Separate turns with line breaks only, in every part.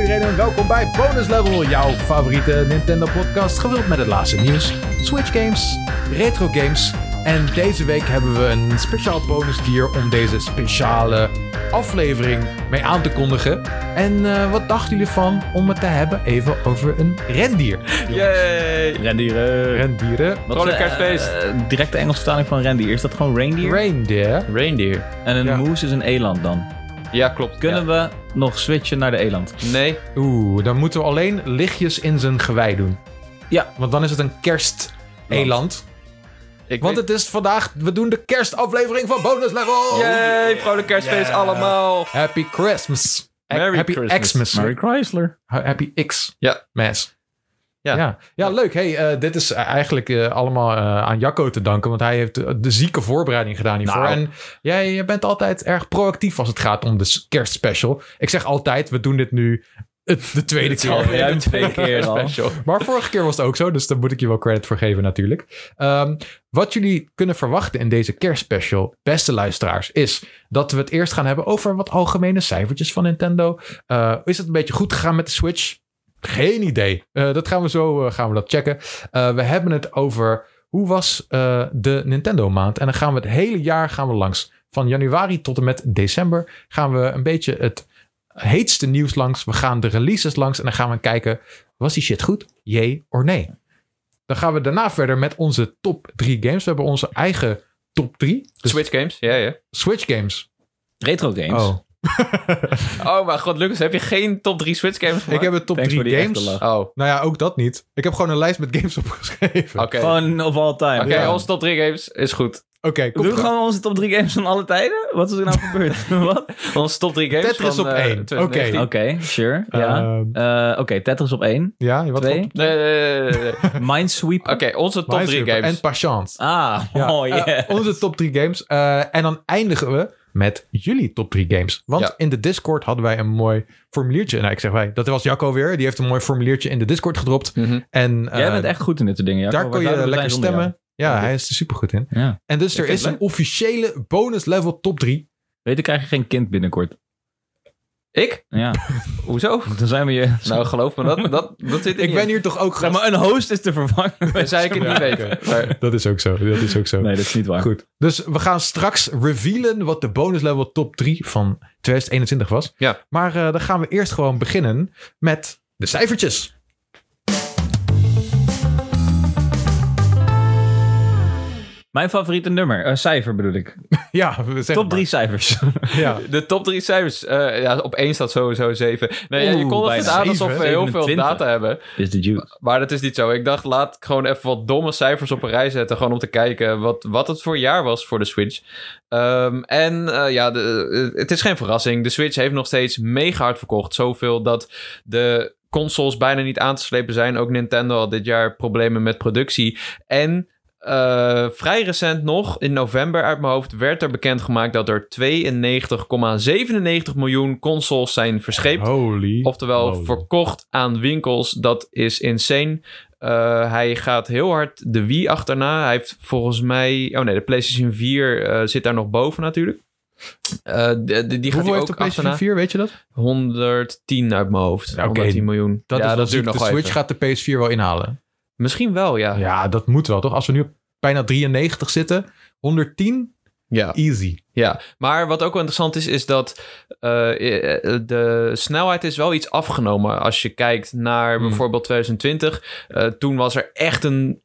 iedereen en welkom bij Bonus Level, jouw favoriete Nintendo podcast, gevuld met het laatste nieuws, Switch games, retro games. En deze week hebben we een speciaal bonus tier om deze speciale aflevering mee aan te kondigen. En eh, wat dachten jullie van om het te hebben even over een rendier?
Yay! Rendieren.
Rendieren.
eh, Wat
Vrolijk
is, eh,
kerstfeest.
directe Engelse vertaling van rendier. Is dat gewoon reindeer?
Reindeer.
Reindeer.
en een
Ja.
moes is een eland dan.
Ja, klopt.
Kunnen we nog switchen naar de eland?
we? Nee.
Oeh, dan moeten we alleen lichtjes in zijn gewei doen.
Ja.
Want dan is het een kersteland.
Ik
Want
weet-
het is vandaag, we doen de kerstaflevering van Bonus Level!
Yay, vrolijk kerstfeest
Yeah.
allemaal.
Happy Christmas! Ha-
Merry
Happy
Christmas.
Xmas.
Chrysler.
Ha- Happy X.
Ja.
Mes.
Ja.
Ja. Ja. leuk. Hey, eh, dit is eigenlijk eh, allemaal eh, aan Jacco te danken, want hij heeft eh, de zieke voorbereiding gedaan hiervoor.
Nou.
En jij je bent altijd erg proactief als het gaat om de s- kerstspecial. Ik zeg altijd, we doen dit nu het, de tweede keer.
Al ruim twee keer al.
Special.
Maar vorige keer was het ook zo, dus daar moet ik je wel credit voor geven natuurlijk. Ehm, wat jullie kunnen verwachten in deze kerstspecial, beste luisteraars, is dat we het eerst gaan hebben over wat algemene cijfertjes van Nintendo. Eh, is het een beetje goed gegaan met de Switch? Geen idee. Eh, dat gaan we zo eh, gaan we dat checken. Eh, we hebben het over hoe was eh, de Nintendo maand. En dan gaan we het hele jaar gaan we langs. Van januari tot en met december gaan we een beetje het heetste nieuws langs. We gaan de releases langs en dan gaan we kijken, was die shit goed? Jee of nee? Dan gaan we daarna verder met onze top drie games. We hebben onze eigen top drie. Dus
Switch games, ja, ja.
Switch games.
Retro games.
Oh.
Oh, maar god, Lucas, heb je geen top 3 Switch games
Ik
gemaakt?
heb een top
Thanks
3
voor die
games.
echte lach.
Oh, oké.
Nou ja, ook dat niet. Ik heb gewoon een lijst met games opgeschreven.
Oh.
Oké,
Oké,
Gewoon of all time.
ja.
onze top 3 games is goed.
kom
Doen we
terug.
gewoon onze top 3 games van alle tijden? Wat is er nou gebeurd? Wat?
Onze top 3 games
Tetris
van,
op
eh,
één.
2019.
Oké, sure. Ja.
Ehm,
Eh, Oké, Tetris op 1.
ja, wat
Twee.
op-
Nee, nee, nee, nee, nee. Oké,
Minesweeper.
onze top 3
Minesweeper
games.
En Patience.
Ah,
Ja,
oh
eh,
yeah.
onze top 3 games. Eh, en dan eindigen we met jullie top 3 games. Want
Ja.
in de Discord hadden wij een mooi formuliertje. Nou, ik zeg wij, dat was Jacco weer. Die heeft een mooi formuliertje in de Discord gedropt.
Mhm.
En
Jij
eh,
bent echt goed in dit soort dingen. Jacco.
daar kon
Waar zouden
je
we
lekker
zijn zonder
stemmen. Ja, hij is er supergoed in.
jou? Ja.
En dus
Ik
er
vind
is
het
een officiële bonus level top 3.
Weet ik krijg je geen kind binnenkort.
Ik?
Ja,
Hoezo?
dan zijn we je...
Nou, geloof me, dat, dat, dat zit in
Ik ben hier toch ook...
Zeg maar, een host is te vervangen.
Dat zei ik het niet
Ja,
weten. Maar-
Dat is ook zo. Dat is ook zo.
Nee, dat is niet waar.
Goed. Dus we gaan straks revealen wat de bonus level top 3 van 2021 was.
Ja.
Maar eh, dan gaan we eerst gewoon beginnen met de cijfertjes.
Mijn favoriete nummer, eh, cijfer bedoel ik.
Ja, zeg
Top
maar.
drie cijfers.
Ja.
De top drie cijfers. Eh, ja, op één staat sowieso 7. Nee, ja, je
Oeh,
kondigt het
bijna.
aan alsof we
Zeven,
heel veel
27.
data hebben.
Is de juice.
Maar dat is niet zo. Ik dacht, laat ik gewoon even wat domme cijfers op een rij zetten. Gewoon om te kijken wat, wat het voor jaar was voor de Switch. Ehm, en eh, ja, de, eh, het is geen verrassing. De Switch heeft nog steeds mega hard verkocht. Zoveel dat de consoles bijna niet aan te slepen zijn. Ook Nintendo had dit jaar problemen met productie. En... eh, vrij recent nog, in november uit mijn hoofd, werd er bekendgemaakt dat er 92,97 miljoen consoles zijn verscheept.
Holy.
Oftewel,
moly.
verkocht aan winkels. Dat is insane. Eh, hij gaat heel hard de Wii achterna. Hij heeft volgens mij... Oh nee, de PlayStation 4 eh, zit daar nog boven natuurlijk. Eh, de- de- die gaat
Hoeveel
hij
heeft
ook
de
achterna.
PlayStation 4, weet je dat?
110 uit mijn hoofd.
Oké,
110 miljoen.
Dat
ja,
is
dat duurt nog
De
wel
Switch
even.
gaat de PS4 wel inhalen.
Misschien wel, ja. ja.
Ja, dat moet wel, toch? Als we nu op bijna 93 zitten, 110,
ja.
easy.
Maar wat ook wel interessant is, is dat eh, eh, de snelheid is wel iets afgenomen. Als je kijkt naar
Hmm.
bijvoorbeeld 2020. Eh, toen was er echt een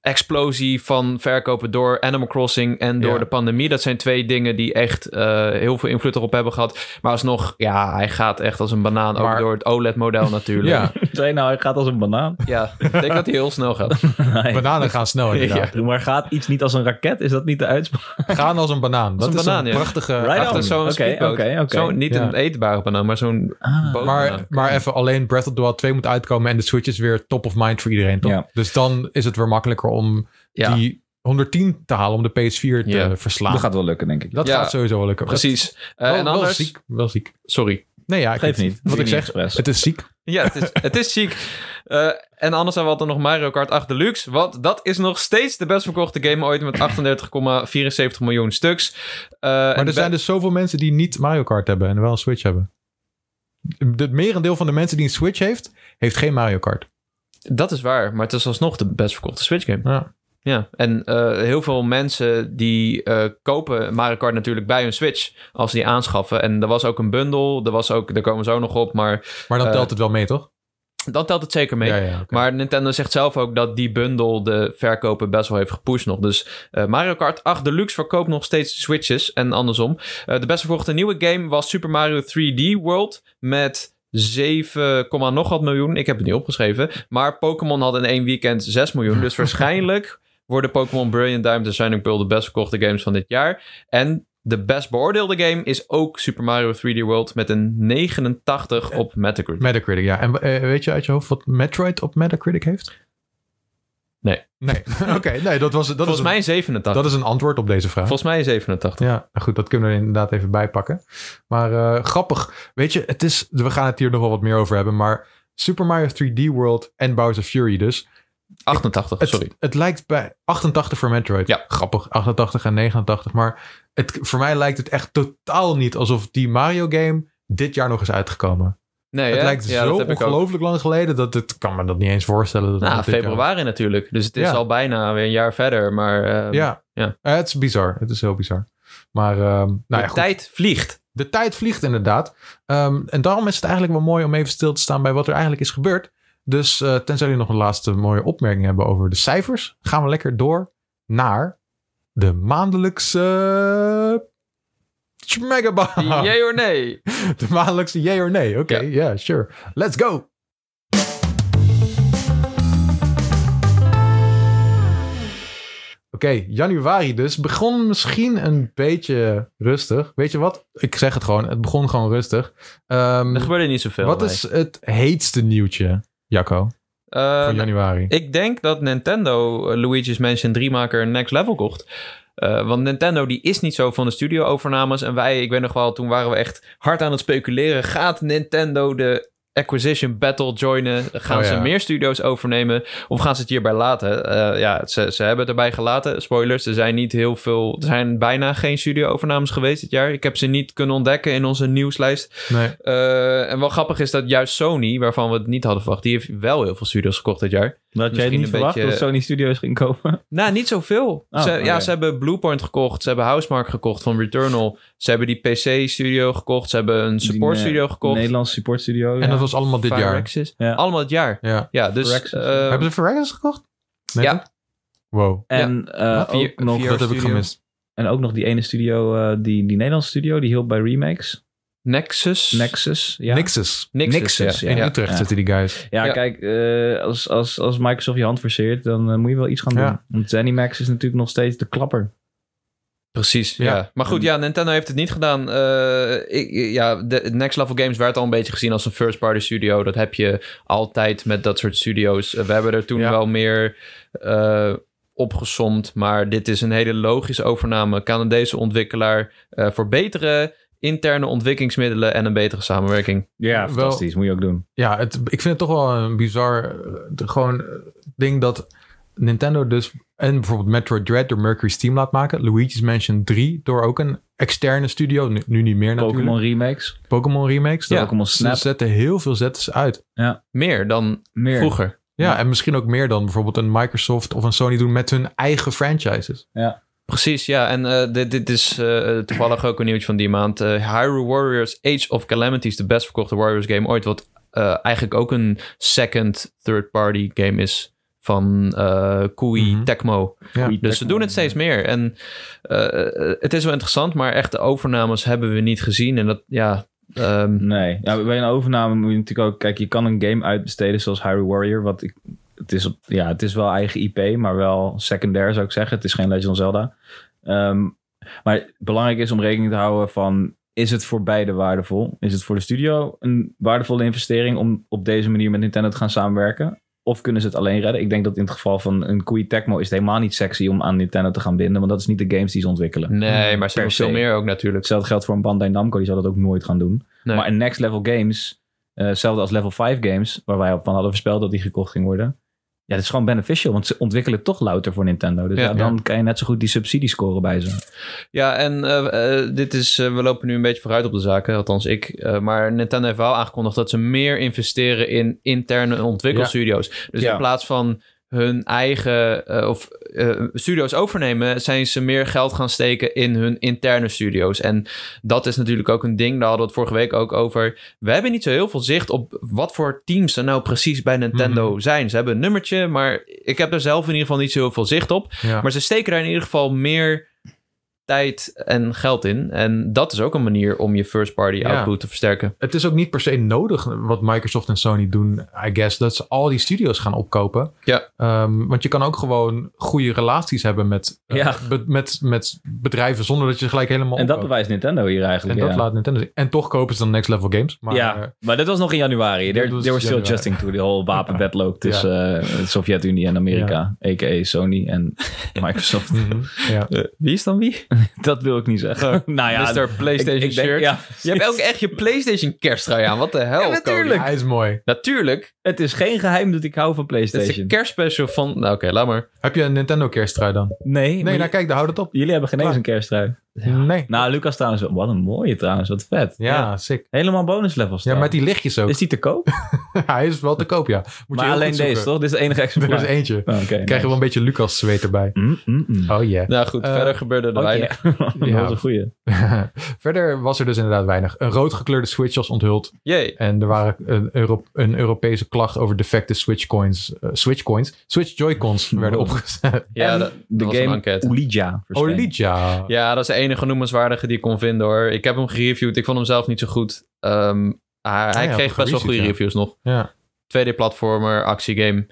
explosie van verkopen door Animal Crossing en door
Ja.
de pandemie. Dat zijn twee dingen die echt eh, heel veel invloed erop hebben gehad. Maar alsnog, ja, hij gaat echt als een banaan.
Maar-
Ook door het OLED-model natuurlijk.
Ja,
Zei nou, hij gaat als een banaan.
ja, ik denk dat hij heel snel gaat.
Nee.
bananen gaan snel inderdaad.
Maar gaat iets niet als een raket? Is dat niet de uitspraak?
Gaan als een banaan. Dat
een
is
banaan,
een
ja.
prachtige...
Right
Achter
on.
zo'n
Oké,
speedboot.
oké, oké.
Zo'n- niet
Ja. Ah.
een eetbare banaan, maar zo'n boot.
Maar, maar even alleen Breath of the Wild 2 moet uitkomen en de Switch is weer top of mind voor iedereen, toch?
Ja.
Dus dan is het weer makkelijker om
ja,
die 110 te halen om de PS4 te
Ja.
verslaan.
Dat
Dat,
gaat wel lukken, denk ik.
Ja.
gaat sowieso wel lukken.
precies. Eh,
Dat- wel,
en
Oh, wel
anders...
ziek, wel ziek.
Sorry.
Nee, ja, ik
Geeft
weet
niet.
Wat
Doe
ik
je
zeg,
niet expres.
het is ziek.
Ja, het is, het is ziek. Eh, en anders hebben we altijd nog Mario Kart 8 Deluxe. Want dat is nog steeds de best verkochte game ooit met 38,74 miljoen stuks. Eh, en
Maar
de
er zijn dus zoveel mensen die niet Mario Kart hebben en wel een Switch hebben. het merendeel van de mensen die een Switch heeft, heeft geen Mario Kart.
Dat is waar, maar het is alsnog de best verkochte Switch game.
Ja.
Ja, en eh, heel veel mensen die eh, kopen Mario Kart natuurlijk bij hun Switch als ze die aanschaffen. En er was ook een bundle, er was ook, daar komen we zo nog op, maar
Maar dan
Eh,
telt het wel mee, toch?
dan telt het zeker mee.
Ja, ja, oké.
Maar Nintendo zegt zelf ook dat die bundle de verkopen best wel heeft gepusht nog. Dus eh, Mario Kart 8 Deluxe verkoopt nog steeds Switches en andersom. Eh, de best verkochte nieuwe game was Super Mario 3D World met 7, komma nog wat miljoen. Ik heb het niet opgeschreven. Maar Pokémon had in één weekend 6 miljoen. Dus waarschijnlijk worden Pokémon Brilliant Diamond en Shining Pearl de best verkochte games van dit jaar. En de best beoordeelde game is ook Super Mario 3D World met een 89 op Metacritic.
Metacritic, ja. En eh, weet je uit je hoofd wat Metroid op Metacritic heeft?
Nee.
Nee, oké. nee, dat was, dat is
Volgens
een-
mij 87.
dat is een antwoord op deze vraag.
Volgens mij is 87.
Ja, nou goed, dat kunnen we er inderdaad even bijpakken. Maar eh, grappig. Weet je, het is, we gaan het hier nog wel wat meer over hebben. Maar Super Mario 3D World en Bowser Fury dus.
88,
Het,
Oh, sorry.
Het lijkt bij 88 voor Metroid.
Ja.
Grappig, 88 en 89. Maar het, voor mij lijkt het echt totaal niet alsof die Mario game dit jaar nog is uitgekomen.
Nee,
het
hè?
lijkt
Ja,
zo
dat heb ik ook.
ongelooflijk lang geleden dat het kan me dat niet eens voorstellen. Dat
Nou,
dat dit jaar-
februari natuurlijk. Dus het is
Ja.
al bijna weer een jaar verder. Maar eh,
Ja,
Ja.
Eh, het is bizar. Het is heel bizar. Maar ehm nou ja,
de
goed.
tijd vliegt.
De tijd vliegt inderdaad. Ehm, en daarom is het eigenlijk wel mooi om even stil te staan bij wat er eigenlijk is gebeurd. Dus eh, tenzij jullie nog een laatste mooie opmerking hebben over de cijfers, gaan we lekker door naar de maandelijkse. Schmegaba.
Jee of nee?
De maandelijkse yay or nee. Oké, ja, sure. Let's go. Oké, januari dus. Begon misschien een beetje rustig. Weet je wat? Ik zeg het gewoon. Het begon gewoon rustig. Ehm,
Er gebeurde niet zoveel.
wat
nee.
is het heetste nieuwtje, Jacco,
Eh,
voor januari?
Ik denk dat Nintendo eh, Luigi's Mansion 3-maker Next Level kocht. Eh, want Nintendo die is niet zo van de studio-overnames. En wij, ik weet nog wel, toen waren we echt hard aan het speculeren. Gaat Nintendo de acquisition battle joinen? Gaan
Oh,
ze
ja.
meer studio's overnemen? Of gaan ze het hierbij laten? Eh, ja, ze, ze hebben het erbij gelaten. Spoilers, er zijn niet heel veel... Er zijn bijna geen studio-overnames geweest dit jaar. Ik heb ze niet kunnen ontdekken in onze nieuwslijst.
Nee.
Eh, en wel grappig is dat juist Sony, waarvan we het niet hadden verwacht... die heeft wel heel veel studio's gekocht dit jaar.
Dat jij
Misschien
niet
een
verwacht
beetje-
dat Sony Studios ging kopen.
Nou, niet zoveel.
Oh,
ze, Ja,
oké.
ze hebben Bluepoint gekocht. Ze hebben Housemark gekocht van Returnal. Ze hebben die PC-studio gekocht. Ze hebben een support
Die, eh,
studio gekocht.
Nederlandse support studio.
En dat was allemaal dit jaar.
Firaxis.
Ja.
Allemaal dit jaar.
Ja.
Ja, dus...
Firaxis,
eh,
ja.
hebben ze Firaxis gekocht? Nee,
Ja.
toch? Wow.
En, eh,
Ja,
ook
vier-
nog,
vier-
Dat heb ik
Studio.
gemist.
en ook nog die ene studio, eh, die, die Nederlandse studio, die hielp bij remakes.
Nexus.
Nexus. Ja.
Nixes.
Nexus,
Nexus,
ja.
ja.
In Utrecht
Ja.
zitten die guys.
Ja,
Ja.
kijk, eh, als, als, als Microsoft je hand forceert, dan eh, moet je wel iets gaan doen.
Ja.
Want ZeniMax is natuurlijk nog steeds de klapper.
Precies,
Ja.
ja. Maar goed, ja, Nintendo heeft het niet gedaan. Eh, ik, ja, de Next Level Games werd al een beetje gezien als een first-party studio. Dat heb je altijd met dat soort studio's. Eh, we hebben er toen
Ja.
wel meer eh opgesomd. Maar dit is een hele logische overname. Canadese ontwikkelaar eh, voor betere interne ontwikkelingsmiddelen en een betere samenwerking.
Ja, fantastisch.
Moet je ook doen.
Ja, het, ik vind het toch wel een bizar eh, de- gewoon eh, ding dat Nintendo dus en bijvoorbeeld Metroid Dread door Mercury's Team laat maken. Luigi's Mansion 3 door ook een externe studio. Nu, nu niet meer
Pokémon
natuurlijk.
remakes.
Pokémon remakes.
Ja.
Ja.
Pokémon
Ze
Snap.
zetten heel veel zetten uit.
Meer dan
Meer.
vroeger.
Ja,
Ja.
en misschien ook meer dan bijvoorbeeld een Microsoft of een Sony doen met hun eigen franchises.
Precies, ja. En eh, dit, dit is eh, toevallig ook een nieuwtje van die maand. Eh Hyrule Warriors Age of Calamity is de best verkochte Warriors game ooit. Wat eh, eigenlijk ook een second third-party game is van eh Koei
Mhm.
Tecmo.
Ja.
Goeie
Dus ze doen het steeds meer. En eh, eh, het is wel interessant, maar echte overnames hebben we niet gezien. En dat, ja... ehm,
Nee. Ja, bij een overname moet je natuurlijk ook... Kijk, je kan een game uitbesteden zoals Hyrule Warrior. Wat ik, het, is op, ja, het is wel eigen IP, maar wel secundair zou ik zeggen. Het is geen Legend of Zelda. Ehm, maar belangrijk is om rekening te houden van... Is het voor beide waardevol? Is het voor de studio een waardevolle investering... om op deze manier met Nintendo te gaan samenwerken? Of kunnen ze het alleen redden? Ik denk dat in het geval van een Koei Tecmo... is het helemaal niet sexy om aan Nintendo te gaan binden... want dat is niet de games die ze ontwikkelen.
nee, maar ze
Per
hebben veel
se.
meer ook natuurlijk.
Hetzelfde geldt voor een Bandai Namco, die zou dat ook nooit gaan doen.
Nee.
Maar in Next Level Games, eh, hetzelfde als Level 5 Games, waar wij op van hadden voorspeld dat die gekocht ging worden, Ja, dat is gewoon beneficial, want ze ontwikkelen toch louter voor Nintendo. Dus
Ja.
ja, dan kan je net zo goed die subsidiescoren bij ze.
Ja, en eh, eh, dit is, eh, we lopen nu een beetje vooruit op de zaken, althans ik. Eh, maar Nintendo heeft wel aangekondigd dat ze meer investeren in interne ontwikkelstudio's. Dus
Ja.
in plaats van hun eigen eh, of eh, studio's overnemen, zijn ze meer geld gaan steken in hun interne studio's. En dat is natuurlijk ook een ding. Daar hadden we het vorige week ook over. We hebben niet zo heel veel zicht op wat voor teams er nou precies bij Nintendo
Mhm.
zijn. Ze hebben een nummertje, maar ik heb er zelf in ieder geval niet zo heel veel zicht op.
Ja.
Maar ze steken daar in ieder geval meer tijd en geld in. En dat is ook een manier om je first party
Ja.
output te versterken.
het is ook niet per se nodig wat Microsoft en Sony doen, I guess, dat ze al die studios gaan opkopen.
Ja.
Ehm, want je kan ook gewoon goede relaties hebben met, eh,
Ja.
be- met, met bedrijven zonder dat je gelijk helemaal
En dat
opkoopt.
bewijst Nintendo hier eigenlijk.
en dat
ja.
laat Nintendo zien. En toch kopen ze dan next level games. Maar,
ja,
eh,
maar dat was nog in januari. They,
Dat was
they were still
januari.
adjusting to the whole wapenwedloop tussen eh, de Sovjet-Unie en Amerika. A.k.a. Sony en Microsoft.
mhm, ja.
Eh, wie is dan wie?
dat wil ik niet zeggen. nou ja,
Mr. PlayStation
ik- ik denk-
shirt.
ja,
Je hebt ook echt je PlayStation kersttrui aan. Wat de hel,
Ja,
Cody?
natuurlijk.
Hij is mooi.
Natuurlijk.
het is geen geheim dat ik hou van
Dit is een
PlayStation.
kerstspecial van... Nou, oké, laat maar.
Heb je een Nintendo kersttrui dan?
nee, maar
Nee,
j-
nou kijk, daar houdt het op.
jullie hebben geen eens
Klaar.
een kersttrui.
Nee.
Nou, Lucas trouwens, wel- wat een mooie trouwens, wat vet.
Ja, sick.
Helemaal bonus levels.
Ja, met die lichtjes ook.
Is die te koop?
Hij is wel te koop, ja. Moet je
maar
heel
alleen
goed
deze,
zoeken.
toch? Dit is de enige exemplaar.
Er is eentje.
Oh, Oké.
Krijg je wel een beetje Lucas zweet erbij.
nice. Mm, mm, mm.
Oh yeah.
Nou goed,
Eh,
verder gebeurde er
Oké.
weinig.
dat was een goeie.
Verder was er dus inderdaad weinig. Een rood gekleurde Switch was onthuld.
Jee.
En er waren een, Euro- een Europese klacht over defecte Switch coins. eh, Switch coins? Switch Joy-Cons werden opgezet.
Ja,
En
dat,
de
dat was een
game
enquête.
Oh,
Ouija. verscheen.
Olija.
Ja, dat is de enige noemenswaardige die ik kon vinden hoor. Ik heb hem gereviewd. Ik vond hem zelf niet zo goed. Ehm,
Ah,
hij hij
ja,
kreeg best wel
gereviewd,
goede
ja.
reviews nog.
Ja.
2D-platformer, actiegame.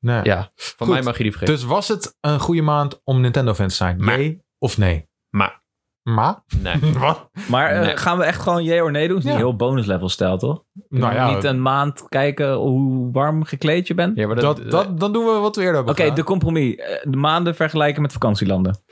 Nee.
Ja, van
Goed.
mij mag je die vergeten.
Nou, Dus was het een goede maand om Nintendo-fan te zijn?
Maar.
Nee of nee?
Maar.
Ma?
Nee.
Wat?
Maar eh,
Nee.
gaan we echt gewoon jee of nee E doen? Het is
Ja.
niet heel bonus level stijl, toch?
Nou ja,
Niet een maand kijken hoe warm gekleed je bent?
Ja, maar dat,
dat,
eh,
dat, dan doen we wat we eerder hebben
Oké, de compromis. Eh, De maanden vergelijken met vakantielanden.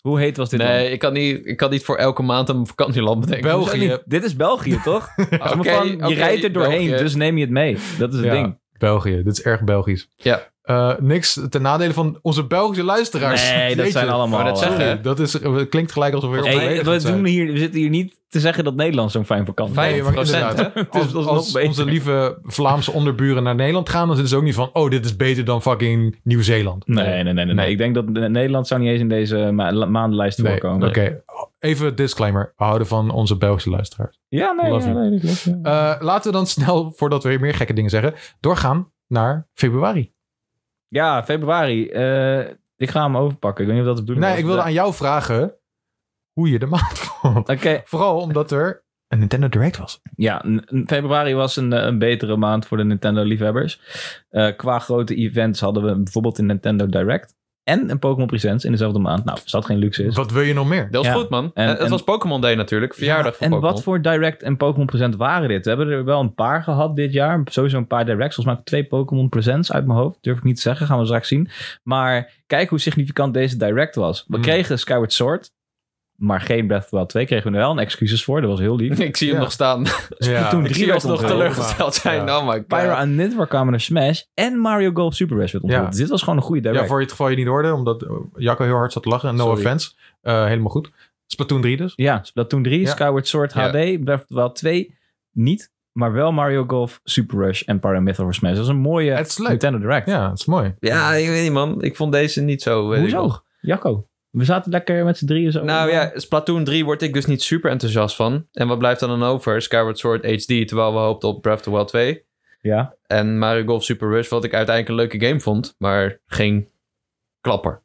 Hoe heet was dit
nee, ik kan, niet, ik kan niet voor elke maand een vakantieland bedenken.
Wel-
dan?
België.
Niet- Dit is België, toch?
Oké,
Zo van, je
oké,
rijdt er doorheen,
België.
dus neem je het mee. Dat is het
Ja.
ding.
België, dit is erg Belgisch.
Ja.
Eh, niks ten nadele van onze Belgische luisteraars.
Nee, dat
Jeetje.
zijn allemaal...
Maar dat
eh,
zeggen
Sorry, dat is, het klinkt gelijk alsof we heel
Hey,
beledigend
we,
zijn.
doen hier, we zitten hier niet te zeggen dat Nederland zo'n fijn vakantie
Fijn.
heeft.
Nee, maar
50%,
inderdaad.
Het is
Als,
alsnog
als
beter.
onze lieve Vlaamse onderburen naar Nederland gaan, dan zijn ze ook niet van, oh, dit is beter dan fucking Nieuw-Zeeland.
Nee, nee, nee, nee, nee.
Nee.
Ik denk dat Nederland zou niet eens in deze ma- la- maandenlijst
Nee,
voorkomen.
oké. Even disclaimer. We houden van onze Belgische luisteraars.
Ja, nee,
Love
ja,
you.
nee, dat klopt, ja.
Eh, laten we dan snel, voordat we weer meer gekke dingen zeggen, doorgaan naar februari.
Ja, februari. eh, ik ga hem overpakken. Ik weet niet of dat de bedoeling
Nee,
was.
ik wilde aan jou vragen hoe je de maand vond.
Oké,
Vooral omdat er een Nintendo Direct was.
ja. n- n- Februari was een, eh, een betere maand voor de Nintendo-liefhebbers. Eh, qua grote events hadden we bijvoorbeeld een Nintendo Direct. En een Pokémon Presents in dezelfde maand. Nou, als dat geen luxe is.
Wat wil je nog meer?
Dat was
Ja.
goed, man. Eh,
En-
het
en-
was Pokémon Day natuurlijk. Verjaardag
Ja,
van
En
Pokémon.
wat voor Direct en Pokémon Present waren dit? We hebben er wel een paar gehad dit jaar. Sowieso een paar Directs. Volgens mij twee Pokémon Presents uit mijn hoofd. Durf ik niet te zeggen. Gaan we straks zien. Maar kijk hoe significant deze Direct was. We
Hmm.
kregen Skyward Sword. Maar geen Breath of the Wild 2 kregen we er wel een excuses voor. Dat was heel lief.
Ik zie hem
Ja.
nog staan.
Ja.
toen
Ik
drie
zie
werd
ons nog
onthuld.
teleurgesteld zijn.
Ja.
Oh my god.
Pyro en Nidwar kwamen naar Smash. En Mario Golf Super Rush werd onthuld.
Ja.
Dus dit was gewoon een goede
Ja,
Direct.
voor het geval je niet hoorde, omdat eh, Jacco heel hard zat te lachen. En no
Sorry.
offense. Eh, helemaal goed. Splatoon 3 dus.
Ja, Splatoon 3,
Ja.
Skyward Sword
Ja.
HD, Breath of the Wild 2 niet. Maar wel Mario Golf, Super Rush en Pyramidal voor Smash. Dat is een mooie
Het is leuk.
Nintendo Direct.
Ja, het is mooi.
Ja, ik weet niet, man. Ik vond deze niet zo... weet ik
Hoezo?
nog.
Jacco. We zaten lekker met z'n drieën zo.
Nou ja, Splatoon 3 word ik dus niet super enthousiast van. En wat blijft er dan over? Skyward Sword HD, terwijl we hoopten op Breath of the Wild 2.
Ja.
En Mario Golf Super Rush, wat ik uiteindelijk een leuke game vond. Maar geen klapper.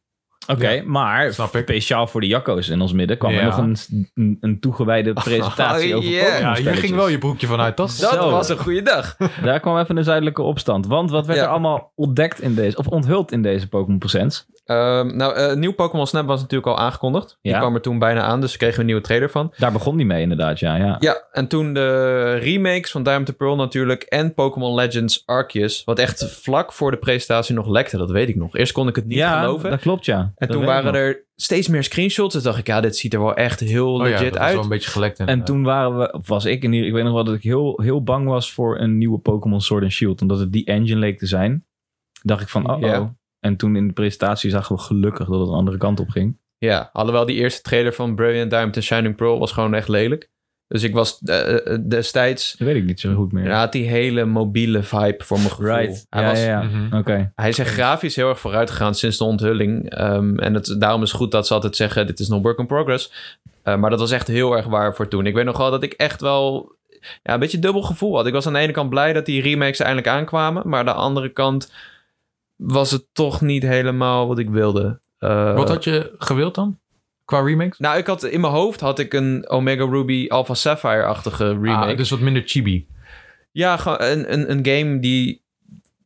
Oké, maar
Snap ik.
speciaal voor de Jacco's in ons midden kwam
Ja.
er nog een, een, een toegewijde presentatie
Oh,
over
yeah.
Pokémon
Ja, hier
spelletjes.
ging wel je broekje vanuit. Dat is
Dat
Zo.
was een goede dag.
Daar kwam even een zuidelijke opstand. Want wat werd
Ja.
er allemaal ontdekt in deze, of onthuld in deze Pokémon Presents?
Ehm, nou, eh nieuw Pokémon Snap was natuurlijk al aangekondigd. Die
Ja.
kwam er toen bijna aan, dus we kregen een nieuwe trailer van.
Daar begon die mee inderdaad, ja. ja.
Ja, en toen de remakes van Diamond and Pearl natuurlijk en Pokémon Legends Arceus. Wat echt vlak voor de presentatie nog lekte, dat weet ik nog. Eerst kon ik het niet
Ja,
geloven.
dat klopt, ja.
En toen waren er steeds meer screenshots. Dus dacht ik, ja, dit ziet er wel echt heel
Oh ja,
legit
dat was
uit.
wel een beetje gelekt.
En toen waren we, of was ik in ieder ik weet nog wel dat ik heel, heel bang was voor een nieuwe Pokémon Sword and Shield. Omdat het die engine leek te zijn. dacht ik van, oh,
Ja.
oh. En toen in de presentatie zagen we gelukkig dat het een andere kant op ging.
Ja, alhoewel die eerste trailer van Brilliant Diamond en Shining Pearl was gewoon echt lelijk. Dus ik was eh, eh, destijds...
Dat weet ik niet zo goed meer.
Ja, had die hele mobiele vibe voor mijn gevoel.
Right.
Hij,
ja,
was,
ja, ja.
Mhm.
Oké.
hij is echt grafisch heel erg vooruit gegaan sinds de onthulling. Ehm, en het, daarom is het goed dat ze altijd zeggen, dit is nog work in progress. Eh, maar dat was echt heel erg waar voor toen. Ik weet nog wel dat ik echt wel ja, een beetje dubbel gevoel had. Ik was aan de ene kant blij dat die remakes eindelijk aankwamen. Maar aan de andere kant was het toch niet helemaal wat ik wilde. Eh,
Wat had je gewild dan? Qua remakes?
nou, ik had, in mijn hoofd had ik een Omega Ruby Alpha Sapphire-achtige remake.
Ah, dus wat minder chibi.
Ja, gewoon een, een, een game die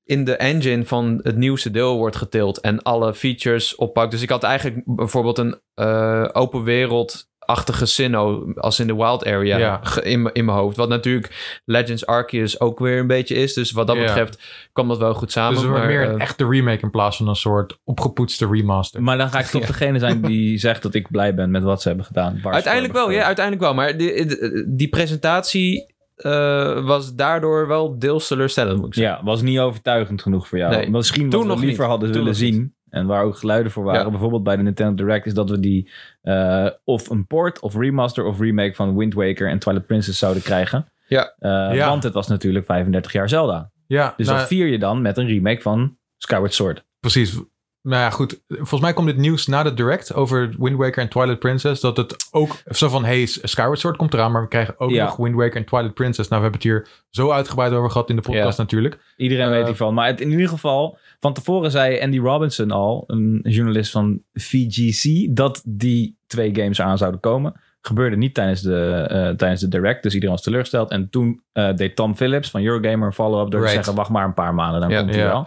in de engine van het nieuwste deel wordt getild en alle features oppakt. Dus ik had eigenlijk bijvoorbeeld een eh, open wereld achtige Sinnoh als in de wild area
Ja.
ge- in, mijn- in mijn hoofd. Wat natuurlijk Legends Arceus ook weer een beetje is. Dus wat dat
Ja.
betreft kwam dat wel goed samen.
dus het wordt
maar,
meer
eh,
een echte remake in plaats van een soort opgepoetste remaster.
Maar dan ga ik toch degene zijn die zegt dat ik blij ben met wat ze hebben gedaan. waar ze
Uiteindelijk
voor
wel, ja,
hebben
uiteindelijk wel. Maar die, die- die presentatie eh, was daardoor wel deels teleurstellend, moet ik zeggen.
gespeeld. Ja, was niet overtuigend genoeg voor jou.
Nee.
Misschien wat
Toen
we
nog
liever
niet.
hadden
Toen
willen
nog niet.
zien. En waar ook geluiden voor waren.
Ja.
Bijvoorbeeld bij de Nintendo Direct is dat we die eh, of een port of remaster of remake van Wind Waker en Twilight Princess zouden krijgen.
Ja.
Eh,
Ja.
Want het was natuurlijk 35 jaar Zelda.
ja,
Dus
nou,
dat vier je dan met een remake van Skyward Sword.
precies. Nou ja, goed. Volgens mij komt dit nieuws na de direct over Wind Waker en Twilight Princess. Dat het ook zo van, hey, Skyward Sword komt eraan, maar we krijgen ook
Ja.
nog Wind Waker en Twilight Princess. Nou, we hebben het hier zo uitgebreid over gehad in de podcast natuurlijk.
Iedereen
Eh,
weet hiervan. Maar het, in ieder geval, van tevoren zei Andy Robinson al, een journalist van VGC, dat die twee games aan zouden komen. Gebeurde niet tijdens de, eh, tijdens de direct, dus iedereen was teleurgesteld. En toen eh, deed Tom Phillips van Eurogamer een follow-up door
Right.
te zeggen, wacht maar een paar maanden, dan
Ja,
komt hij
ja.
wel.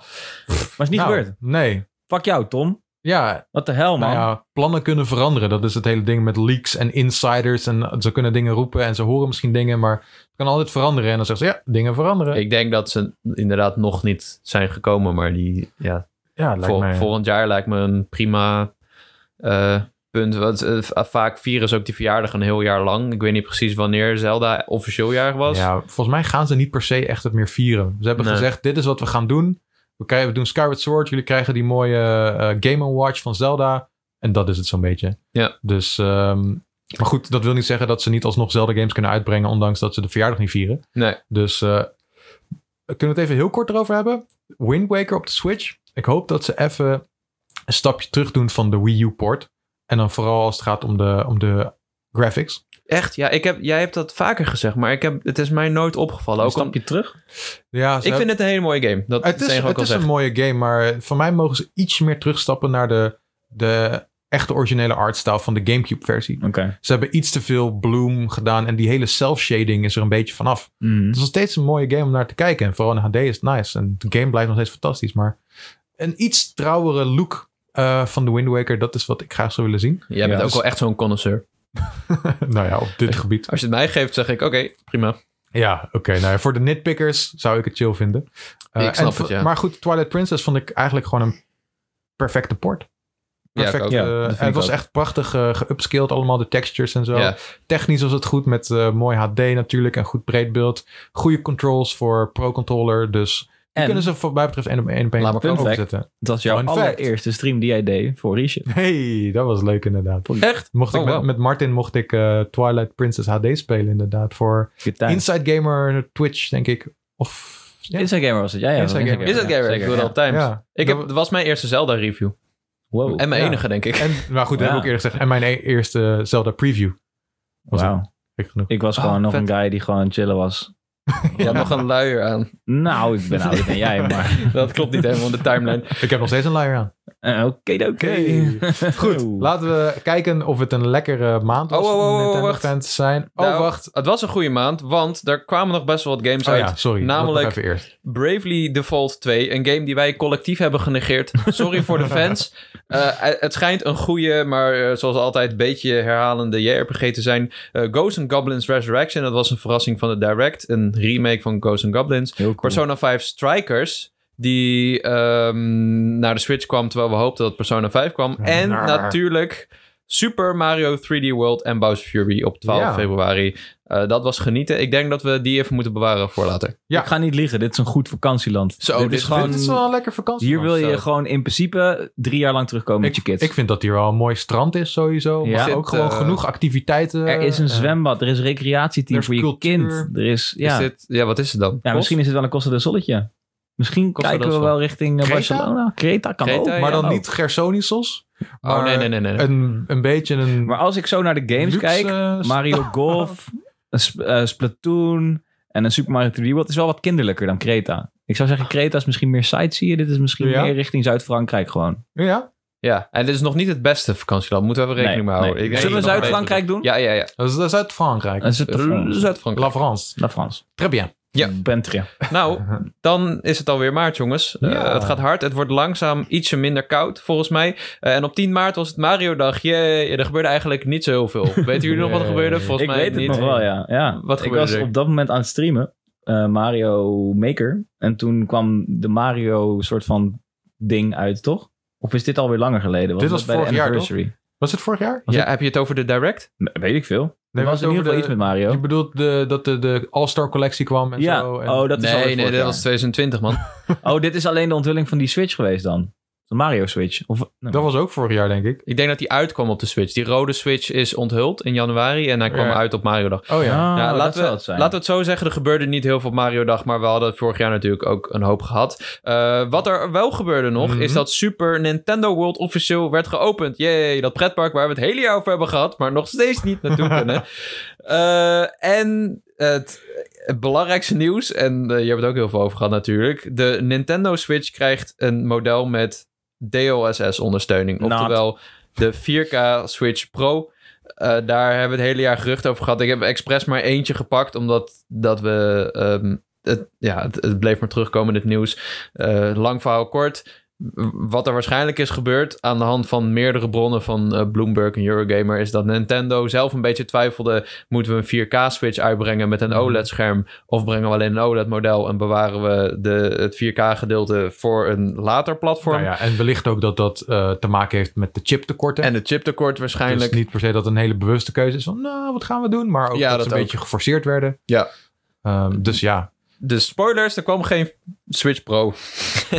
Maar is niet
Nou,
gebeurd.
Nee.
Fuck jou, Tom.
Ja,
Wat de hel, man.
Nou ja, plannen kunnen veranderen. Dat is het hele ding met leaks en insiders. En ze kunnen dingen roepen en ze horen misschien dingen, maar het kan altijd veranderen. En dan zeggen ze, ja, dingen veranderen.
Ik denk dat ze inderdaad nog niet zijn gekomen, maar die, ja,
ja, lijkt
Vol-
mij.
Volgend jaar lijkt me een prima eh, punt. Want eh, va- vaak vieren ze ook die verjaardag een heel jaar lang. Ik weet niet precies wanneer Zelda officieel jarig was.
Ja, volgens mij gaan ze niet per se echt het meer vieren. Ze hebben
Nee.
gezegd, dit is wat we gaan doen. We, krijgen, we doen Skyward Sword. Jullie krijgen die mooie eh, Game Watch van Zelda. En dat is het zo'n beetje.
Ja.
Dus, ehm, maar goed, dat wil niet zeggen dat ze niet alsnog Zelda games kunnen uitbrengen, ondanks dat ze de verjaardag niet vieren.
Nee.
Dus eh, kunnen we het even heel kort erover hebben? Wind Waker op de Switch. Ik hoop dat ze even een stapje terug doen van de Wii U-port. En dan vooral als het gaat om de, om de graphics.
Echt? Ja, ik heb, jij hebt dat vaker gezegd, maar ik heb, het is mij nooit opgevallen.
Een
Ook om-
stapje terug.
Ja, ze
ik vind het een hele mooie game. Dat
Het is,
Stenger ook
het
al
is een
zegt.
mooie game, maar voor mij mogen ze iets meer terugstappen naar de, de echte originele artstyle van de GameCube-versie.
Oké.
Ze hebben iets te veel bloom gedaan en die hele self-shading is er een beetje vanaf.
Mhm.
Het is nog steeds een mooie game om naar te kijken. En vooral in HD is het nice. En de game blijft nog steeds fantastisch. Maar een iets trouwere look eh, van de Wind Waker, dat is wat ik graag zou willen zien.
Jij bent
Ja,
ook
dus-
wel echt zo'n connoisseur.
nou ja, op dit gebied.
Als je het mij geeft, zeg ik oké, prima.
Ja, oké. nou ja, voor de nitpickers zou ik het chill vinden. Eh,
Ik snap
en voor-
het, ja.
Maar goed, Twilight Princess vond ik eigenlijk gewoon een perfecte port.
Ja, ik
Perfect.
ook.
eh,
Ja, dat vind
en het
ik
was
ook.
echt prachtig eh geupscaled allemaal, de textures en zo.
Ja.
Technisch was het goed met eh, mooi HD natuurlijk en goed breed beeld. Goede controls voor Pro Controller. Dus die
En
kunnen ze wat mij betreft één op één op één
Laat maar fun fact.
overzetten.
dat was jouw
Fun fact.
allereerste stream die jij deed voor Riesje.
Hey, dat was leuk inderdaad.
Echt?
Mocht ik
Oh,
met,
wow.
met Martin mocht ik eh, Twilight Princess HD spelen inderdaad voor
Good times.
Inside Gamer Twitch denk ik of ja,
Inside Gamer was het. Ja, ja.
Inside Gamer.
Is dat
ja,
Gary? Ik
zeker,
doe
ja.
dat altijd.
ja.
Ik heb, het was mijn eerste Zelda-review.
Wow.
En mijn
Ja.
enige, denk ik.
En, maar goed, dat
Ja.
heb ik ook eerder gezegd. En mijn e- eerste Zelda preview. Was
Wauw.
ik genoeg.
Ik was
Oh,
gewoon nog
vet.
een guy die gewoon aan het chillen was.
Je had nog een luier aan.
Nou, ik ben ouder dan jij, maar...
Dat klopt niet helemaal in de timeline.
Ik heb nog steeds een luier aan.
Eh, Oké, oké.
Goed, laten we kijken of het een lekkere maand was
Oh, oh,
om
oh, oh,
Nintendo
wacht.
fans te zijn. Oh,
Nou,
wacht.
Het was een goede maand, want er kwamen nog best wel wat games
Oh
uit.
ja, sorry.
namelijk-
Dat nog even eerst.
Bravely Default 2, een game die wij collectief hebben genegeerd. Sorry voor de fans. Eh, het schijnt een goede, maar eh, zoals altijd een beetje herhalende JRPG te zijn. Eh Ghosts and Goblins Resurrection, dat was een verrassing van de Direct. Een remake van Ghosts and Goblins.
Heel cool.
Persona 5 Strikers, die ehm, naar de Switch kwam terwijl we hoopten dat Persona 5 kwam. En
Naar.
natuurlijk Super Mario 3D World en Bowser Fury op 12
Ja.
februari. Eh, dat was genieten. Ik denk dat we die even moeten bewaren voor later.
Ja.
Ik ga niet liegen, dit is een goed vakantieland.
Zo, dit is
Dit is wel een lekker vakantie.
Hier wil je
Zo.
gewoon in principe drie jaar lang terugkomen met je
Ik,
kids.
ik vind dat hier wel een mooi strand is sowieso.
Ja.
Maar
Zit,
ook gewoon
eh,
genoeg activiteiten.
er is een
Eh,
zwembad, er is een recreatieteam
er is
voor je
cultuur.
kind. Er is, ja.
Is dit, ja, wat is het dan?
ja, misschien is het wel een Costa del Solletje. Misschien
Costa
kijken
del
we
Sol.
wel richting eh,
Kreta?
Barcelona. Creta kan
Kreta,
ook.
ja.
maar dan
Oh.
niet Gersonisos.
Oh, nee, nee, nee. nee.
Een, een beetje een
Maar als ik zo naar de games
luxe,
kijk,
eh,
Mario Golf, een sp- eh, Splatoon en een Super Mario 3D World is wel wat kinderlijker dan Creta. Ik zou zeggen, Creta is misschien meer sightseeing. Dit is misschien
Ja.
meer richting Zuid-Frankrijk gewoon.
Ja,
Ja, en dit is nog niet het beste vakantieland. Moeten we even rekening mee
Nee,
houden.
nee.
Ik denk
Zullen we
dat het nog
Zuid-Frankrijk doen?
beter is. Ja, ja, ja.
dat is, dat is uit Frankrijk.
Eh, Zuid-Frankrijk.
Zuid-Frankrijk.
La France.
La France.
Très bien.
Ja.
Bentria.
Nou, dan is het alweer maart, jongens. Eh,
Ja.
het gaat hard. Het wordt langzaam ietsje minder koud, volgens mij. Eh, en op 10 maart was het Mario-dag. Jee, er gebeurde eigenlijk niet zo heel veel. Weten jullie nog wat er
Nee.
gebeurde? Volgens
ik
mij
weet het
niet.
nog wel, ja. ja.
Wat
ik
gebeurde
was
er?
op dat moment aan het streamen, eh, Mario Maker. En toen kwam de Mario soort van ding uit, toch? Of is dit alweer langer geleden?
Dit was
het bij de
vorig jaar,
anniversary?
Was het vorig jaar?
Ja, heb je het over de Direct?
Nee, Weet ik veel.
Nee,
er was in ieder
over
geval
de-
iets met Mario.
Je bedoelt de, dat de, de All-Star collectie kwam en
Ja,
zo. En,
oh, dat is alweer
nee, nee,
vorig
dat
jaar.
was 2020, man.
Oh, dit is alleen de onthulling van die Switch geweest dan? De Mario Switch? Of, nee.
dat was ook vorig jaar, denk ik.
ik denk dat die uitkwam op de Switch. Die rode Switch is onthuld in januari en hij kwam
Ja.
uit op Mario-dag.
Oh ja.
Ah,
Ja,
dat
laten,
zou
we,
het zijn.
laten we het zo zeggen, er gebeurde niet heel veel op Mario Dag, maar we hadden vorig jaar natuurlijk ook een hoop gehad. Eh, wat er wel gebeurde nog,
Mhm.
is dat Super Nintendo World officieel werd geopend. Jee, dat pretpark waar we het hele jaar over hebben gehad, maar nog steeds niet naartoe kunnen. Eh, en het, het belangrijkste nieuws, en eh, je hebt het ook heel veel over gehad natuurlijk, de Nintendo Switch krijgt een model met DLSS-ondersteuning,
Not.
oftewel de 4K Switch Pro. Eh, daar hebben we het hele jaar gerucht over gehad. Ik heb expres maar eentje gepakt, omdat dat we. ehm, het, ja, het, het bleef maar terugkomen, dit nieuws. Eh, lang verhaal kort. W- Wat er waarschijnlijk is gebeurd aan de hand van meerdere bronnen van eh, Bloomberg en Eurogamer, is dat Nintendo zelf een beetje twijfelde: moeten we een 4K-switch uitbrengen met een
Mhm.
OLED-scherm? Of brengen we alleen een OLED-model en bewaren we de, het 4K-gedeelte voor een later platform?
Nou ja, en wellicht ook dat dat eh, te maken heeft met de chiptekorten.
En het chiptekort waarschijnlijk.
Dus niet per se dat een hele bewuste keuze is van, nou, wat gaan we doen? Maar ook
Ja,
dat,
dat
ze een
ook.
beetje geforceerd werden.
Ja.
Ehm, dus ja,
De spoilers, er kwam geen Switch Pro.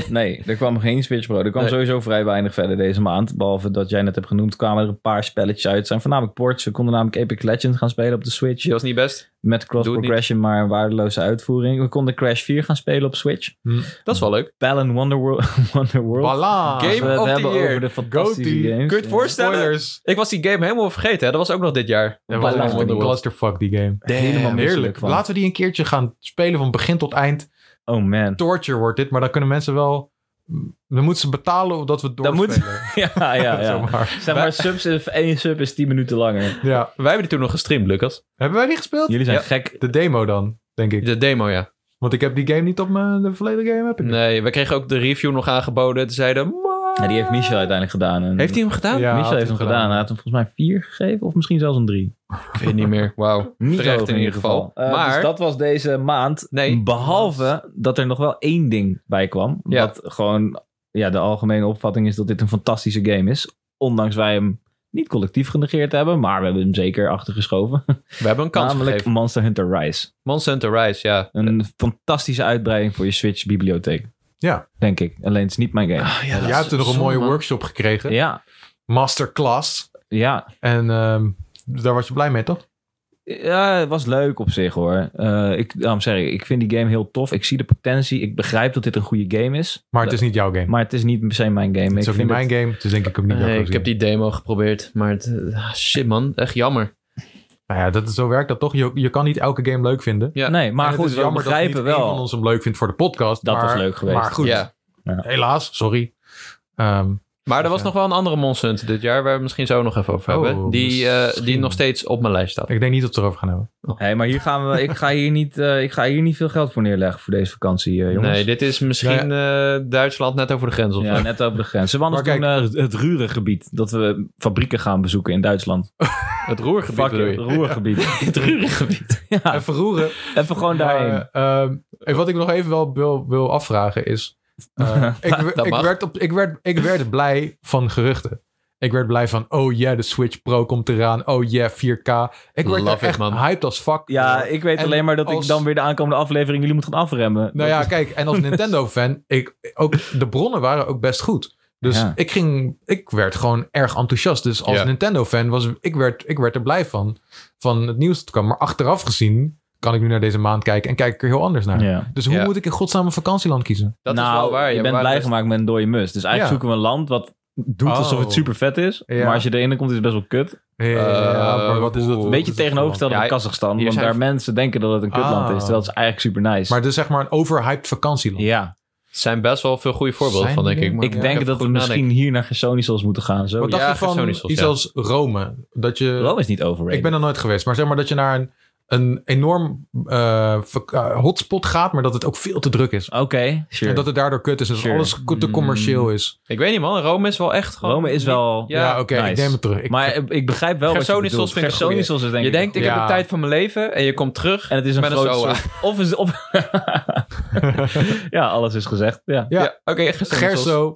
Nee, er kwam geen Switch Pro. Er kwam
Nee.
sowieso vrij weinig verder deze maand. Behalve dat jij net hebt genoemd, kwamen er een paar spelletjes uit. Het zijn voornamelijk ports. We konden namelijk Epic Legend gaan spelen op de Switch.
Die was niet best.
Met cross
Doe het
progression, maar een waardeloze uitvoering. We konden Crash 4 gaan spelen op Switch.
Dat is wel leuk.
Balan Wonderworld. Wonderworld.
voilà.
Als
Game
we het
of the
hebben
year.
over de fantastische
Goatee.
games.
Kun je het
Ja.
voorstellen?
Spoilers.
Ik was die game helemaal vergeten. Hè? Dat was ook nog dit jaar.
Dat was
Balans.
echt een clusterfuck, die game.
Helemaal
Damn,
misselijk
heerlijk.
van.
Laten we die een keertje gaan spelen van begin tot eind.
Oh man.
Torture wordt dit, maar dan kunnen mensen wel... mm, Dan moeten ze betalen of dat we
Dan
doorspelen.
moet- Ja, ja, ja.
Zomaar.
Zeg maar, subs is, één sub is 10 minuten langer.
ja.
Wij hebben die toen nog gestreamd, Lucas.
Hebben wij die gespeeld?
Jullie zijn
Ja.
gek.
De demo dan, denk ik.
De demo, ja.
Want ik heb die game niet op mijn... De volledige game heb ik niet.
Nee, we kregen ook de review nog aangeboden. Ze zeiden... "Maar-"
Ja, die heeft Michel uiteindelijk gedaan. En
Heeft hij hem gedaan?
Hmm. Ja, had
Michel heeft
hij
hem gedaan. Hij had hem volgens mij vier gegeven, of misschien zelfs een drie.
Ik weet niet meer. Wauw.
Niet
Terecht
hoog
in ieder geval.
Eh,
Maar-
Dus dat was deze maand.
Nee.
Behalve dat er nog wel één ding bij kwam.
Ja.
Wat gewoon ja, de algemene opvatting is dat dit een fantastische game is. Ondanks wij hem niet collectief genegeerd hebben, maar we hebben hem zeker achtergeschoven.
We hebben een kans
Namelijk
gegeven.
Monster Hunter Rise.
Monsanto Rise, ja.
Een fantastische uitbreiding voor je Switch-bibliotheek.
Ja.
Denk ik. Alleen het is niet mijn game.
Ah, ja,
Jij
dat
hebt
is
er nog een
zonde,
mooie
man.
workshop gekregen.
Ja,
Masterclass.
ja.
En ehm, daar was je blij mee, toch?
Ja, het was leuk op zich hoor. Eh, ik, daarom zeg ik, ik vind die game heel tof. Ik zie de potentie. Ik begrijp dat dit een goede game is.
Maar het is niet jouw game.
Maar het is niet per se mijn game.
Het is
ik
ook niet
vind
mijn
het-
game. Dus denk ik ook niet jouw
Nee, ik
keuze.
heb die demo geprobeerd, maar het, ah, shit man, echt jammer.
Nou ja, dat, zo werkt dat toch. Je, je kan niet elke game leuk vinden.
Ja.
Nee, maar
En het
goed,
is
we
jammer dat
begrijpen
niet één van
wel.
ons hem leuk vindt voor de podcast.
Dat
maar,
was leuk geweest.
Maar goed,
Ja.
helaas, sorry. Ehm,
Maar er was
Ja.
nog wel een andere Monsanto dit jaar, waar we het misschien zo nog even over
Oh,
hebben. Die, eh, die
misschien.
nog steeds op mijn lijst staat.
ik denk niet dat we het erover gaan hebben.
Hey, maar hier gaan we, ik, ga hier niet, eh, ik ga hier niet veel geld voor neerleggen voor deze vakantie, eh, jongens.
Nee, dit is misschien eh, Duitsland net over de grens of
ja,
zo.
net over de grens. Zullen we
Maar
anders doen eh, het Rurengebied? Dat we fabrieken gaan bezoeken in Duitsland.
Het roergebied
Fuck
bedoel
it,
je?
Ruhrgebied.
Het roergebied.
Ja,
Even roeren.
even gewoon daarheen.
Maar, ehm, en wat ik nog even wel wil, wil afvragen is... eh, ik,
Dat
ik,
mag.
werd op, ik, werd, ik werd blij van geruchten. Ik werd blij van, oh yeah, de Switch Pro komt eraan. Oh yeah, 4K. Ik werd
Love
daar
it,
echt
man.
hyped als fuck.
Ja, ik weet
En
alleen maar dat
als-
ik dan weer de aankomende aflevering jullie moet gaan afremmen.
Nou
Dat
ja,
is-
kijk, en als Nintendo-fan, ik, ook, de bronnen waren ook best goed. Dus
Ja.
ik, ging, ik werd gewoon erg enthousiast. Dus als
Ja.
Nintendo-fan was ik werd, ik werd er blij van. Van het nieuws dat kwam. Maar achteraf gezien kan ik nu naar deze maand kijken. En kijk ik er heel anders naar.
ja.
Dus hoe
Ja.
moet ik in godsnaam een vakantieland kiezen?
Dat
nou,
is wel waar.
je
ja,
bent
waar
blij
best-
gemaakt met een dode mus. Dus eigenlijk
Ja.
zoeken we een land wat doet alsof
Oh.
het super vet is.
Ja.
Maar als je erin komt is het best wel kut.
Ja, maar wat is dat?
oeh.
Een
wat is
beetje
dat
tegenovergesteld
Ja,
van Kazachstan.
hier
Want
zijn-
daar mensen denken dat het een kutland
Ah.
is. Terwijl het is eigenlijk super nice.
voor land? Maar het is zeg maar een overhyped vakantieland.
ja,
Er zijn best wel veel goede voorbeelden
Zijn
van, denk
die
ik.
er?
maar
ik
Ja,
denk
even
dat we
goed
misschien
nadenken.
hier naar Gersonisos moeten gaan. Zo.
Wat dacht
Ja,
je van
Gersonisos,
iets
ja.
als Rome? Dat je,
Rome is niet overrated.
Ik ben er nooit geweest. Maar zeg maar dat je naar een, een enorm eh, vak- eh, hotspot gaat, maar dat het ook veel te druk is.
Oké, sure.
En dat het daardoor kut is. Dus
Sure. Mm.
alles co- te commercieel is.
Ik weet niet, man. Rome is wel echt gewoon...
Rome is wel...
Ja,
Ja,
oké. Ik
nice.
neem het terug. Ik,
maar ik, ik begrijp wel wat je
Gersonisos
bedoelt.
vind ik een goeie.
Gersonisos is denk
je
ik...
denkt, ik
Ja.
heb de tijd van mijn leven. En je komt terug.
en het is een
met een
groot
SOA.
soort... Of is... Of, ja, alles is gezegd. Ja,
Ja.
Ja, oké. Gersonisos.
Gerso,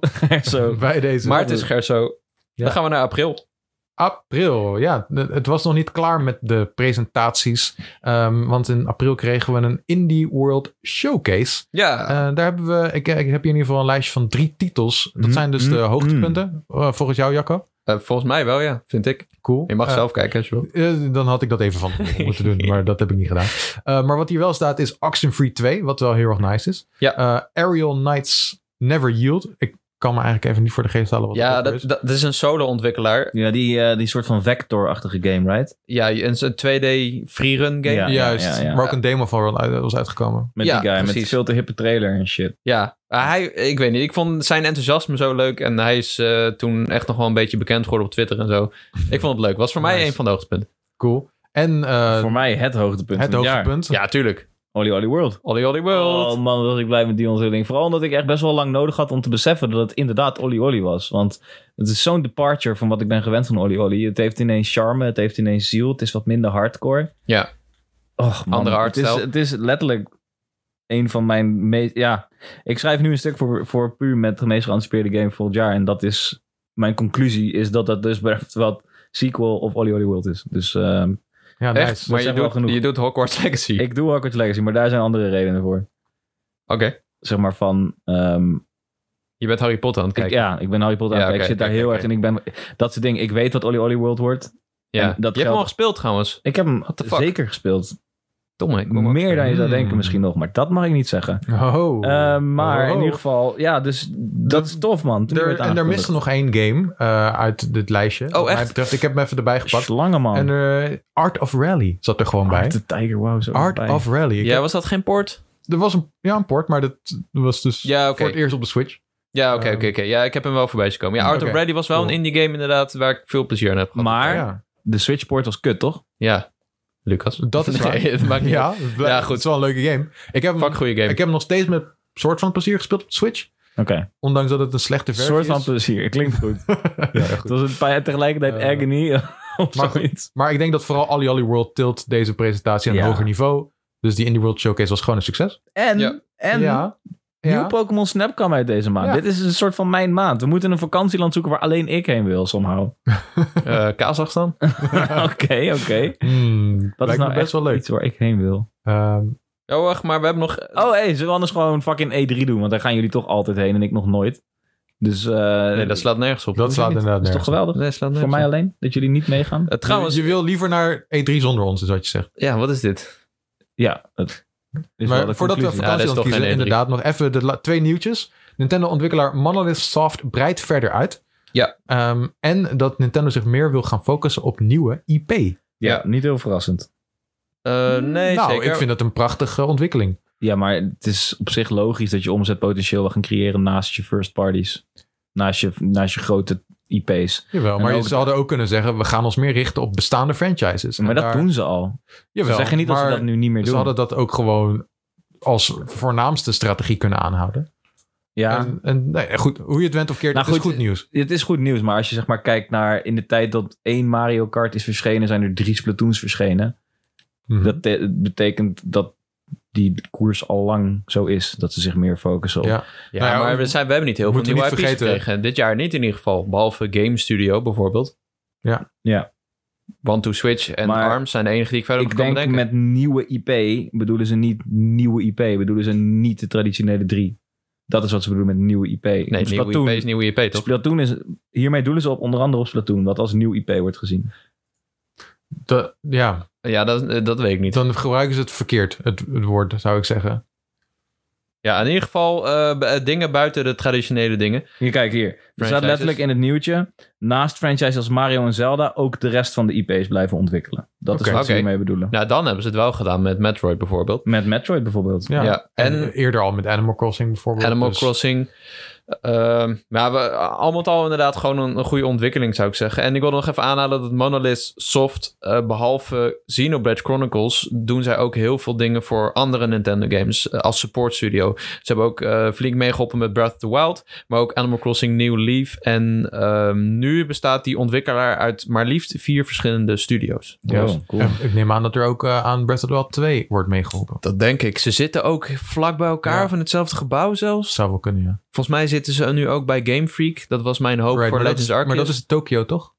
zo.
bij deze.
Maar het is Gerso.
Ja.
Dan gaan we naar april.
April, ja. de- Het was nog niet klaar met de presentaties. Ehm, want in april kregen we een Indie World Showcase.
Ja.
Eh, daar hebben we, ik, ik heb hier in ieder geval een lijstje van drie titels. Dat
Mm,
zijn dus de
mm,
hoogtepunten, eh, volgens jou, Jacco.
Eh, volgens mij wel, ja. Vind ik.
Cool.
Je mag
Eh,
zelf kijken als je wil.
Eh, dan had ik dat even van tevoren moeten doen, maar dat heb ik niet gedaan. Eh, maar wat hier wel staat is Oxenfree 2, wat wel heel erg nice is.
Ja.
Eh, Aerial Knights Never Yield. Ik kan me eigenlijk even niet voor de geest halen wat
Ja,
dat ook
dat,
is.
dat, dat is een solo-ontwikkelaar.
Ja, die, eh, die soort van vector-achtige game, right?
Ja, een, een 2D freerun game.
Ja.
Ja.
Juist,
ja, ja.
waar ook een demo van wel- was uitgekomen.
Met
Ja,
die guy, met die
precies.
veel te hippe trailer en shit.
Maar Ah, hij, ik weet niet. Ik vond zijn enthousiasme zo leuk. En hij is eh, toen echt nog wel een beetje bekend geworden op Twitter en zo. Ik vond het leuk. Was voor mij
Nice.
een van de hoogtepunten.
Cool. En eh,
Voor mij het hoogtepunt
het
van het jaar.
hoogtepunt.
Ja, tuurlijk.
Olly Olly World.
Olly Olly World.
Oh man, wat was ik blij met die onthulling. Vooral omdat ik echt best wel lang nodig had om te beseffen dat het inderdaad Olly Olly was. Want het is zo'n departure van wat ik ben gewend van Olly Olly. Het heeft ineens charme, het heeft ineens ziel, het is wat minder hardcore.
Ja.
Och man,
Andere
het is,
hardstyle.
het is letterlijk een van mijn meest... Ja, ik schrijf nu een stuk voor, voor puur met de meest geanticipeerde game volgend jaar. En dat is... Mijn conclusie is dat dat dus blijft wat sequel of Olly Olly World is. Dus ehm,
Ja,
Echt?
nice.
maar
zegt
je
wel
doet,
genoeg.
je doet Hogwarts Legacy.
ik doe Hogwarts Legacy, maar daar zijn andere redenen voor.
Oké.
Zeg maar van... ehm,
Je bent Harry Potter aan het
Ik-
kijken.
ja, ik ben Harry Potter aan
Ja,
het kijken.
oké,
ik zit daar
oké,
heel
oké.
erg in. Ik ben, dat soort dingen. Ik weet wat Olly Olly World wordt.
Ja.
en dat
je hebt hem
geldt-
al gespeeld trouwens.
Ik heb hem
the fuck?
zeker gespeeld.
Domme. ik kom ook
Meer dan je zou
Hmm.
denken misschien nog. Maar dat mag ik niet zeggen.
Oh.
Eh, maar
Oh.
in ieder geval, ja, dus dat is tof, man. Toen
Er,
werd
en er mist
aangekondigd.
nog één game eh, uit dit lijstje. Wat mij
echt?
betreft, ik heb hem even erbij gepakt.
Slangen, man.
En eh, Art of Rally zat er gewoon bij.
Art the Tiger, wow. Zo
Art
erbij.
of Rally. Ik
Ja, was dat geen poort?
Er was een, ja, een port, maar dat was dus
Ja, oké.
voor het eerst op de Switch.
Ja, oké,
Ehm.
oké, oké. Ja, ik heb hem wel voorbij zien komen. Ja, Art of
Mm, Oké,
Ready was wel
cool.
een indie game inderdaad, waar ik veel plezier aan heb gehad.
Maar
ja,
de Switchport was kut, toch?
Ja, Lucas.
dat is waar.
Nee, het maakt niet uit.
ja, het blijft-
Ja, goed.
Het is wel een leuke game. Ik heb, hem,
Fuck goede game.
ik heb hem nog steeds met soort van plezier gespeeld op de Switch.
Oké.
Ondanks dat het een slechte versie
soort van
is.
plezier. Klinkt goed.
Ja,
Het
goed.
was een paar, tegelijkertijd
Eh,
agony of
maar-
zoiets.
Maar ik denk dat vooral Ali Ali World tilt deze presentatie aan een
Ja.
hoger niveau. Dus die Indie World Showcase was gewoon een succes.
En,
Ja.
en
ja.
Nieuw
ja.
Pokémon Snap kwam uit deze maand.
Ja.
Dit is een soort van mijn maand. We moeten een vakantieland zoeken waar alleen ik heen wil, somehow.
Eh, Kazachstan?
Oké, oké.
Hmm,
Dat
lijkt
is
me
nou
best
echt
wel leuk.
iets waar ik heen wil.
Ehm,
Oh, wacht, maar we hebben nog...
Oh, hé, zullen we anders gewoon fucking E3 doen? Want daar gaan jullie toch altijd heen en ik nog nooit. Dus eh,
nee, dat slaat nergens op.
dat slaat
niet.
inderdaad
is toch
nergens. op.
geweldig?
Nee, slaat nergens
Voor mij
op.
alleen? Dat jullie niet meegaan?
Eh, trouwens,
je, je wil liever naar E3 zonder ons, is wat je zegt.
ja, wat is dit?
Ja, het is wel de
Maar voordat we
conclusie.
Ja,
vakantie
dat is
gaan
toch geen
E
kiezen,
E3.
inderdaad nog even de la- twee nieuwtjes. Nintendo-ontwikkelaar Monolith Soft breidt verder uit.
Ja.
Ehm, en dat Nintendo zich meer wil gaan focussen op nieuwe IP.
ja, niet heel verrassend.
Eh, nee,
nou,
zeker.
ik vind dat een prachtige ontwikkeling.
Ja, maar het is op zich logisch dat je omzetpotentieel wil gaan creëren naast je first parties. Naast je, naast je grote IP's.
Jawel,
En
maar
ook-
ze hadden ook kunnen zeggen... we gaan ons meer richten op bestaande franchises. En
Maar dat
daar-
doen ze al.
Jawel,
ze zeggen niet dat ze
maar
dat nu niet meer
Ze
doen.
hadden dat ook gewoon als voornaamste strategie kunnen aanhouden.
ja.
En, en nee, goed, hoe je het went of keert,
Nou
het is
goed,
goed nieuws.
Het is goed nieuws, maar als je zeg maar kijkt naar in de tijd dat één Mario Kart is verschenen, zijn er drie Splatoons verschenen.
Mhm.
Dat te- betekent dat die koers al lang zo is. Dat ze zich meer focussen op.
Ja.
Ja,
Nou ja,
maar we, zijn, we hebben niet heel veel
moeten
nieuwe
niet
IP's
vergeten-
gekregen. Dit jaar niet in ieder geval. Behalve Game Studio bijvoorbeeld.
Ja.
Ja.
One to Switch en
Maar
ARMS zijn de enige die ik verder op
Ik
kan
denk
bedenken.
met nieuwe IP bedoelen ze niet nieuwe IP. Bedoelen ze niet de traditionele drie. Dat is wat ze bedoelen met nieuwe IP.
nee, nieuwe IP is nieuwe IP, toch?
Splatoon is... Hiermee doelen ze op onder andere op Splatoon. Wat als nieuw IP wordt gezien.
De- ja,
Ja, dat, dat weet ik niet.
dan gebruiken ze het verkeerd, het, het woord, zou ik zeggen.
Ja, in ieder geval eh, b- eh, dingen buiten de traditionele dingen.
Hier, kijk hier. Er staat
Franchises.
letterlijk in het nieuwtje. Naast franchises als Mario en Zelda ook de rest van de IP's blijven ontwikkelen. Dat
Oké.
is wat ze
Oké.
hiermee bedoelen.
Nou, dan hebben ze het wel gedaan met Metroid bijvoorbeeld.
Met Metroid bijvoorbeeld.
Ja.
Ja,
En,
en
eerder al met Animal Crossing bijvoorbeeld.
Animal
dus-
Crossing. Ehm, maar we, al met al inderdaad gewoon een, een goede ontwikkeling zou ik zeggen. En ik wil nog even aanhalen dat Monolith Soft, eh, behalve Xenoblade Chronicles, doen zij ook heel veel dingen voor andere Nintendo games eh, als support studio. Ze hebben ook eh, flink meegeholpen met Breath of the Wild, maar ook Animal Crossing New Leaf. En ehm, nu bestaat die ontwikkelaar uit maar liefst vier verschillende studio's.
Ja,
Dus-
cool.
En ik neem aan dat er ook eh, aan Breath of the Wild 2 wordt meegeholpen.
Dat denk ik. Ze zitten ook vlak bij elkaar
Ja.
of in hetzelfde gebouw zelfs.
Zou wel kunnen, ja.
Volgens mij zitten ze nu ook bij Game Freak. Dat was mijn hoop
Right, maar,
voor
dat
Legends
is,
Arceus.
maar dat is Tokio, toch?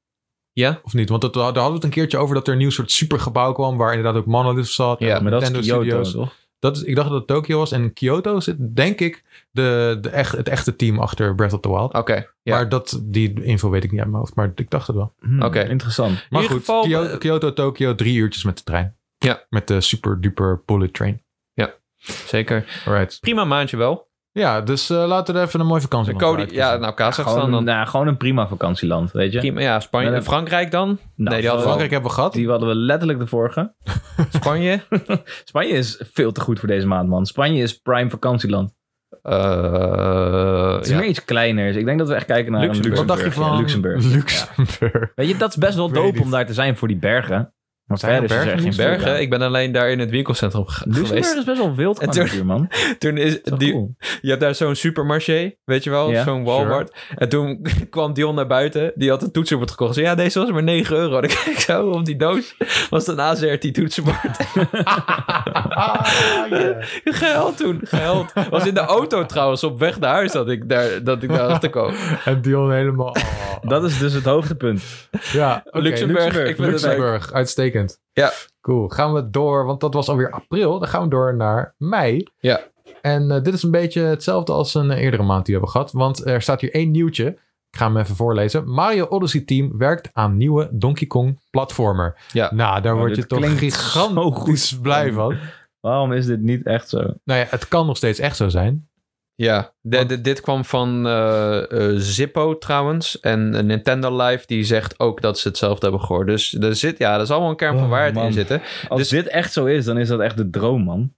Ja.
Of niet? Want dat, daar hadden we het een keertje over dat er een nieuw soort supergebouw kwam... waar inderdaad ook Monolith zat
Ja,
en
maar dat is
Nintendo
Kyoto,
Studios.
toch?
Dat is, ik dacht dat het Tokio was. En Kyoto zit, denk ik, de, de echt, het echte team achter Breath of the Wild.
Oké, Oh, ja.
Maar dat, die info weet ik niet uit mijn hoofd, maar ik dacht het wel.
Hmm,
Oké.
Interessant.
Maar
ieder
goed,
geval,
Kyoto,
eh,
Kyoto, Tokio, drie uurtjes met de trein.
Ja.
Met de super duper bullet train.
zeker.
Alright.
Prima maandje wel.
Ja, dus eh, laten we er even een mooie vakantie
De
van
Cody,
maken.
ja, nou Kazachstan
Gewoon,
dan.
nou, gewoon een eh, prima vakantieland, weet je?
Prima, ja, Spanje.
Nee, nee.
Frankrijk dan?
Nou,
nee, die hadden
Frankrijk hebben we gehad.
Die hadden we letterlijk de vorige.
Spanje?
Spanje is veel te goed voor deze maand, man. Spanje is prime vakantieland.
Eh,
Het is
ja.
meer iets kleiner. dus Ik denk dat we echt kijken naar een
Luxemburg.
Wat dacht je
ja,
van
Luxemburg.
Luxemburg.
Weet je, dat is best wel
Ik weet
dope
niet.
om daar te zijn voor die bergen. Maar
Zijn er
verder is er
bergen
echt
in
geen
Luxemburg?
Bergen.
bergen.
Ik ben alleen daar in het winkelcentrum ge-
Luxemburg
geweest.
is best wel wild
En
qua
toen-
natuur, man.
Toen is,
Dat is
die,
wel cool.
je hebt daar zo'n supermarché, weet je wel,
Ja,
zo'n Walmart. En toen kwam Dion naar buiten, die had een toetsenbord gekocht. Zei, Ja, deze was maar 9 euro. Dan kijk ik zo op die doos, was het een AZRT toetsenbord.
Ah,
Gehuild toen, gehuild. Was in de auto trouwens, op weg naar huis dat ik daar, dat ik daar achter kwam.
En Dion helemaal... oh.
Dat is dus het hoogtepunt.
Ja, oké,
Luxemburg,
Luxemburg.
ik vind het
Luxemburg, uitstekend.
Ja.
Cool. Gaan we door, want dat was alweer april. Dan gaan we door naar mei.
Ja.
En eh, dit is een beetje hetzelfde als een eh, eerdere maand die we hebben gehad. Want er staat hier één nieuwtje. Ik ga hem even voorlezen. Mario Odyssey Team werkt aan nieuwe Donkey Kong platformer.
Ja.
Nou, daar
Oh,
word je
dit
toch
klinkt zo
gigantisch blij van.
Waarom is dit niet echt zo?
Nou ja, het kan nog steeds echt zo zijn.
Ja, de- de- dit kwam van eh, eh, Zippo trouwens. En eh, Nintendo Live die zegt ook dat ze hetzelfde hebben gehoord. Dus er zit, ja, er zal wel een kern van
Oh,
waarheid
man.
in zitten.
Als
Dus-
dit echt zo is, dan is dat echt de droom, man.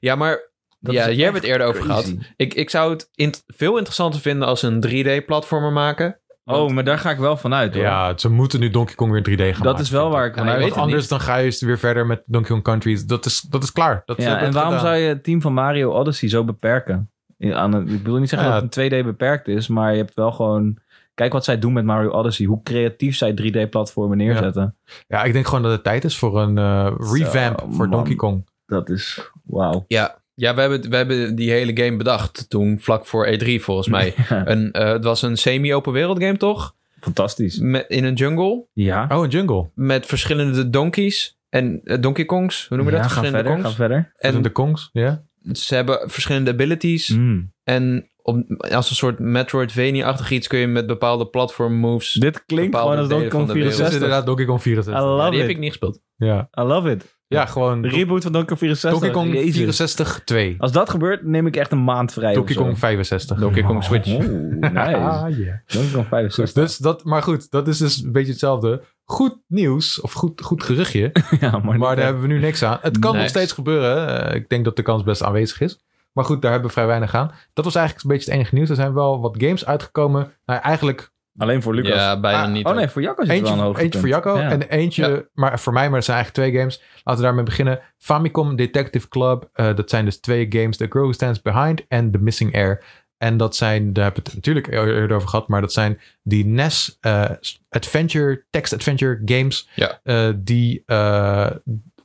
Ja, maar
Dat
ja,
is
hier hebben we het eerder over
crazy.
gehad. Ik, ik zou het int- veel interessanter vinden als ze een 3D-platformer maken.
Oh, maar daar ga ik wel van uit, hoor.
Ja, ze moeten nu Donkey Kong weer 3D gaan
dat is wel waar ik van
Ja, je
uit
weet
Want
het
anders dan ga je weer verder met Donkey Kong Country. Dat is, dat is klaar. Dat
Ja, en waarom zou je het team van Mario Odyssey zo beperken? In- Aan een, ik bedoel niet zeggen
Ja.
dat het in 2D beperkt is, maar je hebt wel gewoon... Kijk wat zij doen met Mario Odyssey. Hoe creatief zij 3D-platformen neerzetten.
Ja, ik denk gewoon dat het tijd is voor een eh, revamp
Zo,
voor
man.
Donkey Kong.
Dat is... Wauw.
Ja, ja we, hebben, het- we hebben die hele game bedacht toen, vlak voor E3 volgens mij. een, eh, het was een semi-open wereld game, toch?
Fantastisch.
Met, in een jungle,
Ja.
Oh, een jungle.
met verschillende donkeys en eh, Donkey Kongs. Hoe noemen we
ja,
dat?
ga
Verschillende
verder, ga
Kongs.
verder.
En
En
de Kongs, ja.
ze hebben verschillende abilities.
Mm.
En op, als een soort Metroidvania-achtig iets kun je met bepaalde platform moves...
Dit klinkt
Bepaalde
gewoon als Donkey
delen
Kong
van de
Dat is
64.
inderdaad Donkey Kong
I
64.
Ja,
love
die heb ik
it.
niet gespeeld.
Ja,
I love it.
ja gewoon
De reboot van Donkey Kong 64.
Donkey Kong
Jezus.
64 2.
Als dat gebeurt, neem ik echt een maand vrij. of
Donkey
zo.
Kong 65.
Donkey Kong Switch.
Oh, nice.
Ah, ja.
Donkey Kong 65.
Dus dat, maar goed, dat is dus een beetje hetzelfde. Goed nieuws, of goed, goed geruchtje.
ja, maar,
Dus- Maar
niet
daar
echt.
hebben we nu niks aan. Het kan nog
Nice.
steeds gebeuren. Eh, ik denk dat de kans best aanwezig is. Maar goed, daar hebben we vrij weinig aan. Dat was eigenlijk een beetje het enige nieuws. Er zijn wel wat games uitgekomen. Nou, eigenlijk
Alleen voor Lucas.
Ja, bijna
Ah,
niet.
oh nee, voor Jacco is het wel
eentje,
een
voor-
hoogtepunt.
eentje voor Jacco
Ja.
en eentje maar voor mij. Maar dat zijn eigenlijk twee games. Laten we daarmee beginnen. Famicom Detective Club. eh, dat zijn dus twee games. The Girl Who Stands Behind en The Missing Air. En dat zijn, daar hebben we het natuurlijk e- eerder over gehad. Maar dat zijn die E NES eh, adventure, text adventure games.
Ja.
eh, die eh,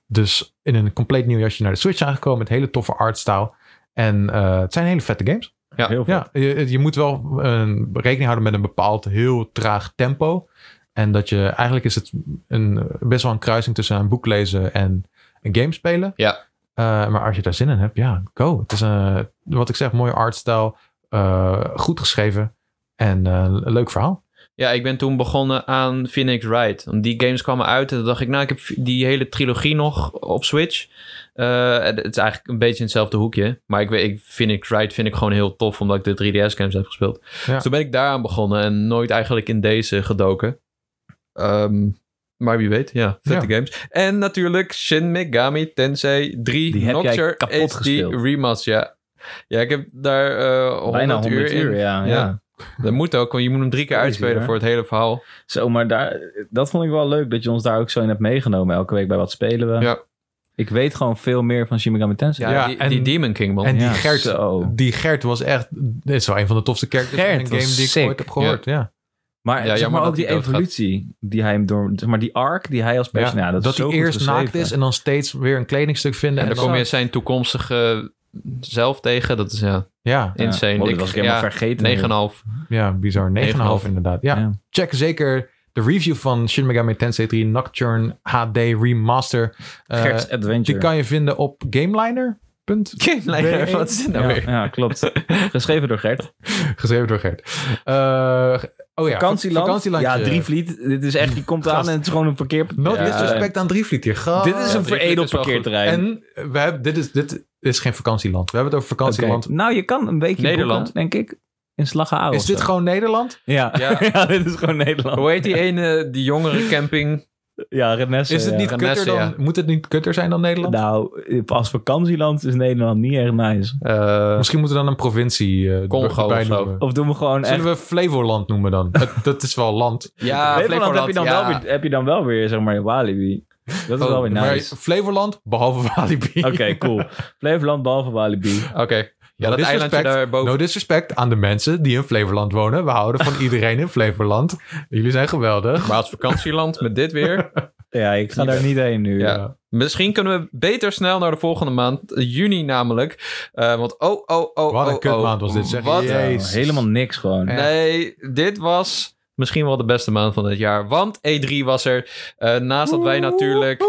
Dus in een compleet nieuw jasje naar de Switch aangekomen. Met hele toffe artstyle. En eh, het zijn hele vette games.
Ja.
Heel veel.
Ja, je, je moet wel eh, rekening houden met een bepaald heel traag tempo. En dat je eigenlijk is het een, best wel een kruising tussen een boek lezen en een game spelen.
Ja.
Eh, maar als je daar zin in hebt, ja, go. Het is een, wat ik zeg, mooie artstijl. eh, goed geschreven en eh, een leuk verhaal.
Ja, ik ben toen begonnen aan Phoenix Wright. Want die games kwamen uit en toen dacht ik, nou, ik heb die hele trilogie nog op Switch. Eh, het is eigenlijk een beetje in hetzelfde hoekje. Maar ik weet, ik, Phoenix Wright vind ik gewoon heel tof, omdat ik de 3DS-games heb gespeeld.
Ja.
Dus toen ben ik daaraan begonnen en nooit eigenlijk in deze gedoken. Ehm, maar wie weet, ja, vette games. En natuurlijk Shin Megami Tensei 3
Die heb jij
Nocturne
kapot
HD
gespeeld.
Remaster, ja. Ja, ik heb daar eh 100,
Bijna 100 uur,
in.
ja, ja.
Ja. Dat moet ook, want je moet hem drie keer
Crazy,
uitspelen
hè?
voor het hele verhaal.
Zo, maar daar, dat vond ik wel leuk dat je ons daar ook zo in hebt meegenomen. Elke week bij wat spelen we.
Ja.
Ik weet gewoon veel meer van Shin Megami Tensei.
Dus Ja,
Ja,
die,
en-
die Demon King, man.
en die
Ja,
Gert,
zo.
die Gert was echt, dit is wel een van de tofste characters
Oh. Gert
in een game
was
die
sick.
ik ooit heb gehoord. Ja.
Maar,
Ja,
zeg
jammer
maar ook
dat
die
hij doodgaat.
evolutie die hij hem door... Zeg maar die arc die hij als personage... Ja, nou, dat,
dat
is zo
hij
goed
eerst naakt
geschreven.
is en dan steeds weer een kledingstuk vinden.
En dan
dan
kom je zijn toekomstige zelf tegen. Dat is ja,
Ja,
Ja.
insane.
Oh, dat
Ik-
was ik helemaal
ja,
vergeten.
9,5.
Ja, bizar. 9,5
9,5.
inderdaad. Ja.
Ja.
check zeker de review van Shin Megami Tensei 3 Nocturne HD Remaster. Eh,
Gert's Adventure.
die kan je vinden op gameliner.nl.
Gameliner, wat is dit nou
ja,
weer?
ja, klopt. Geschreven door Gert.
Geschreven door Gert. Eh, oh ja,
Vakantieland.
vakantielandje.
Ja, Drievliet. Dit is echt... Die komt
Gast.
aan en het is gewoon een eh, verkeerpartij.
No
Ja.
disrespect aan Drievliet hier. Gast.
dit is
ja,
een
Drievliet
veredeld
is wel goed.
parkeerterrein.
En we hebben, dit, is, dit is geen vakantieland. We hebben het over
Oké.
vakantieland.
Nou, je kan een weekje
Nederland.
boeken, denk ik. In Slagau.
Is dit gewoon Nederland?
Ja. Ja.
Ja.
dit is gewoon Nederland.
Hoe heet die ene, die jongere camping?
Ja, Renesse.
Is het
ja.
niet
Renesse,
kutter dan,
ja.
Moet het niet kutter zijn dan Nederland?
Nou, als vakantieland is Nederland niet erg nice.
Eh,
Misschien moeten we dan een provincie eh
Congo
erbij
of zo.
noemen.
Of doen we gewoon echt...
Zullen we Flevoland noemen dan? Het- dat is wel land.
ja,
Flevoland heb je,
Flevoland,
dan
ja.
wel weer, heb je dan wel weer, zeg maar, Walibi. Dat is
Oh,
wel weer
Maar
nice.
Flevoland, behalve Walibi.
Oké, cool. Flevoland behalve Walibi.
Oké. Ja, dat eilandje
disrespect.
daarboven.
No disrespect aan de mensen die in Flevoland wonen. We houden van iedereen in Flevoland. Jullie zijn geweldig.
Maar als vakantieland met dit weer.
Ja, ik ga daar niet heen nu.
Ja. Misschien kunnen we beter snel naar de volgende maand. eh, Juni namelijk. Eh, want oh, oh, oh, oh,
Wat een
oh.
kutmaand was dit, zeg.
Wat
Jezus.
Nou, helemaal niks gewoon.
Ja.
Nee, dit was misschien wel de beste maand van het jaar. Want E3 was er. Eh, naast dat wij natuurlijk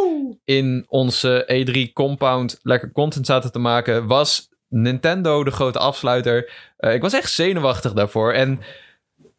in onze E3 compound lekker content zaten te maken, was Nintendo de grote afsluiter. Eh, ik was echt zenuwachtig daarvoor. En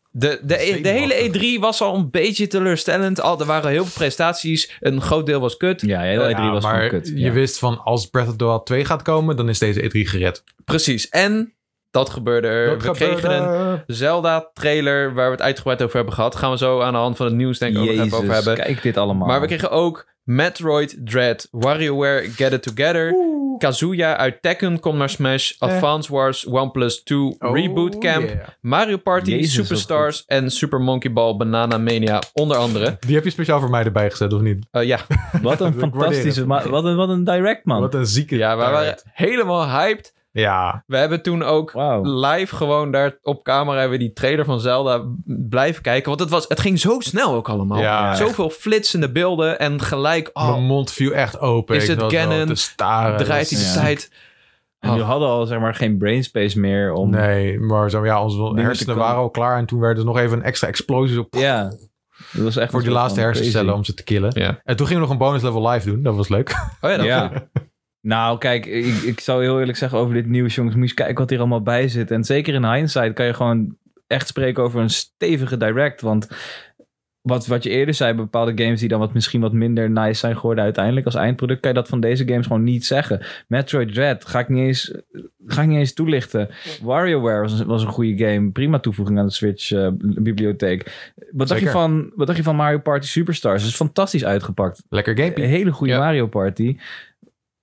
de, de, de hele E3 was al een beetje teleurstellend. Al, er waren heel veel prestaties. Een groot deel was kut.
Ja, heel E3
Ja,
was
maar
gewoon kut.
je
Ja.
wist van als Breath of the Wild 2 gaat komen, dan is deze E3 gered.
Precies. En dat gebeurde er.
Dat
We
gebeurde.
kregen een Zelda-trailer waar we het uitgebreid over hebben gehad. Gaan we zo aan de hand van het nieuws denk ik ook nog even over
Jezus,
hebben.
kijk dit allemaal.
Maar we kregen ook Metroid Dread, WarioWare Get It Together, Kazuya uit Tekken komt naar Smash, Advance Wars OnePlus 2
Oh,
Reboot Camp,
yeah.
Mario Party,
Jezus, wat
Superstars en Super Monkey Ball Banana Mania onder andere.
Die heb je speciaal voor mij erbij gezet, of niet?
Eh, ja.
Wat een
Ik waardeer
fantastische...
het.
ma- Wat een, wat een direct, man.
Wat een zieke.
ja, we waren helemaal hyped.
Ja,
We hebben toen ook
Wauw.
live gewoon daar op camera hebben we die trailer van Zelda blijven kijken. Want het, was, het ging zo snel ook allemaal.
Ja,
Zoveel flitsende beelden en gelijk... Oh,
mijn mond viel echt open.
Is
Ik
het
was wel
Ganon?
te staren.
draait hij de
Ja.
tijd...
En we hadden al, zeg maar, geen brainspace meer om...
Nee, maar zo, ja, onze
te
hersenen
komen.
waren al klaar. En toen werd er nog even een extra explosie op
Ja. Dat was echt
voor
een
die
soort
laatste
van
hersencellen
crazy.
om ze te killen.
Ja.
En toen gingen we nog een bonus level live doen. Dat was leuk.
Oh ja, dat
Ja. Nou, kijk, ik, ik zou heel eerlijk zeggen over dit nieuws, jongens. Moet je eens kijken wat hier allemaal bij zit. En zeker in hindsight kan je gewoon echt spreken over een stevige direct. Want wat, wat je eerder zei, bepaalde games die dan wat, misschien wat minder nice zijn geworden uiteindelijk als eindproduct, kan je dat van deze games gewoon niet zeggen. Metroid Dread ga ik niet eens, ga ik niet eens toelichten. WarioWare was, een- was een goede game. Prima toevoeging aan de Switch-bibliotheek. wat, dacht je
Zeker.
van- wat dacht je van Mario Party Superstars? Dat is fantastisch uitgepakt.
Lekker gamepje.
Een hele goede
Ja.
Mario Party.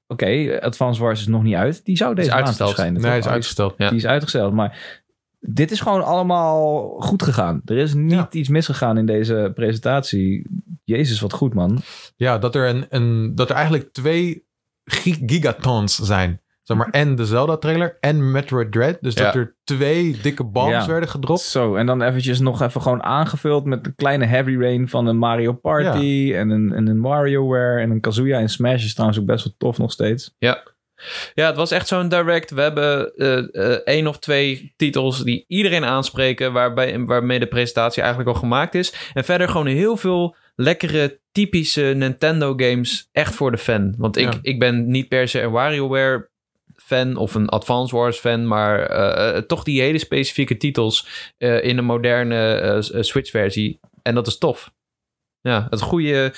Oké, Advance Wars is nog niet uit. Die zou deze maand
uitgesteld.
verschijnen.
Nee,
toch?
is
Oh,
uitgesteld.
Ja.
Die is uitgesteld. Maar dit is gewoon allemaal goed gegaan. Er is niet
Ja.
iets misgegaan in deze presentatie. Jezus, wat goed, man.
Ja, dat er, een, een, dat er eigenlijk twee gi- gigatons zijn. Zeg maar, en de Zelda-trailer en Metroid Dread. Dus dat
Ja.
er twee dikke bombs
Ja.
werden gedropt.
Zo, en dan eventjes nog even gewoon aangevuld met een kleine heavy rain van een Mario Party en, een, en een WarioWare en een Kazuya en Smash is trouwens ook best wel tof nog steeds.
Ja, het was echt zo'n direct. We hebben eh eh, één of twee titels die iedereen aanspreken, waarbij, waarmee de presentatie eigenlijk al gemaakt is. En verder gewoon heel veel lekkere, typische Nintendo games, echt voor de fan. Want ik,
Ja.
ik ben niet per se een WarioWare fan of een Advance Wars fan, maar eh, eh, toch die hele specifieke titels eh, in een moderne eh, s- eh, Switch-versie. En dat is tof. Ja, het goede,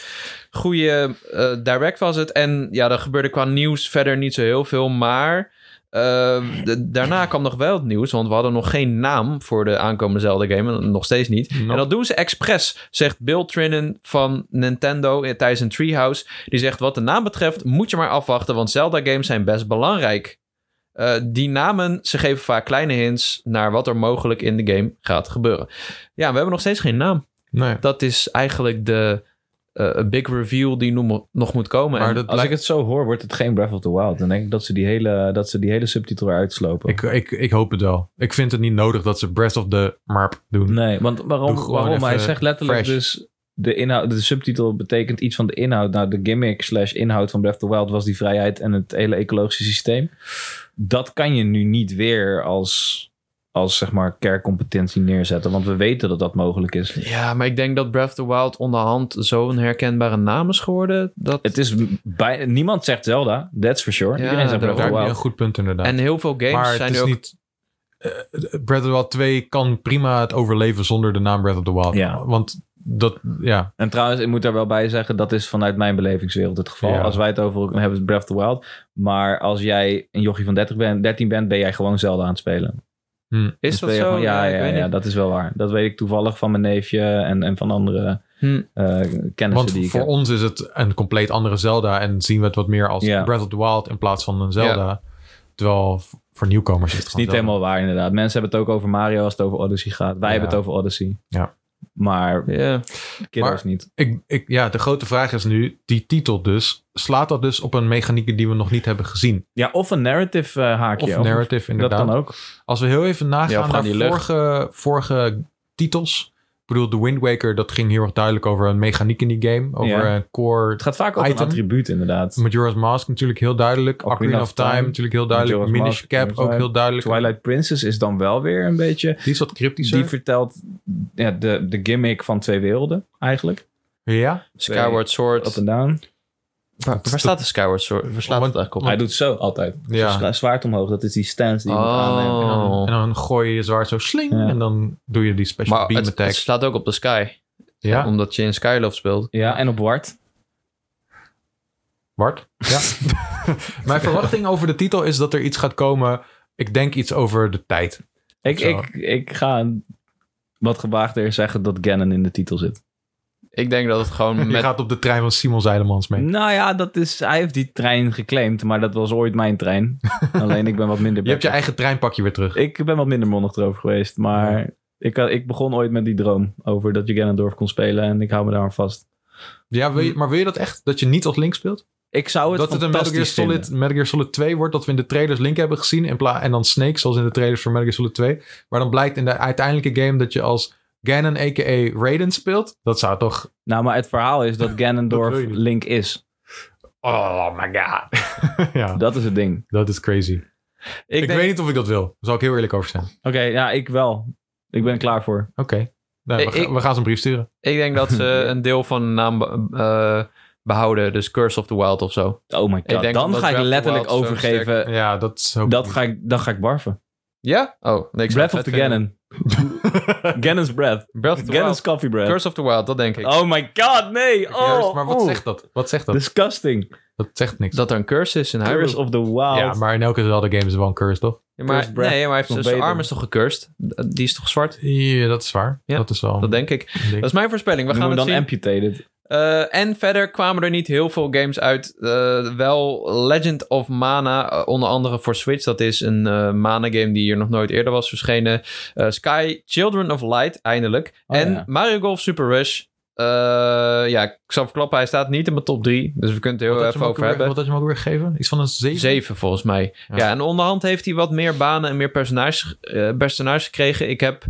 goede eh, direct was het. En ja, er gebeurde qua nieuws verder niet zo heel veel. Maar eh, d- daarna kwam nog wel het nieuws. Want we hadden nog geen naam voor de aankomende Zelda-game. en Nog steeds niet.
Nope.
En dat doen ze expres, zegt Bill Trinnen van Nintendo in- tijdens een Treehouse. Die zegt, wat de naam betreft moet je maar afwachten. Want Zelda-games zijn best belangrijk. Eh, die namen, ze geven vaak kleine hints naar wat er mogelijk in de game gaat gebeuren. Ja, we hebben nog steeds geen naam
Nee.
dat is eigenlijk de eh, big reveal die noem- nog moet komen.
Maar
En-
dat
Als
lijkt...
ik het zo hoor, wordt het geen Breath of the Wild. Dan denk ik dat ze die hele, dat ze die hele subtitel eruit slopen.
Ik, ik, ik hoop het wel. Ik vind het niet nodig dat ze Breath of the Marp doen.
Nee, want waarom?
Doe gewoon
waarom? Hij
even
zegt letterlijk
fresh.
dus de inhoud, de subtitel betekent iets van de inhoud. Nou, de gimmick slash inhoud van Breath of the Wild was die vrijheid en het hele ecologische systeem. Dat kan je nu niet weer als als zeg maar kerncompetentie neerzetten, want we weten dat dat mogelijk is.
ja, maar ik denk dat Breath of the Wild onderhand zo'n herkenbare naam is geworden. Dat...
Het is bij, niemand zegt Zelda, that's for sure.
Ja,
Iedereen zegt Breath of
Daar heb
the
je een
Wild.
goed punt inderdaad.
En heel veel games
maar
zijn
het is
nu ook...
niet... eh, Breath of the Wild 2 kan prima het overleven zonder de naam Breath of the Wild.
Ja.
Want dat, ja.
En trouwens, ik moet daar wel bij zeggen, dat is vanuit mijn belevingswereld het geval.
Ja.
Als wij het over hebben, Breath of the Wild. Maar als jij een jochie van 30 bent, 13 bent, ben jij gewoon Zelda aan het spelen.
Is
Dan
dat zo?
speel je gewoon- ja,
ik
ja,
weet
ja,
niet.
dat is wel waar. Dat weet ik toevallig van mijn neefje en, en van andere
Hm.
eh, kennissen
Want
die ik
voor
heb.
ons is het een compleet andere Zelda. En zien we het wat meer als
Ja.
Breath of the Wild in plaats van een Zelda. Terwijl v- voor nieuwkomers is het
Het is
gewoon
niet
Zelda.
helemaal waar, inderdaad. Mensen hebben het ook over Mario als het over Odyssey gaat. Wij
Ja.
hebben het over Odyssey.
Ja.
Maar
Ja.
kiddo's
Maar-
niet.
Ik, ik, ja, de grote vraag is nu, die titel dus, slaat dat dus op een mechaniek die we nog niet hebben gezien?
Ja, of een narrative eh, haakje.
Of narrative
Dat
inderdaad.
kan ook.
Als we heel even
Ja, of
nagaan
gewoon
naar
die lucht.
vorige, vorige titels. Ik bedoel, The Wind Waker, dat ging heel erg duidelijk over een mechaniek in die game. Over
Ja.
een core.
Het gaat vaak over
Item.
een attribuut, inderdaad.
Majora's Mask natuurlijk heel duidelijk.
Ocarina
Ocarina,
of
of,
Time,
Time, natuurlijk heel duidelijk.
Majora's
Minish
Mask,
Cap
Majora's
ook heel duidelijk.
Twilight Princess is dan wel weer een beetje...
Die is wat cryptischer.
Die vertelt ja, de, de gimmick van twee werelden, eigenlijk.
ja,
Skyward Sword.
Up en down.
Waar, waar staat de Skyward Sword? Waar slaat
Want-
het eigenlijk op?
Hij doet zo altijd.
Ja.
Zo sla- zwaard omhoog, dat is die stance die je moet aannemen.
en dan,
Oh.
en dan gooi je je zwaard zo sling.
Ja.
En dan doe je die special
Maar
beam
het,
attack.
het slaat ook op de Sky.
ja,
Omdat je in Skyloft speelt.
Ja, en op Wart.
Bart? Ja. Mijn verwachting over de titel is dat er iets gaat komen. Ik denk iets over de tijd.
Ik,
Zo.
ik, ik ga een- wat gewaagder zeggen dat Gannon in de titel zit.
Ik denk dat het gewoon
Je
met...
gaat op de trein van Simon Zeilemans mee.
Nou ja, dat is, hij heeft die trein geclaimd, maar dat was ooit mijn trein. Alleen ik ben wat minder...
Je hebt je
backup.
eigen treinpakje weer terug.
Ik ben wat minder mondig erover geweest, maar ik, had- ik begon ooit met die droom over dat je Ganondorf kon spelen en ik hou me daar aan vast.
Ja, wil je, maar wil je dat echt? Dat je niet als Link speelt?
Ik zou het
dat het een Metal Gear,
fantastisch vinden.
Solid, Metal Gear Solid 2 wordt, dat we in de trailers Link hebben gezien. In pla- en dan Snake, zoals in de trailers voor Metal Gear Solid 2. Maar dan blijkt in de uiteindelijke game dat je als Ganon, a.k.a. Raiden speelt. Dat zou toch...
Nou, maar het verhaal is dat Ganondorf
Dat wil je niet.
Link is.
Oh my god. ja,
Dat is het ding.
dat is crazy. Ik,
Ik, denk,
weet niet of ik dat wil. Daar zal ik heel eerlijk over zijn.
Oké, ja, ik wel. Ik ben er klaar voor.
Oké. Nou,
Ik-
we, ga-
ik-
we gaan ze een brief sturen.
ik denk dat ze een deel van de naam be- eh, behouden. Dus Curse of the Wild of zo.
Oh my god.
denk
Dan
omdat
ga ik
Breath of the
letterlijk
Wild zo
overgeven.
Ja, dat is ook...
Dat ga ik, dan ga ik barven.
Ja? Oh, niks.
Breath of the Ganon. Ganon's breath.
Breath of the Wild.
Ganon's coffee breath.
Curse of the Wild, dat denk ik.
Oh my god, nee. Oh,
Juist, maar wat
oh.
zegt dat? Wat zegt dat?
Disgusting.
dat zegt niks.
Dus Dat er een curse is in Hyrule.
Curse of the Wild.
ja, maar in elke Zelda game is er wel een curse, toch?
Ja, maar,
Cursed Breath
nee, maar hij heeft-
is nog
zijn
beter.
arm is toch gecurst? D- Die is toch zwart?
Ja, dat is waar.
Ja,
dat is wel...
Dat denk ik.
een ding.
Dat is mijn voorspelling. We gaan
We gaan
het
dan
zien.
amputated.
Eh, en verder kwamen er niet heel veel games uit. Eh, wel Legend of Mana, eh, onder andere voor Switch. Dat is een eh, Mana-game die hier nog nooit eerder was verschenen. Eh, Sky, Children of Light, eindelijk.
Oh,
en
ja.
Mario Golf Super Rush. Eh, ja, ik zal verklappen, hij staat niet in mijn top 3. Dus we kunnen het heel
Wat had je hem
even
ook
over
weer-
hebben.
Wat had je hem ook weer gegeven? Iets van een 7?
Zeven volgens mij.
Ja.
Ja. en onderhand heeft hij wat meer banen en meer personages, eh, personages gekregen. Ik heb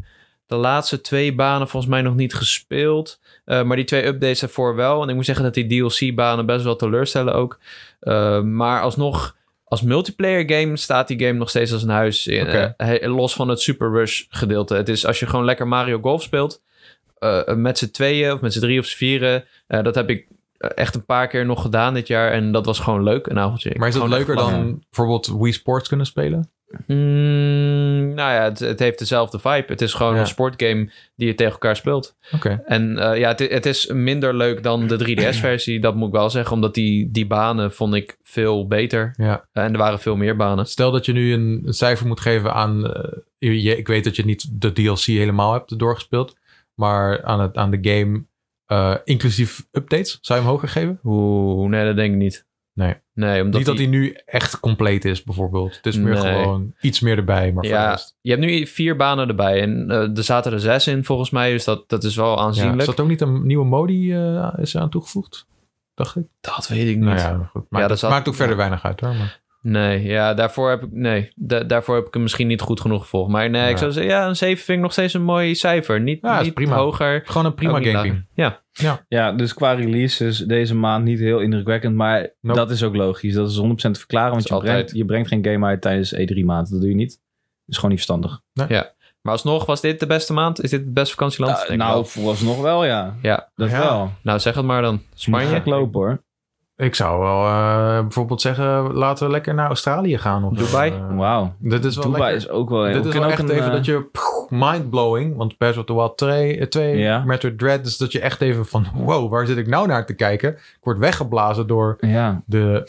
de laatste twee banen volgens mij nog niet gespeeld. Eh, maar die twee updates ervoor wel. En ik moet zeggen dat die DLC-banen best wel teleurstellen ook. Eh, maar alsnog, als multiplayer game staat die game nog steeds als een huis. In,
Oké.
eh, he- los van het Super Rush gedeelte. Het is als je gewoon lekker Mario Golf speelt. eh, met z'n tweeën of met z'n drie of z'n vieren. eh, dat heb ik eh, echt een paar keer nog gedaan dit jaar. En dat was gewoon leuk, een avondje. Ik
Maar is dat
heb gewoon
leuker
echt
dan
gelachen.
bijvoorbeeld Wii Sports kunnen spelen?
Mm, nou ja, het, het heeft dezelfde vibe. Het is gewoon
Ja.
een sportgame die je tegen elkaar speelt.
Oké.
En eh, ja, het, het is minder leuk dan de 3DS-versie, dat moet ik wel zeggen. Omdat die, die banen vond ik veel beter. Eh,
Ja.
En er waren veel meer banen.
Stel dat je nu een, een cijfer moet geven aan... eh, je, ik weet dat je niet de DLC helemaal hebt doorgespeeld. Maar aan, het, aan de game, eh, inclusief updates, zou je hem hoger geven?
Oeh, nee, dat denk ik niet.
Nee.
Nee, omdat
niet dat
die-
hij nu echt compleet is, bijvoorbeeld. Het is meer
Nee.
gewoon iets meer erbij, maar voor de
Ja,
rest.
je hebt nu vier banen erbij. En eh, er zaten er zes in, volgens mij. Dus dat, dat is wel
Ja,
aanzienlijk.
is dat ook niet een nieuwe modi eh, is aan toegevoegd? Dacht ik.
dat weet ik niet.
Nou ja, goed. Maar
Ja,
dat
dat zat-
maakt ook verder weinig uit hoor. Maar,
Nee, ja, daarvoor heb ik, nee, da- daarvoor heb ik hem misschien niet goed genoeg gevolgd. Maar nee,
Ja.
ik zou zeggen, ja, een 7 vind ik nog steeds een mooi cijfer. Niet,
Ja, is
niet
prima.
hoger.
gewoon een prima
ook niet
gaming.
lager. Ja,
Ja, dus qua release is deze maand niet heel indrukwekkend. Maar
Nope.
dat is ook logisch. Dat is 100% te verklaren. Want
is
je brengt,
altijd.
je brengt geen game uit tijdens E3 maand. Dat doe je niet. Dat is gewoon niet verstandig.
maar alsnog, was dit de beste maand? Is dit het beste vakantieland?
Nou,
Denk ik
nou,
wel.
vooralsnog wel ja.
Ja.
Dat
Ja.
wel.
nou, zeg het maar dan.
Spanje
Spanje?
gek lopen hoor.
Ik zou wel eh, bijvoorbeeld zeggen, laten we lekker naar Australië gaan. Of,
Dubai?
eh,
Wauw.
dit is wel
Dubai
lekker.
is ook wel... we
dit is
kunnen
wel
ook
echt
een,
even
eh,
dat je pff, mindblowing, want Breath of the Wild 2, eh, 2
Ja.
Metroid Dread, dus dat je echt even van, wow, waar zit ik nou naar te kijken? Ik word weggeblazen door,
Ja,
de,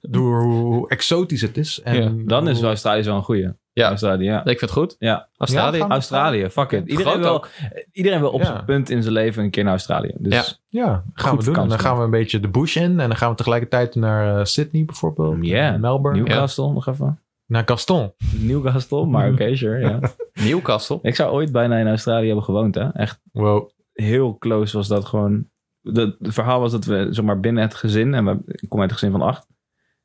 door hoe, hoe exotisch het is. En
Ja,
dan is
hoe-
wel Australië wel een goeie.
Ja.
Australië, ja.
Ik vind het goed.
Ja.
Australië?
Ja,
Australië, fuck it. Iedereen
Groot
wil,
ook.
iedereen wil op
Ja.
zijn punt in zijn leven een keer naar Australië. Dus
Ja.
Ja, gaan
Goed
we doen. En dan
vakantie.
gaan we een beetje de bush in. En dan gaan we tegelijkertijd naar eh, Sydney bijvoorbeeld.
Yeah.
en Melbourne.
Newcastle nog even.
Naar Gaston.
Newcastle, maar oké, sure. Ja.
Newcastle.
Ik zou ooit bijna in Australië hebben gewoond, hè. Echt
Wow.
heel close was dat gewoon. Dat- Het verhaal was dat we, zeg maar, binnen het gezin... En we, ik kom uit een gezin van acht.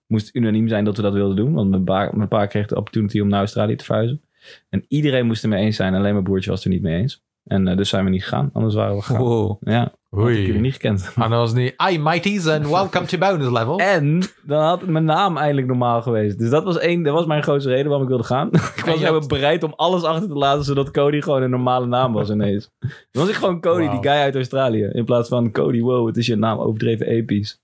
Moest unaniem zijn dat we dat wilden doen. Want mijn, ba, mijn pa kreeg de opportunity om naar Australië te verhuizen. En iedereen moest het mee eens zijn. Alleen mijn broertje was het er niet mee eens. En eh, dus zijn we niet gegaan. Anders waren we gegaan.
Wow.
Ja, had ik jullie
Oei.
niet gekend.
En dan was het niet... Hi mighties and welcome to bonus level.
En dan had mijn naam eindelijk normaal geweest. Dus dat was, één, dat was mijn grootste reden waarom ik wilde gaan. ik was
je
helemaal bereid om alles achter te laten, zodat Cody gewoon een normale naam was ineens. Dan was ik gewoon Cody,
Wauw.
die guy uit Australië. In plaats van Cody, wow, het is je naam, overdreven episch.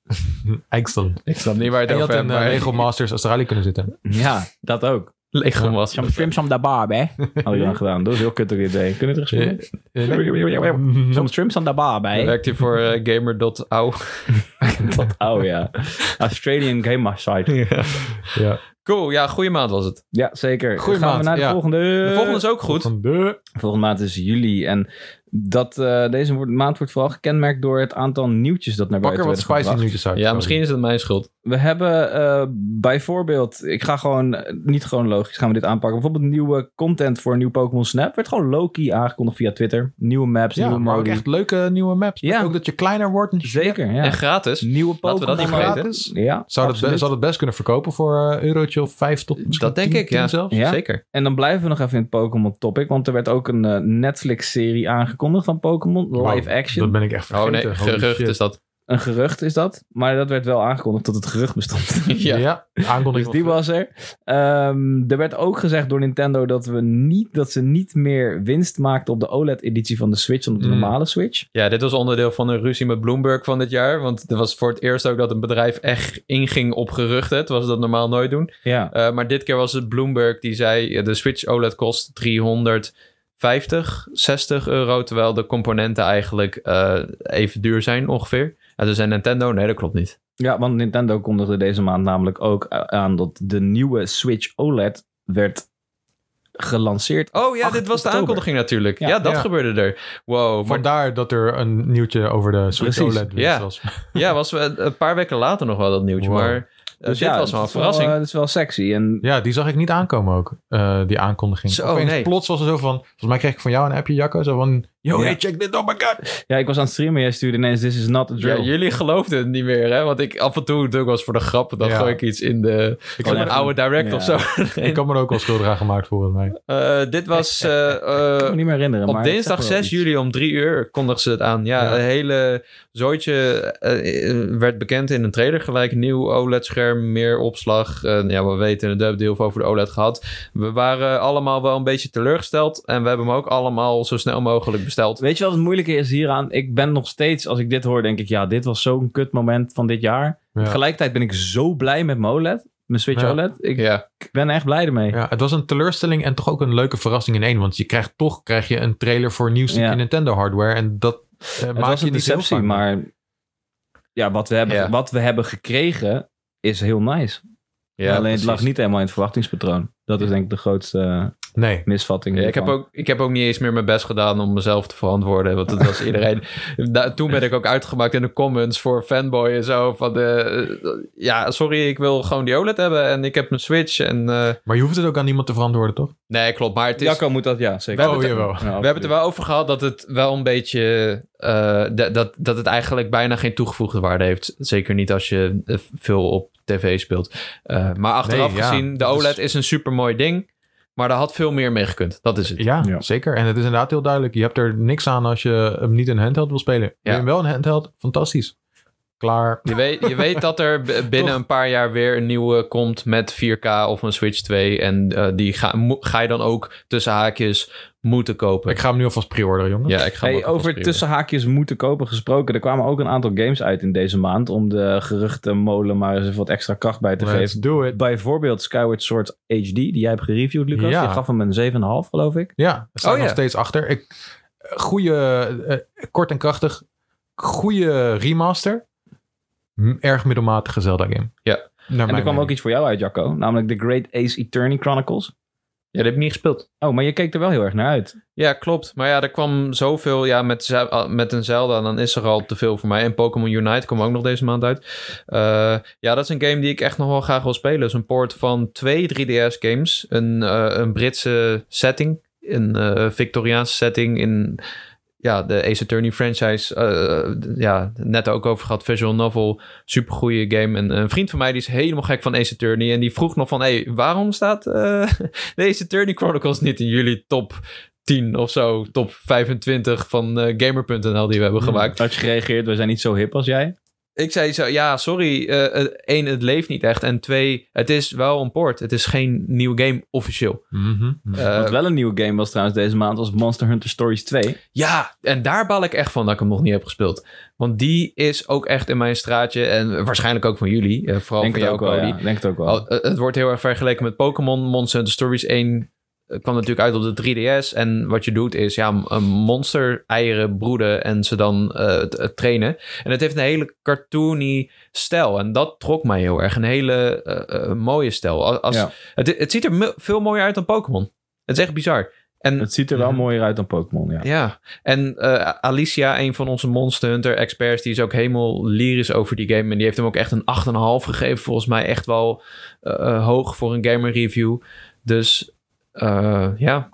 Excellent.
Ik snap niet waar het
En je had
over
in
hebt,
eh,
maar-
Lego Masters Australië kunnen zitten.
Ja, dat ook.
Lego was.
Shrimp de barb, hè? Had ik dan gedaan. Dat was heel kut ook idee. Kunnen we
Eh,
terug Some shrimps on the barb, hè?
Werkt hij voor eh, gamer.au?
Oh ja. Australian Game Site.
ja.
Cool, ja, goede maand was het.
Ja, zeker. Dan
Goeie
gaan
maand,
we naar de
ja.
volgende.
Eh,
De volgende is ook goed.
Van de...
Volgende maand is juli. En dat, eh, deze wordt- maand wordt vooral gekenmerkt door het aantal nieuwtjes dat naar
Pak er
buiten
wat
werd
spicy
gebracht.
nieuwtjes uit.
Ja, misschien is het mijn schuld.
We hebben eh, bijvoorbeeld, ik ga gewoon, eh, niet gewoon logisch gaan we dit aanpakken. Bijvoorbeeld nieuwe content voor een nieuw Pokémon Snap. Werd gewoon Loki aangekondigd via Twitter. Nieuwe maps,
Ja,
nieuwe
maar ook
modi.
echt leuke nieuwe maps.
Ja.
Ook dat je kleiner wordt. En
Zeker, ja.
En gratis.
Nieuwe
Laten we dat
Pokémon.
niet vergeten.
gratis.
Ja,
Zou dat, be-
absoluut.
zou dat best kunnen verkopen voor eh eurotje of 5 tot misschien
Dat denk
10,
ik, ja.
10 zelfs?
Ja?
Zeker.
En dan blijven we nog even in het Pokémon topic. Want er werd ook een eh, Netflix-serie aangekondigd van Pokémon.
Wauw,
Live action.
Dat ben ik echt
Oh
vergeten.
nee,
Holy
gerucht
shit.
is dat.
Een gerucht is dat. Maar dat werd wel aangekondigd dat het gerucht bestond.
Ja,
Ja.
aankondiging.
Dus die was er. Ehm, er werd ook gezegd door Nintendo dat, we niet, dat ze niet meer winst maakten op de OLED-editie van de Switch dan op de
Mm.
normale Switch.
Ja, dit was onderdeel van een ruzie met Bloomberg van dit jaar. Want het was voor het eerst ook dat een bedrijf echt inging op geruchten. Terwijl ze dat normaal nooit doen.
Ja.
Eh, maar dit keer was het Bloomberg die zei... eh, de Switch OLED kost 350, 60 euro... terwijl de componenten eigenlijk eh, even duur zijn ongeveer. En toen zei Nintendo, nee, dat klopt niet.
ja, want Nintendo kondigde deze maand namelijk ook a- aan dat de nieuwe Switch OLED werd gelanceerd.
Oh ja,
8
dit was de
oktober.
aankondiging natuurlijk.
Ja.
Ja, dat
Ja.
gebeurde er. Wow, maar
Vandaar dat er een nieuwtje over de Switch E
Precies,
OLED weer
ja.
was.
ja, was we een paar weken later nog wel dat nieuwtje.
Wow.
Maar eh, dit was wel
dat
een
is wel,
verrassing.
eh, Dat is wel sexy. En
Ja, die zag ik niet aankomen ook, eh, die aankondiging.
Zo,
Opeens
nee.
plots was er zo van, volgens mij kreeg ik van jou een appje, Jacco, zo van, Yo,
Ja.
hey, check dit, oh my god.
Ja, ik was aan het streamen. Jij stuurde ineens This is not a drill.
Ja, jullie geloofden het niet meer, hè? Want ik af en toe doe ik was voor de grap. Dan
Ja.
gooi ik iets in de
Ik
in
had,
kan
een
me,
er-
oude direct
Ja.
of zo.
ik had me er ook al schuldig aan gemaakt volgens mij.
Eh, dit was eh, eh,
Ik kan me niet meer herinneren.
op
maar het
dinsdag
zegt wel
6
iets.
juli om 3 uur kondigden ze het aan. Ja,
Ja.
een hele zooitje eh, eh, werd bekend in een trailer gelijk. Nieuw OLED-scherm, meer opslag. Eh, ja, we weten het, we hebben heel veel over de OLED gehad. We waren allemaal wel een beetje teleurgesteld. En we hebben hem ook allemaal zo snel mogelijk besteld.
Weet je wat het moeilijke is hieraan? Ik ben nog steeds, als ik dit hoor, denk ik... Ja, dit was zo'n kut moment van dit jaar.
Ja.
Tegelijkertijd ben ik zo blij met mijn OLED. Mijn Switch
Ja.
OLED. Ik
Ja,
ben echt blij ermee.
Ja, het was een teleurstelling en toch ook een leuke verrassing in één. Want je krijgt toch krijg je een trailer voor nieuw stukje
Ja.
Nintendo hardware. En dat eh,
Het
maakt
was
je
een
niet heel
deceptie,
vaak mee.
maar... Ja wat, we hebben,
Ja.
wat we hebben gekregen is heel nice.
ja
Alleen het lag
precies.
niet helemaal in het verwachtingspatroon. Dat is denk ik de grootste eh,
Nee,
misvatting.
Ja, ik, heb
hiervan.
ook, ik heb ook niet eens meer mijn best gedaan om mezelf te verantwoorden. Want het was iedereen. Da- toen ben ik ook uitgemaakt in de comments voor fanboy en zo. Van de, eh, ja, sorry, ik wil gewoon die OLED hebben en ik heb mijn Switch. En, eh,
maar je hoeft het ook aan niemand te verantwoorden, toch?
nee, klopt. Maar het is,
Jacco moet dat, ja, zeker.
hebben
oh,
het-
jawel.
Ja,
we hebben het er wel over gehad dat het wel een beetje. eh, dat- dat, dat het eigenlijk bijna geen toegevoegde waarde heeft. Zeker niet als je eh, veel op tv speelt. Eh, maar achteraf
Nee, ja,
gezien, de
dat is-
OLED is een supermooi ding. Maar daar had veel meer mee gekund. Dat is het.
Ja,
Ja.
zeker. En het is inderdaad heel duidelijk. Je hebt er niks aan als je hem niet in handheld wil spelen. Wil je hem wel in handheld? Fantastisch. Klaar.
Je weet, je weet dat er b- binnen
Toch?
een paar jaar weer een nieuwe komt met 4K of een Switch 2. En eh, die ga, mo- ga je dan ook tussen haakjes moeten kopen.
Ik ga hem nu alvast pre-orderen, jongen.
ja, ik ga hem
Hey,
ook alvast
over
prioren.
tussenhaakjes moeten kopen gesproken. Er kwamen ook een aantal games uit in deze maand. Om de geruchtenmolen maar eens even wat extra kracht bij te
Let's
geven.
do it.
Bijvoorbeeld Skyward Sword HD, die jij hebt gereviewd, Lucas.
Ja.
Je gaf hem een 7,5, geloof ik.
Ja, we staan
Oh, ja.
nog steeds achter. Ik, goede, kort en krachtig. Goede remaster. M- Erg middelmatige Zelda game.
Ja.
Naar
En er
mijn
kwam ook
mening.
iets voor jou uit, Jacco. Namelijk The Great Ace Attorney Chronicles.
Ja, dat heb ik niet gespeeld.
Oh, maar je keek er wel heel erg naar uit.
Ja, klopt. Maar ja, er kwam zoveel. Ja, met, Ze- ah, met een Zelda, dan is er al te veel voor mij. En Pokémon Unite kwam ook nog deze maand uit. Eh, ja, dat is een game die ik echt nog wel graag wil spelen. Het is een port van twee 3DS-games. Een, eh, een Britse setting. Een eh, Victoriaanse setting in ja, de Ace Attorney franchise. eh, d- ja, net ook over gehad. Visual novel. Supergoeie game. En een vriend van mij die is helemaal gek van Ace Attorney. En die vroeg nog van... Hey, waarom staat eh de Ace Attorney Chronicles niet in jullie top 10 of zo? Top 25 van eh, Gamer.nl die we hebben gemaakt.
Had je gereageerd, we zijn niet zo hip als jij.
Ik zei zo, ja, sorry. eh, eh, één, het leeft niet echt. En twee, het is wel een port. Het is geen nieuwe game officieel.
Mhm.
Eh,
Wat wel een nieuwe game was trouwens deze maand, was Monster Hunter Stories 2.
ja, en daar baal ik echt van dat ik hem nog niet heb gespeeld. Want die is ook echt in mijn straatje. En waarschijnlijk ook van jullie. eh, vooral
Denk
van
het
jou,
ook wel,
Cody.
ja. Denk het ook wel.
Al- eh, het wordt heel erg vergeleken met Pokémon. Monster Hunter Stories 1 kwam natuurlijk uit op de 3DS. En wat je doet is ja, m- een monster eieren broeden en ze dan eh, t- eh, trainen. En het heeft een hele cartoony stijl. En dat trok mij heel erg. Een hele eh, eh, mooie stijl. Al- Als,
Ja.
het, het ziet er me- veel mooier uit dan Pokémon. Het is echt bizar. En
Het ziet er wel
Mhm.
mooier uit dan Pokémon, ja.
ja, en eh, Alicia, een van onze Monster Hunter experts, die is ook helemaal lyrisch over die game. En die heeft hem ook echt een 8,5 gegeven. Volgens mij echt wel eh, eh, hoog voor een gamer review. Dus eh, ja.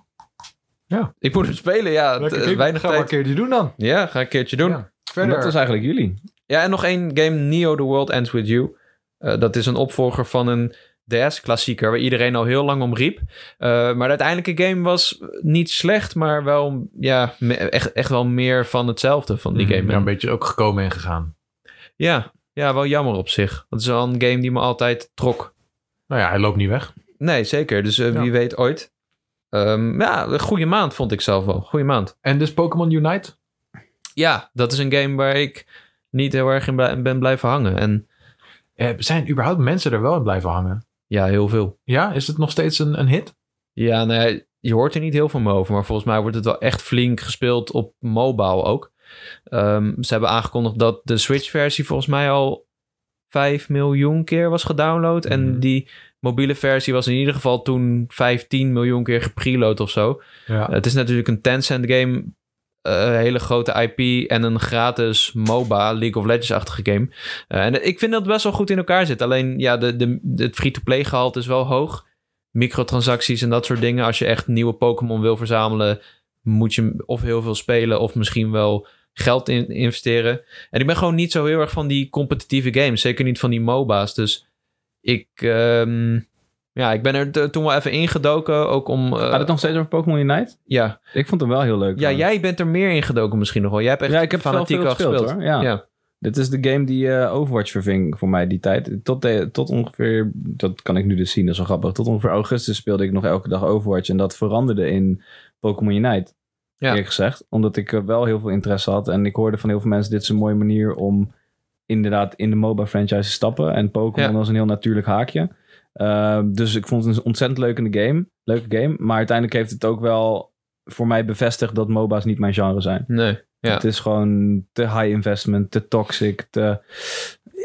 Ja.
Ik moet hem spelen, ja.
Lekker
T-
game.
weinig
Ga maar een
tijd.
keer die doen dan.
Ja, ga een keertje doen. Ja.
Ja. Verder.
Dat was eigenlijk jullie.
en nog één game, Neo The World Ends With You. Eh, dat is een opvolger van een DS-klassieker waar iedereen al heel lang om riep. Eh, maar de uiteindelijke game was niet slecht, maar wel ja, me- echt, echt wel meer van hetzelfde van die
Mhm.
game.
Ja,
En-
een beetje ook gekomen en gegaan.
Ja, ja, wel jammer op zich. Dat is wel een game die me altijd trok.
Nou ja, hij loopt niet weg.
Nee, zeker. Dus eh, wie
Ja.
weet ooit. Ehm, ja, een goede maand vond ik zelf wel. Goede maand.
En dus Pokémon Unite?
Ja, dat is een game waar ik niet heel erg in blij- ben blijven hangen. En
Eh, zijn überhaupt mensen er wel in blijven hangen?
ja, heel veel.
Ja, is het nog steeds een, een hit?
Ja, nee, je hoort er niet heel veel meer over. Maar volgens mij wordt het wel echt flink gespeeld op mobile ook. Ehm, ze hebben aangekondigd dat de Switch-versie volgens mij al 5 miljoen keer was gedownload. En
Mhm.
die mobiele versie was in ieder geval toen 15 miljoen keer gepreload of zo.
Ja.
Het is natuurlijk een Tencent game. eh, Een hele grote IP en een gratis MOBA, League of Legends-achtige game. Eh, en ik vind dat best wel goed in elkaar zit. Alleen ja, de, de, het free-to-play gehalte is wel hoog. Microtransacties en dat soort dingen. Als je echt nieuwe Pokémon wil verzamelen, moet je hem of heel veel spelen of misschien wel geld in investeren. En ik ben gewoon niet zo heel erg van die competitieve games. Zeker niet van die MOBA's. Dus ik, ehm, ja, ik ben er t- toen wel even ingedoken. Ook om. eh,
Gaat het nog steeds over Pokémon Unite?
ja.
Ik vond hem wel heel leuk.
ja,
trouwens.
jij bent er meer ingedoken misschien nog wel. Jij hebt echt
Ja, ik heb het wel
fanatiek
veel
al
gespeeld,
gespeeld.
hoor. Ja.
ja.
Dit is de game die eh, Overwatch verving voor mij die tijd. Tot, de- tot ongeveer, dat kan ik nu dus zien, dat is wel grappig. Tot ongeveer augustus speelde ik nog elke dag Overwatch. En dat veranderde in Pokémon Unite,
Ja.
eerlijk gezegd. Omdat ik eh, wel heel veel interesse had. En ik hoorde van heel veel mensen, dit is een mooie manier om inderdaad in de MOBA franchise te stappen. En Pokémon
Ja.
was een heel natuurlijk haakje. Eh, dus ik vond het een ontzettend leuk in de game. Leuke game. Maar uiteindelijk heeft het ook wel voor mij bevestigd dat MOBA's niet mijn genre zijn.
Nee. Ja.
Het is gewoon te high investment, te toxic, te...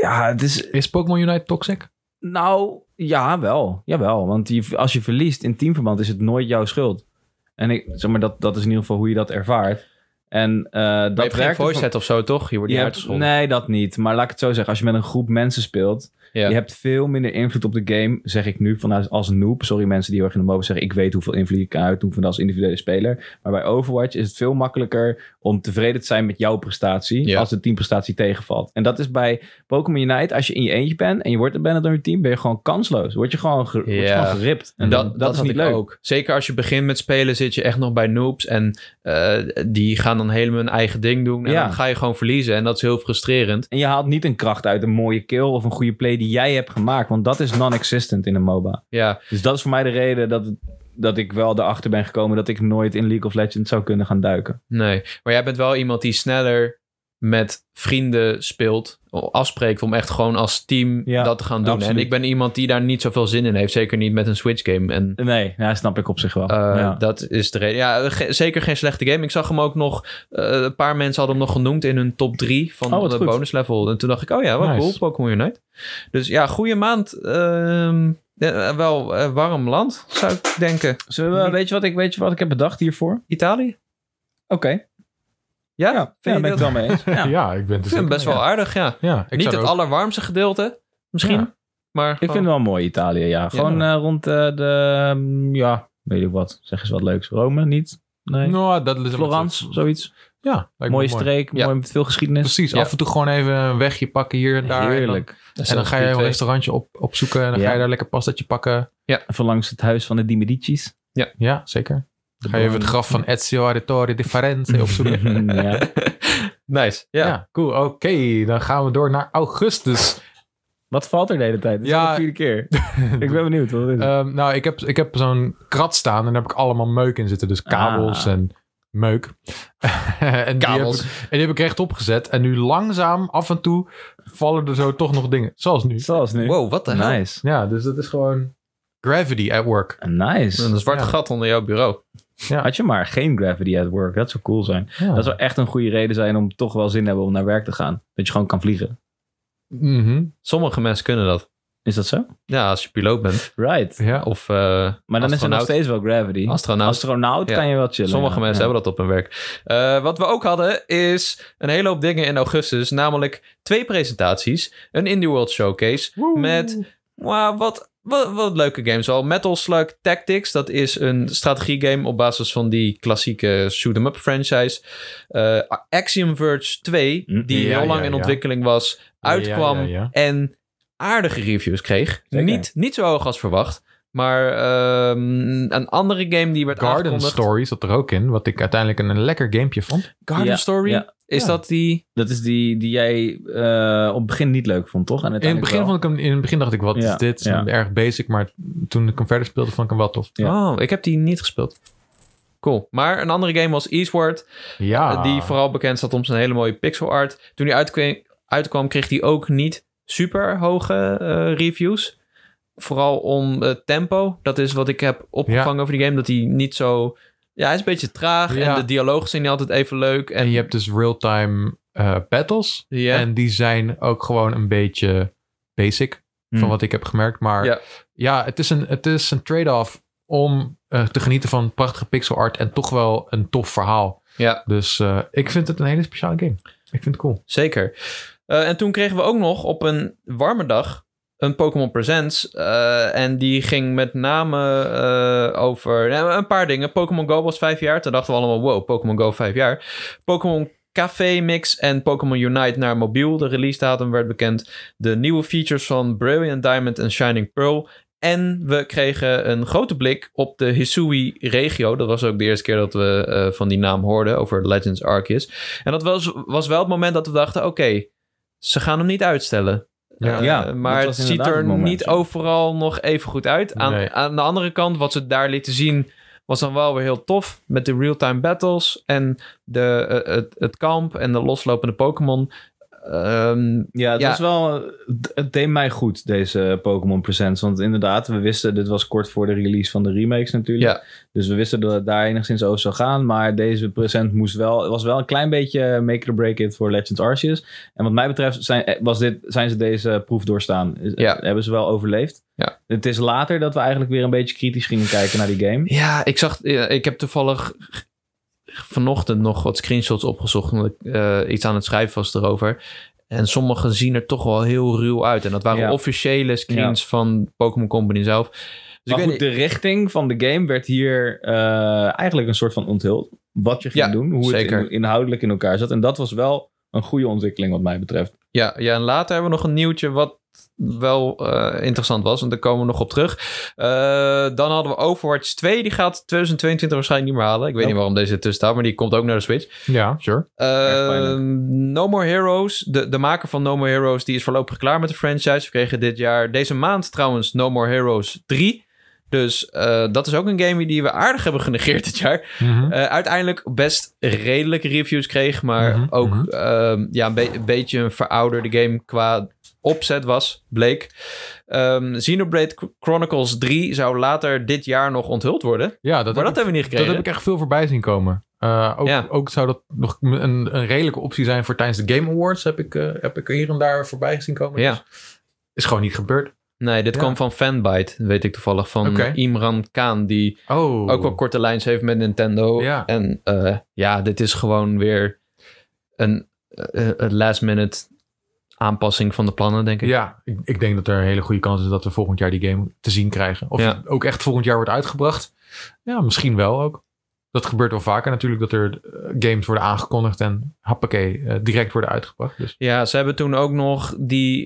Ja, het is...
Is Pokémon Unite toxic?
Nou, ja, wel. Jawel, want je, als je verliest in teamverband is het nooit jouw schuld. En ik, zeg maar, dat, dat is in ieder geval hoe je dat ervaart. En eh, dat
Maar je hebt geen
werkt
voice
ervoor-
chat of zo, toch? Je wordt
je
niet
hebt-
uitgescholden.
Nee, dat niet. Maar laat ik het zo zeggen. Als je met een groep mensen speelt,
Ja.
je hebt veel minder invloed op de game, zeg ik nu, vanuit als een noob. Sorry mensen die heel erg in de mobiel zeggen, ik weet hoeveel invloed ik kan uitoefenen als individuele speler. Maar bij Overwatch is het veel makkelijker om tevreden te zijn met jouw prestatie,
Ja.
als de teamprestatie tegenvalt. En dat is bij Pokémon Unite, als je in je eentje bent en je wordt banned door je team, ben je gewoon kansloos. Word je gewoon, ge- word je
Ja.
gewoon geript. En
dat,
dat,
dat,
is
had
niet
ik
leuk.
ook. Zeker als je begint met spelen, zit je echt nog bij noobs. En eh, die gaan dan helemaal hun eigen ding doen. En
Ja.
dan ga je gewoon verliezen. En dat is heel frustrerend.
En je haalt niet een kracht uit een mooie kill of een goede play die jij hebt gemaakt. Want dat is non-existent in een MOBA.
Ja,
Dus dat is voor mij de reden dat, het- dat ik wel erachter ben gekomen dat ik nooit in League of Legends zou kunnen gaan duiken.
nee. Maar jij bent wel iemand die sneller met vrienden speelt. Afspreekt om echt gewoon als team
Ja,
dat te gaan doen.
absoluut.
En ik ben iemand die daar niet zoveel zin in heeft. Zeker niet met een Switch game. En
Nee, ja, snap ik op zich wel.
Eh,
Oh, ja.
Dat is de reden. Ja, ge- zeker geen slechte game. Ik zag hem ook nog. eh, een paar mensen hadden hem nog genoemd in hun top 3 van
Oh, wat
de
goed.
bonus level. En toen dacht ik, oh ja, wat
Nice.
cool. Pokémon Unite. Dus ja, goede maand. ehm, eh, wel eh, warm land, zou ik denken.
Zullen we,
niet-
weet, je wat ik, weet je wat ik heb bedacht hiervoor? Oké.
Italië? Ja,
Ja,
vind
daar
je
ben ik
dat?
het wel mee eens.
Ja,
Ja.
ik ben het
Ik vind hem best wel aardig, ja.
Ja, ik
Niet
zou
het
er ook-
allerwarmste gedeelte, misschien.
Ja.
Maar
Ik vind het wel mooi Italië, ja. Gewoon eh, rond eh, de, mm, ja, weet ik wat. Zeg eens wat leuks. Rome, niet? Nee.
Nou, dat is
Florence, zoiets.
Ja, lijkt me
Mooie
mooi.
streek,
Ja.
mooi met veel geschiedenis.
Precies,
Ja.
af en toe gewoon even een wegje pakken hier en daar. En dan,
Heerlijk.
en dan ga je een restaurantje op, opzoeken en dan
Ja.
ga je daar lekker pastatje pakken.
Even langs het huis van de Di Medici's.
Ja, zeker. Dan ga je even het graf van Ezio Auditore di Firenze opzoeken.
ja.
Nice.
ja.
Ja.
cool. Oké, dan gaan we door naar augustus.
Wat valt er de hele tijd? Dit is
Ja.
al de vierde keer. ik ben benieuwd. Wat het is.
Ehm, nou, ik heb, ik heb zo'n krat staan en daar heb ik allemaal meuk in zitten. Dus kabels
Ah.
en meuk. en, die heb ik,
Kabels.
en die heb ik rechtop gezet. En nu langzaam, af en toe, vallen er zo toch nog dingen. Zoals nu.
Zoals nu.
Wow, wat de hel.
Nice.
Ja, dus dat is gewoon gravity at work.
Nice.
Een zwart
Ja.
gat onder jouw bureau.
Had je maar geen gravity at work, dat zou cool zijn.
Ja.
Dat zou echt een goede reden zijn om toch wel zin te hebben om naar werk te gaan. Dat je gewoon kan vliegen.
Mhm.
Sommige mensen kunnen dat.
Is dat zo?
Ja, als je piloot bent.
Right.
Ja.
Of eh,
Maar dan is er nog
astronaut.
steeds wel gravity.
Astronaut.
Astronaut
Ja.
kan je wel chillen.
Sommige
ja.
mensen
Ja.
hebben dat op hun werk. Eh, wat we ook hadden is een hele hoop dingen in augustus. Namelijk twee presentaties. Een Indie World Showcase. Met wow, wat, wat, wat leuke games al. Metal Slug Tactics. Dat is een strategiegame op basis van die klassieke shoot-em-up franchise. Eh, Axiom Verge 2.
Mm,
Die
ja,
heel lang
ja,
in
ja.
ontwikkeling was. Uitkwam.
Ja, ja, ja.
En aardige reviews kreeg.
Zeker.
Niet, niet zo hoog als verwacht. Maar ehm, een andere game die werd
Garden
aangekondigd.
Story zat er ook in, wat ik uiteindelijk een, een lekker gamepje vond.
Garden
Ja,
Story?
ja.
Is
Ja.
dat die...
Dat is die die jij eh, op het begin niet leuk vond, toch? En
In het
uiteindelijk
begin
wel.
vond ik hem, in het begin dacht ik, wat
Ja,
is dit? Het is
ja.
Erg basic, maar toen ik hem verder speelde, vond ik hem wel tof.
Ja.
Oh, ik heb die niet gespeeld. Cool. Maar een andere game was Eastward,
Ja.
eh, die vooral bekend staat om zijn hele mooie pixel art. Toen die uitkwam, uitkwam kreeg die ook niet super hoge eh, reviews. Vooral om eh, tempo. Dat is wat ik heb opgevangen over die game. Dat hij niet zo... Ja, hij is een beetje traag.
Ja.
En de dialogen zijn niet altijd even leuk. En,
En je hebt dus real-time eh, battles.
Ja.
En die zijn ook gewoon een beetje basic, van
Hmm.
wat ik heb gemerkt. Maar ja,
Ja.
het is een, het is een trade-off om eh, te genieten van prachtige pixel art en toch wel een tof verhaal.
Ja.
Dus eh, ik vind het een hele speciale game. Ik vind het cool.
Zeker. Eh, en toen kregen we ook nog op een warme dag een Pokémon Presents. eh, en die ging met name eh, over nou, een paar dingen. Pokémon Go was vijf jaar. Toen dachten we allemaal, wow, Pokémon Go vijf jaar. Pokémon Café Mix en Pokémon Unite naar mobiel. De release datum werd bekend. De nieuwe features van Brilliant Diamond en Shining Pearl. En we kregen een grote blik op de Hisui-regio. Dat was ook de eerste keer dat we eh, van die naam hoorden over Legends Arceus. En dat was, was wel het moment dat we dachten, oké, ze gaan hem niet uitstellen.
Ja.
Eh,
Ja,
maar
dat
het
was
ziet
inderdaad
er
het moment,
niet
ja.
overal nog even goed uit. Aan,
Nee.
aan de andere kant, wat ze daar lieten zien, was dan wel weer heel tof. Met de real-time battles en de, eh, het, het kamp en de loslopende Pokémon. Ehm,
Ja, het
Ja.
was wel. het- Het deed mij goed, deze Pokémon Presents. Want inderdaad, we wisten, dit was kort voor de release van de remakes natuurlijk.
Ja.
Dus we wisten dat het daar enigszins over zou gaan. Maar deze present moest wel. Het was wel een klein beetje make it or break it voor Legends Arceus. En wat mij betreft zijn, eh, was dit, zijn ze deze proef doorstaan. Is-
Ja.
Hebben ze wel overleefd.
Ja.
Het is later dat we eigenlijk weer een beetje kritisch gingen kijken naar die game.
Ja, ik zag. ja, ik heb toevallig g- vanochtend nog wat screenshots opgezocht. Omdat ik eh, iets aan het schrijven was erover. En sommige zien er toch wel heel ruw uit. En dat waren
Ja.
officiële screens van Pokémon Company zelf. Dus
maar
ik
goed,
weet,
de richting van de game werd hier eh, eigenlijk een soort van onthuld. Wat je ging
Ja,
doen, hoe
zeker.
het in- inhoudelijk in elkaar zat. En dat was wel een goede ontwikkeling wat mij betreft.
ja, ja, en later hebben we nog een nieuwtje wat wel eh, interessant was. En daar komen we nog op terug. Eh, dan hadden we Overwatch 2. Die gaat 2022 waarschijnlijk niet meer halen. Ik weet
Nope.
niet waarom deze ertussen staat. Maar die komt ook naar de Switch.
Ja, sure.
Ehm,
pijnlijk.
no More Heroes, de, de maker van No More Heroes, die is voorlopig klaar met de franchise. We kregen dit jaar, deze maand trouwens, No More Heroes 3. Dus eh, dat is ook een game die we aardig hebben genegeerd dit jaar.
Mhm.
Eh, uiteindelijk best redelijke reviews kreeg, maar
Mhm,
ook
mhm.
ehm, ja, een, be- een beetje een verouderde game qua opzet was, bleek. Ehm Xenoblade Chronicles 3 zou later dit jaar nog onthuld worden.
Ja, dat, heb
maar dat
ik,
hebben we niet
dat
gekregen.
heb ik echt veel voorbij zien komen. Eh, ook,
Ja.
ook zou dat nog een, een redelijke optie zijn voor tijdens de Game Awards. Heb ik, eh, heb ik hier en daar voorbij zien komen.
Ja.
Dus is gewoon niet gebeurd.
Nee, dit
Ja.
kwam van Fanbyte, weet ik toevallig. Van
Oké.
Imran Khan, die
Oh,
ook wel korte lijns heeft met Nintendo.
Ja.
En eh, ja, dit is gewoon weer een eh, eh, last minute aanpassing van de plannen, denk ik.
Ja, ik, ik denk dat er een hele goede kans is dat we volgend jaar die game te zien krijgen. Of
Ja.
het ook echt volgend jaar wordt uitgebracht. Ja, misschien wel ook. Dat gebeurt wel vaker natuurlijk, dat er eh, games worden aangekondigd en happakee, eh, direct worden uitgebracht. Dus
Ja, ze hebben toen ook nog die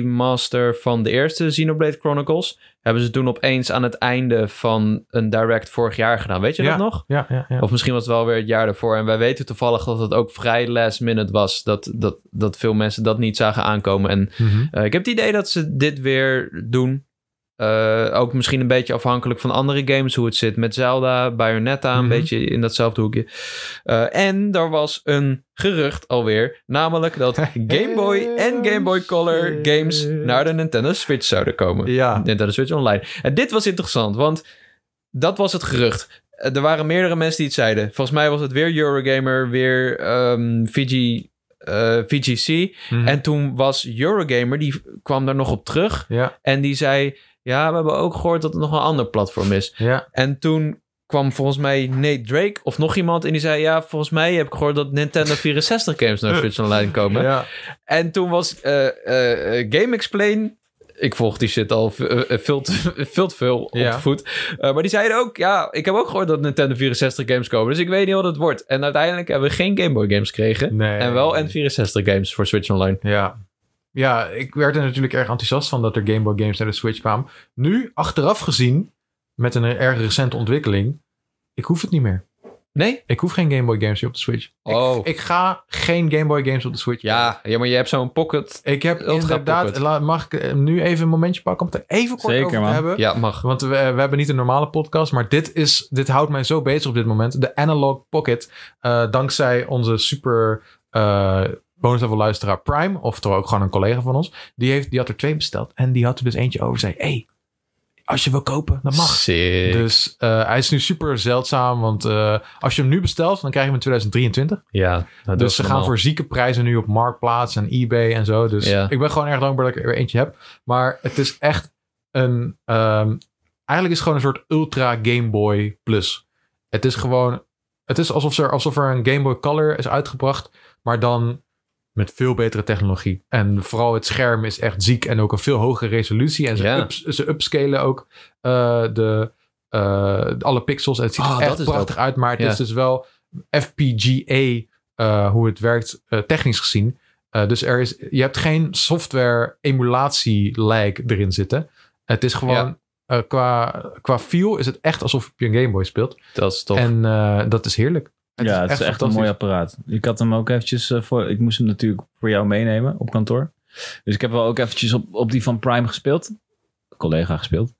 remaster van de eerste Xenoblade Chronicles. Hebben ze toen opeens aan het einde van een direct vorig jaar gedaan. Weet je dat nog?
ja, ja, ja.
Of misschien was het wel weer het jaar daarvoor. En wij weten toevallig dat het ook vrij last minute was. Dat, dat, dat veel mensen dat niet zagen aankomen. En
Mhm.
Eh, ik heb het idee dat ze dit weer doen. Eh, ook misschien een beetje afhankelijk van andere games, hoe het zit met Zelda, Bayonetta,
Mhm.
een beetje in datzelfde hoekje. Eh, en er was een gerucht alweer, namelijk dat Game Boy en Game Boy Color
Shit.
games naar de Nintendo Switch zouden komen.
Ja.
Nintendo Switch Online. En dit was interessant, want dat was het gerucht. Eh, Er waren meerdere mensen die het zeiden. Volgens mij was het weer Eurogamer, weer ehm VG, eh, VGC.
Mhm.
En toen was Eurogamer, die kwam daar nog op terug.
ja,
En die zei, ja, we hebben ook gehoord dat het nog een ander platform is.
ja,
En toen kwam volgens mij Nate Drake of nog iemand. En die zei, ja, volgens mij heb ik gehoord dat Nintendo 64 games naar Switch Online komen.
ja.
En toen was eh, eh, eh, Game Explain. Ik volg die shit al v- eh, eh, veel te, veel, te veel op
Ja.
de voet. Eh, maar die zeiden ook, ja, ik heb ook gehoord dat Nintendo 64 games komen. Dus ik weet niet wat het wordt. En uiteindelijk hebben we geen Game Boy games gekregen.
Nee.
En wel N64 games voor Switch Online.
Ja. Ja, ik werd er natuurlijk erg enthousiast van dat er Game Boy games naar de Switch kwamen. Nu, achteraf gezien, met een erg recente ontwikkeling, ik hoef het niet meer.
Nee?
Ik hoef geen Game Boy games meer op de Switch. Ik-
Oh.
Ik, ga geen Game Boy games op de Switch.
Ja, ja, maar je hebt zo'n pocket.
spelen. Ik heb
Ultra
inderdaad,
Pocket.
la- mag ik eh, nu even een momentje pakken om het er even kort
Zeker,
over te
man.
hebben?
Ja, mag.
Want we, we hebben niet een normale podcast, maar dit, is, dit houdt mij zo bezig op dit moment. De Analog Pocket, eh, dankzij onze super eh bonus level luisteraar Prime, oftewel ook gewoon een collega van ons, die, heeft, die had er twee besteld. En die had er dus eentje over. Zei, hey, als je wil kopen, dan mag.
Sick.
Dus eh, hij is nu super zeldzaam, want eh, als je hem nu bestelt, dan krijg je hem in 2023.
ja, nou, dat
Dus
is
ze gaan
normaal.
voor zieke prijzen nu op Marktplaats en eBay en zo. Dus
Ja.
ik ben gewoon erg dankbaar dat ik er weer eentje heb. Maar het is echt een... ehm, eigenlijk is het gewoon een soort ultra Game Boy Plus. Het is gewoon... Het is alsof er, alsof er een Game Boy Color is uitgebracht. Maar dan Met veel betere technologie. En vooral het scherm is echt ziek. En ook een veel hogere resolutie. En ze,
Ja.
ups- ze upscalen ook eh, de, eh, alle pixels. En het ziet
Ah,
er
dat
echt
is
prachtig uit. Maar het
Ja.
is dus wel FPGA eh, hoe het werkt eh, technisch gezien. Eh, dus er is, je hebt geen software emulatie lag erin zitten. Het is gewoon
Ja.
eh, qua, qua feel is het echt alsof je een Game Boy speelt.
Dat is tof.
En eh, dat is heerlijk.
ja, het is echt een mooi
fantastisch.
apparaat. Ik had hem ook eventjes eh, voor. Ik moest hem natuurlijk voor jou meenemen op kantoor. Dus ik heb wel ook eventjes op, op die van Prime gespeeld. Collega gespeeld.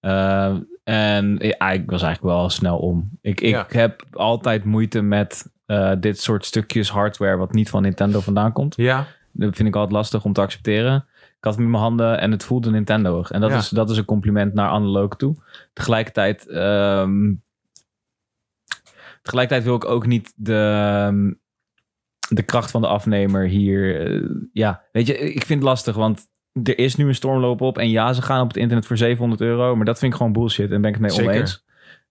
Eh, en ja, ik was eigenlijk wel snel om. Ik, ik
Ja.
heb altijd moeite met eh, dit soort stukjes hardware wat niet van Nintendo vandaan komt.
Ja,
Dat vind ik altijd lastig om te accepteren. Ik had hem in mijn handen en het voelde Nintendo. En dat,
Ja.
is, dat is een compliment naar Analog toe. Tegelijkertijd, ehm, tegelijkertijd wil ik ook niet de, ehm, de kracht van de afnemer hier. eh, ja, weet je, ik vind het lastig, want er is nu een stormloop op. En ja, ze gaan op het internet voor 700 euro. Maar dat vind ik gewoon bullshit en ben ik het mee
Zeker.
oneens.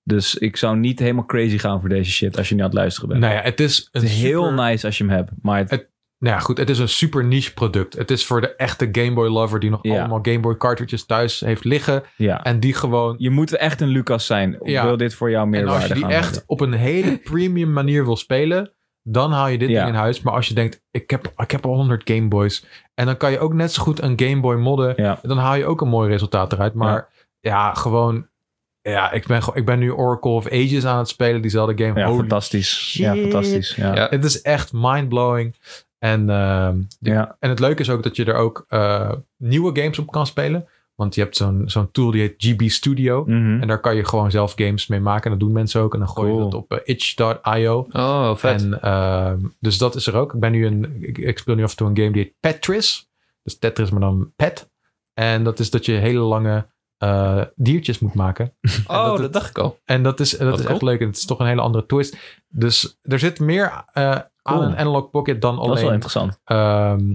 Dus ik zou niet helemaal crazy gaan voor deze shit als je nu aan het luisteren bent.
nou ja, het is een
het is heel
super-
nice als je hem hebt. Maar het,
Nou ja, goed, het is een super niche product. Het is voor de echte Game Boy lover die nog
Ja.
allemaal Game Boy cartridges thuis heeft liggen.
ja.
En die gewoon...
Je moet echt een Lucas zijn.
Ja.
Wil dit voor jou meer
En als je
waarde
die
gaan
echt
hebben?
op een hele premium manier wil spelen, dan haal je dit
Ja.
ding in huis. Maar als je denkt, ik heb, ik heb al 100 Game Boys. En dan kan je ook net zo goed een Game Boy modden.
Ja.
Dan haal je ook een mooi resultaat eruit. Maar ja, gewoon... Ja, ik ben, gewoon- ik ben nu Oracle of Ages aan het spelen. Diezelfde game.
Ja,
Holy
fantastisch. Ja,
shit.
fantastisch. Ja.
Ja.
Ja.
Het is echt mind-blowing. En, ehm,
Ja.
en het leuke is ook dat je er ook eh, nieuwe games op kan spelen. Want je hebt zo'n zo'n tool die heet GB Studio.
Mhm.
En daar kan je gewoon zelf games mee maken. En dat doen mensen ook. En dan gooi je
Cool.
dat op eh, itch.io.
oh, vet.
En, ehm, dus dat is er ook. Ik, ben nu een, ik, ik speel nu af en toe een game die heet Petris. Dus Tetris, maar dan Pet. En dat is dat je hele lange eh, diertjes moet maken.
oh,
dat
dat,
het-
dacht ik al.
En dat is, dat
Wat
is
cool.
echt leuk. En het is toch een hele andere twist. Dus er zit meer eh, aan
Cool.
een analog pocket dan
Dat is wel
alleen,
interessant.
ehm,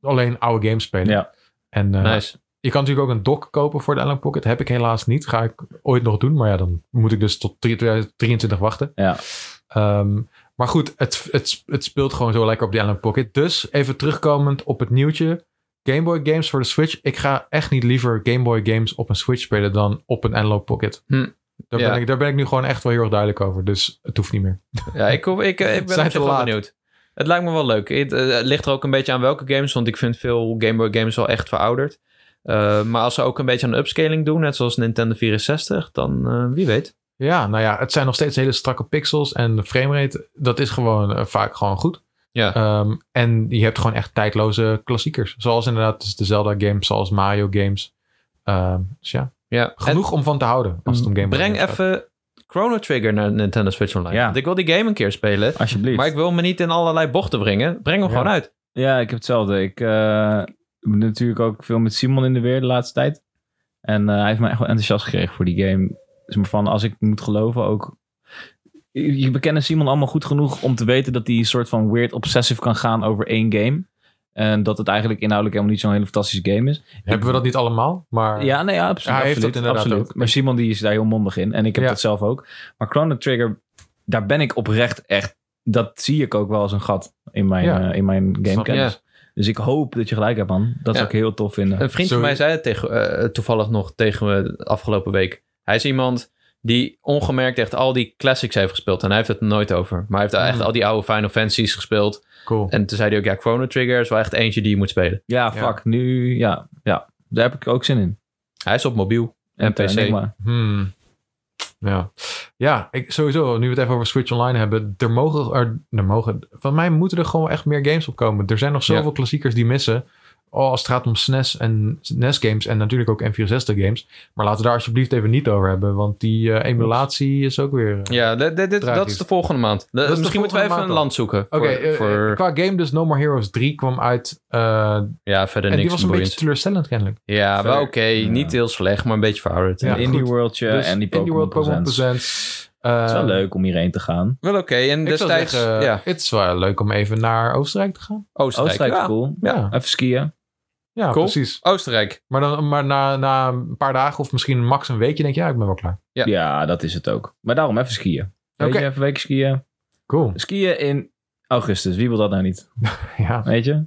alleen oude games spelen.
Ja.
En eh,
nice.
je kan natuurlijk ook een dock kopen voor de analog pocket. Heb ik helaas niet. Ga ik ooit nog doen. Maar ja, dan moet ik dus tot 2023 wachten.
Ja.
Ehm, maar goed, het, het, het speelt gewoon zo lekker op die analog pocket. Dus even terugkomend op het nieuwtje. Game Boy games voor de Switch. Ik ga echt niet liever Game Boy games op een Switch spelen dan op een analog pocket.
Hm.
Daar,
Ja.
ben ik, daar ben ik nu gewoon echt wel heel erg duidelijk over. Dus het hoeft niet meer.
Ja, ik, hoef- ik, ik ben
Zijn
op
te
zich wel
laat.
benieuwd. Het lijkt me wel leuk. Het, eh, het ligt er ook een beetje aan welke games, want ik vind veel Game Boy games wel echt verouderd. Eh, maar als ze ook een beetje aan upscaling doen, net zoals Nintendo 64, dan eh, wie weet.
Ja, nou ja, het zijn nog steeds hele strakke pixels. En de framerate, dat is gewoon eh, vaak gewoon goed.
Ja.
Ehm, en je hebt gewoon echt tijdloze klassiekers. Zoals inderdaad dus de Zelda-games, zoals Mario-games. Ehm, dus ja,
Ja.
genoeg om van te houden als het om Game Boy
Breng
games gaat.
even Chrono Trigger naar Nintendo Switch Online.
Ja.
Want ik wil die game een keer spelen,
Alsjeblieft.
maar ik wil me niet in allerlei bochten brengen. Breng hem
Ja.
gewoon uit.
Ja, ik heb hetzelfde. Ik eh, ben natuurlijk ook veel met Simon in de weer de laatste tijd. En eh, hij heeft mij echt wel enthousiast gekregen voor die game. Dus maar van, als ik moet geloven ook... Je we kennen Simon allemaal goed genoeg om te weten dat hij een soort van weird obsessive kan gaan over één game. En dat het eigenlijk inhoudelijk helemaal niet zo'n hele fantastische game is.
Hebben we dat niet allemaal? Maar
Ja, nee, ja, absoluut.
Ja, hij heeft
absoluut,
dat inderdaad
absoluut.
ook.
Maar Simon die is daar heel mondig in. En ik heb
Ja.
dat zelf ook. Maar Chrono Trigger, daar ben ik oprecht echt... Dat zie ik ook wel als een gat in mijn,
Ja.
eh, in mijn gamekennis.
Ja.
Dus ik hoop dat je gelijk hebt, man. Dat
Ja.
zou ik heel tof vinden.
Een vriend van
Sorry.
mij zei het tegen, eh, toevallig nog tegen me de afgelopen week. Hij is iemand die ongemerkt echt al die classics heeft gespeeld. En hij heeft het nooit over. Maar hij heeft echt
Mm.
al die oude Final Fantasies gespeeld.
cool.
En toen zei hij ook, ja, Chrono Trigger is wel echt eentje die je moet spelen.
Ja,
Ja.
fuck. Nu, ja, ja. Daar heb ik ook zin in.
Hij is op mobiel. En
Met, eh,
PC.
Enigma.
Hmm. Ja, ja ik, sowieso. Nu we het even over Switch Online hebben. Er mogen, er, er mogen, van mij moeten er gewoon echt meer games op komen. Er zijn nog zoveel klassiekers die missen. Oh, als het gaat om SNES en NES games en natuurlijk ook N64 games. Maar laten we daar alsjeblieft even niet over hebben. Want die eh, emulatie is ook weer... eh,
Ja, dit, dit- dit- dat
Tragisch.
is de volgende maand. De-
is de
misschien moeten we even
volgende
een
maand
land zoeken.
Oké, eh,
voor, voor-
qua game dus No More Heroes 3 kwam uit. eh,
ja, verder
en die
niks
was een
boeiends.
beetje teleurstellend kennelijk.
Ja, wel
Verder-
oké. Niet heel slecht, maar een beetje verouderd.
Ja,
Een indie
goed.
worldje
Dus
en die
Indie
Pokémon
World Pokémon
Presents. Het
Presents.
is wel
Eh,
leuk om hierheen te gaan.
Wel oké. En
Ik zou
destijds,
zeggen,
ja,
het is wel leuk om even naar Oostenrijk te gaan.
Oostenrijk.
Oostenrijk is
Ja,
Oh, cool.
Ja,
Even skiën.
ja
Cool.
precies.
Oostenrijk.
Maar, dan, maar na, na een paar dagen of misschien max een weekje denk je, ja, ik ben wel klaar.
Ja.
Ja. dat is het ook. Maar daarom even skiën. Weet
Oké.
je, even een week skiën.
Cool.
Skiën in Augustus, wie wil dat nou niet?
Ja.
Weet je?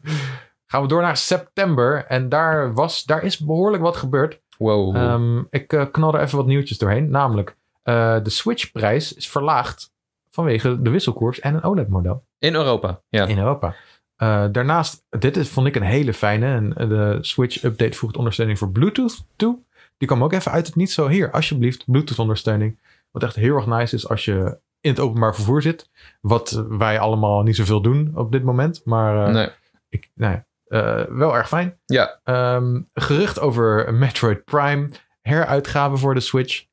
Gaan we door naar september. En daar, was, daar is behoorlijk wat gebeurd.
Wow.
Ehm, ik eh, knal er even wat nieuwtjes doorheen. Namelijk, eh, de Switch-prijs is verlaagd vanwege de wisselkoers en een OLED-model
in Europa, ja.
in Europa. Eh, daarnaast, dit is, vond ik een hele fijne. En eh, de Switch-update voegt ondersteuning voor Bluetooth toe. Die kwam ook even uit het niet zo hier. Alsjeblieft, Bluetooth-ondersteuning. Wat echt heel erg nice is als je in het openbaar vervoer zit. Wat wij allemaal niet zoveel doen op dit moment. Maar eh,
nee.
ik, nou ja, eh, wel erg fijn.
Ja.
Ehm, gerucht over Metroid Prime. Heruitgave voor de Switch.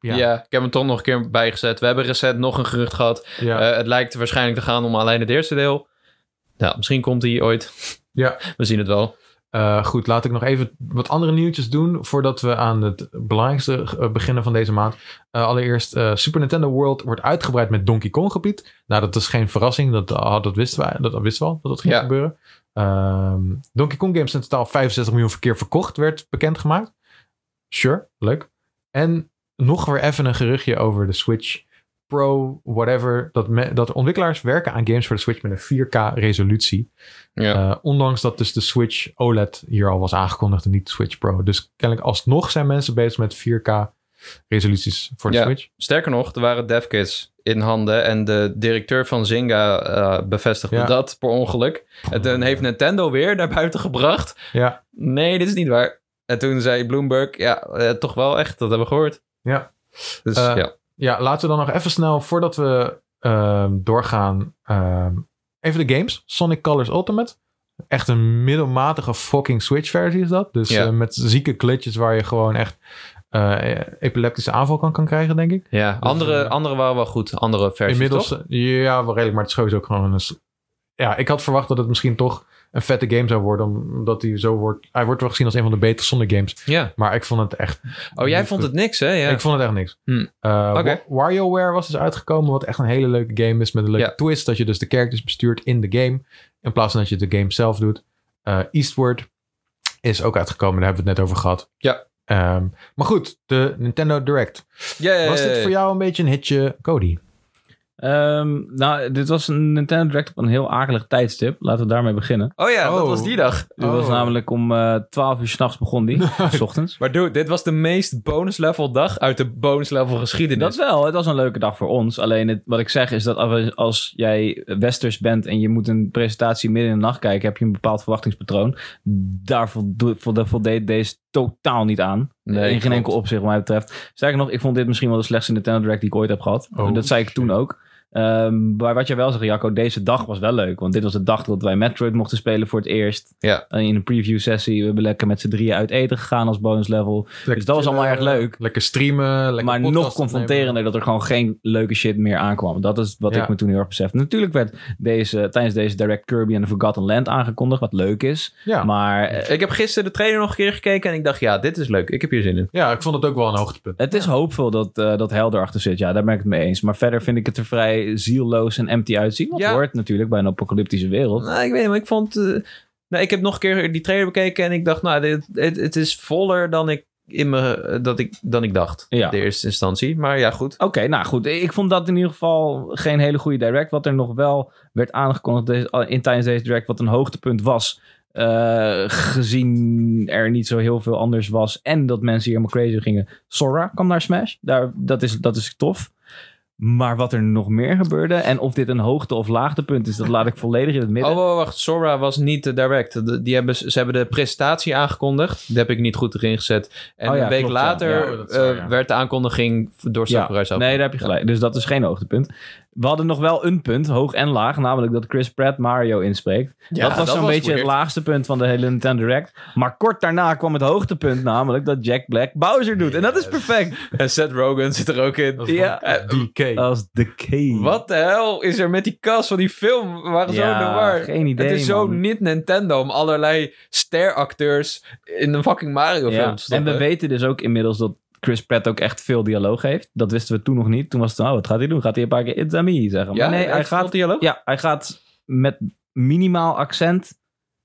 Ja.
Ja.
ik heb hem toch nog een keer bijgezet. We hebben recent nog een gerucht gehad.
Ja.
Eh, het lijkt waarschijnlijk te gaan om alleen het eerste deel. Nou, misschien komt hij ooit.
Ja.
We zien het wel.
Eh, goed, laat ik nog even wat andere nieuwtjes doen voordat we aan het belangrijkste eh, beginnen van deze maand. Eh, allereerst, eh, Super Nintendo World wordt uitgebreid met Donkey Kong gebied. Nou, dat is geen verrassing, dat, ah, dat, wisten, we, dat, dat wisten we al, dat dat ging
Ja.
gebeuren. Ehm, Donkey Kong games in totaal 65 miljoen verkeer verkocht, werd bekendgemaakt. Sure, leuk. En nog weer even een geruchtje over de Switch Pro, whatever. Dat, me- dat ontwikkelaars werken aan games voor de Switch met een 4K resolutie.
Ja.
Eh, ondanks dat dus de Switch OLED hier al was aangekondigd en niet de Switch Pro. Dus kennelijk alsnog zijn mensen bezig met 4K resoluties voor de
Ja.
Switch.
Sterker nog, er waren devkits in handen en de directeur van Zynga eh, bevestigde
Ja.
dat per ongeluk. En toen heeft Nintendo weer naar buiten gebracht.
Ja.
Nee, dit is niet waar. En toen zei Bloomberg, ja, eh, toch wel echt, dat hebben we gehoord.
Ja.
Dus
Eh,
ja,
Ja, laten we dan nog even snel, voordat we ehm, doorgaan, ehm, even de games. Sonic Colors Ultimate. Echt een middelmatige fucking Switch versie is dat. Dus
Ja.
eh, met zieke glitches waar je gewoon echt eh, epileptische aanval kan, kan krijgen, denk ik.
ja. Andere,
eh,
andere waren wel goed, andere versies
Inmiddels, eh,
toch?
ja, wel redelijk, maar het is sowieso ook gewoon een... s- Ja, ik had verwacht dat het misschien toch een vette game zou worden, omdat hij zo wordt... Hij wordt wel gezien als een van de betere Sonic games,
Ja.
maar ik vond het echt...
Oh, jij vond het niks, hè? Ja.
Ik vond het echt niks.
Hmm.
Eh,
Oké.
Wa- WarioWare was dus uitgekomen, wat echt een hele leuke game is met een leuke
Ja.
twist, dat je dus de characters bestuurt in de game, in plaats van dat je de game zelf doet. Eh, Eastward is ook uitgekomen, daar hebben we het net over gehad.
Ja.
Ehm, maar goed, de Nintendo Direct.
Yay.
Was dit voor jou een beetje een hitje, Cody?
Ehm, nou, dit was een Nintendo Direct op een heel akelig tijdstip. Laten we daarmee beginnen.
Oh ja, dat
Oh.
was die dag.
Die was
Oh.
namelijk om eh 12 uur s'nachts begon die, s ochtends.
Maar dude, dit was de meest bonus level dag uit de bonus level geschiedenis.
Dat wel, het was een leuke dag voor ons. Alleen het, wat ik zeg is dat als- als jij westers bent en je moet een presentatie midden in de nacht kijken, heb je een bepaald verwachtingspatroon. Daar voldo- volde- voldeed deze totaal niet aan.
Nee,
in geen
klopt.
enkel opzicht wat mij betreft. Sterker nog, ik vond dit misschien wel de slechtste Nintendo Direct die ik ooit heb gehad.
Oh,
dat zei ik toen ook. Ehm, maar wat jij wel zegt, Jacco, deze dag was wel leuk. Want dit was de dag dat wij Metroid mochten spelen voor het eerst.
Ja.
Eh, In een preview sessie. We hebben lekker met z'n drieën uit eten gegaan als bonus level. Dus dat was allemaal erg leuk.
Lekker streamen. Lekker
maar
podcast
nog confronterender
opnemen.
dat er gewoon geen leuke shit meer aankwam. Dat is wat
Ja.
ik me toen heel erg besefte. Natuurlijk werd deze, eh, tijdens deze Direct Kirby en the Forgotten Land aangekondigd, wat leuk is.
Ja.
Maar eh,
Ik heb gisteren de trailer nog een keer gekeken en ik dacht, ja, dit is leuk. Ik heb hier zin in.
ja, ik vond het ook wel een hoogtepunt.
het is hoopvol dat, eh dat Helder achter zit. Ja, daar ben ik het mee eens. Maar verder vind ik het er vrij zielloos en empty uitzien. Wat
Ja.
hoort natuurlijk bij een apocalyptische wereld.
Nou, ik weet niet, maar ik vond... eh, nou, ik heb nog een keer die trailer bekeken en ik dacht, nou, dit, het, het is voller dan ik, in me, eh, dat ik, dan ik dacht.
Ja.
De eerste instantie. Maar ja, goed.
Oké, nou goed. Ik vond dat in ieder geval geen hele goede direct. Wat er nog wel werd aangekondigd deze, in tijdens deze direct, wat een hoogtepunt was. eh, gezien er niet zo heel veel anders was. En dat mensen hier helemaal crazy gingen. Sora kwam naar Smash. Daar, dat, is, dat is tof. Maar wat er nog meer gebeurde. En of dit een hoogte- of laagtepunt is, dat laat ik volledig in het midden.
Oh, wacht, wacht. Sora was niet de direct. De- die hebben, ze hebben de presentatie aangekondigd. Die heb ik niet goed erin gezet. En
Oh ja,
een week
klopt, ja.
later
Ja, dat is waar,
eh,
ja.
werd de aankondiging door Sakurai zelf.
Nee, daar heb je gelijk. Dus dat is geen hoogtepunt. We hadden nog wel een punt, hoog en laag, namelijk dat Chris Pratt Mario inspreekt.
Ja,
dat was
dat
zo'n
was
beetje
weird.
het laagste punt van de hele Nintendo Direct. Maar kort daarna kwam het hoogtepunt, namelijk dat Jack Black Bowser doet. En dat is
Yes.
perfect.
En Seth Rogen zit er ook in.
Dat
Ja. eh,
ja. DK.
Als de key.
Wat de hel is er met die kast van die film? We waren zo in de
Ja,
war.
geen idee,
Het is zo
man.
niet Nintendo om allerlei steracteurs in een fucking Mario film
Ja.
te
En
stoppen.
we weten dus ook inmiddels dat Chris Pratt ook echt veel dialoog heeft. Dat wisten we toen nog niet. Toen was het, oh, wat gaat hij doen? Gaat hij een paar keer It's a me zeggen?
Ja,
Maar nee, hij
echt
gaat,
veel dialoog?
ja, hij gaat met minimaal accent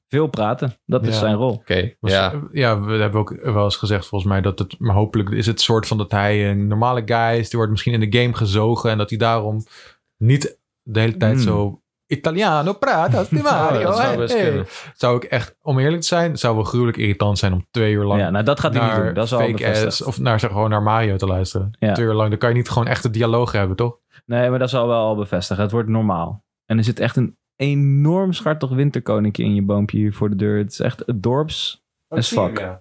veel praten. Dat is
Ja.
zijn rol.
Oké,
Was-
ja.
ja. we hebben ook wel eens gezegd volgens mij dat het, maar hopelijk is het soort van dat hij een normale guy is. Die wordt misschien in de game gezogen en dat hij daarom niet de hele tijd
Hmm.
zo Italiano prata, sti Mario.
dat zou
hey,
best
hey.
kunnen.
Zou ik echt, om eerlijk te zijn, zou wel gruwelijk irritant zijn om twee uur lang
Ja, nou dat gaat hij niet
naar
doen. Dat is al
fake ass,
bevestigd.
of naar, zeg, gewoon naar Mario te luisteren.
Ja.
Twee uur lang, dan kan je niet gewoon echte dialoog hebben, toch?
Nee, maar dat is al wel al bevestigd. Het wordt normaal. En er zit echt een enorm schartig winterkoninkje in je boompje hier voor de deur. Het is echt het dorps. ik As zie fuck. hem,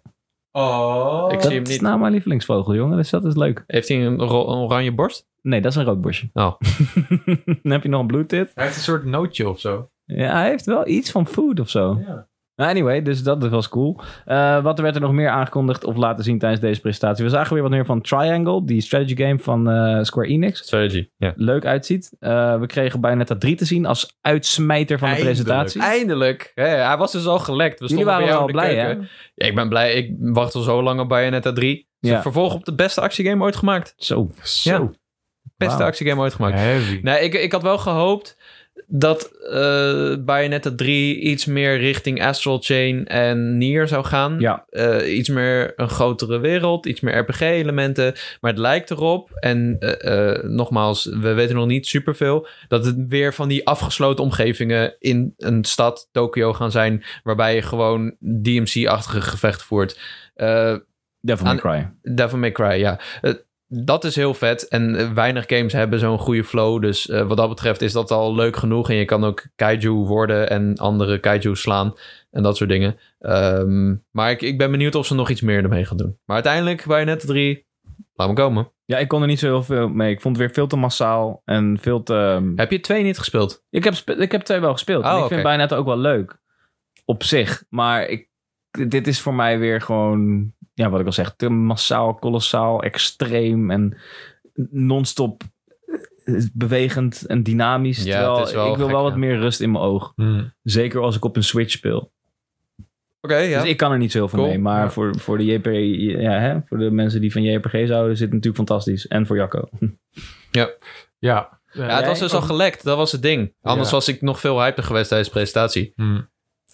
Oh.
Ik
dat
zie hem
is
niet.
nou mijn lievelingsvogel, jongen. Dus dat is leuk.
Heeft hij een, ro- een oranje borst?
Nee, dat is een roodborstje.
Oh.
Dan heb je nog een bloedtit.
Hij heeft een soort nootje of zo.
Ja, hij heeft wel iets van food of zo.
Ja.
Nou, anyway, dus dat was cool. Eh, wat werd er nog meer aangekondigd of laten zien tijdens deze presentatie? We zagen weer wat meer van Triangle, die strategy game van eh, Square Enix.
Strategy, ja.
Leuk uitziet. Eh, we kregen Bayonetta 3 te zien als uitsmijter van
Eindelijk.
de presentatie.
Eindelijk. Hé, hij was dus al gelekt. We
Jullie
stonden
waren
bij jou
wel
in de
blij,
keuken.
hè?
Ja, ik ben blij. Ik wacht al zo lang op Bayonetta 3. Is
Ja.
het vervolg op de beste actiegame ooit gemaakt.
Zo.
Zo.
Beste
Wauw.
actiegame ooit gemaakt.
Heavy.
Nee, ik, ik had wel gehoopt dat eh Bayonetta 3 iets meer richting Astral Chain en Nier zou gaan.
Ja,
Eh, iets meer een grotere wereld, iets meer RPG-elementen. Maar het lijkt erop, en eh, eh, nogmaals, we weten nog niet superveel, dat het weer van die afgesloten omgevingen in een stad, Tokio, gaan zijn, waarbij je gewoon DMC-achtige gevechten voert. Eh
Devil May
Aan-
Cry.
Devil May Cry, ja. Eh, dat is heel vet. En eh, weinig games hebben zo'n goede flow. Dus eh, wat dat betreft is dat al leuk genoeg. En je kan ook kaiju worden en andere kaiju slaan. En dat soort dingen. Ehm, maar ik, ik ben benieuwd of ze nog iets meer ermee gaan doen. Maar uiteindelijk, Bayonetta 3, laat me komen.
Ja, ik kon er niet zo heel veel mee. Ik vond het weer veel te massaal en veel te... ehm,
Heb je 2 niet gespeeld?
Ik, heb spe- ik heb twee wel gespeeld.
Oh,
en ik
oké.
vind Bayonetta ook wel leuk. Op zich. Maar ik, dit is voor mij weer gewoon... Ja, wat ik al zeg. Te massaal, kolossaal, extreem en non-stop eh, bewegend en dynamisch.
Ja,
Terwijl
het is wel
ik wil
gek,
wel
ja.
wat meer rust in mijn oog.
Hmm.
Zeker als ik op een Switch speel.
Oké, ja.
Dus ik kan er niet zo heel veel
Cool.
mee. Maar
Ja.
voor, voor, de JPG, ja, hè, voor de mensen die van JRPG's houden, is dit natuurlijk fantastisch. En voor Jacco.
Ja.
ja, het was dus al gelekt. Dat was het ding. Anders
Ja.
was ik nog veel hyper geweest tijdens de presentatie.
Hmm.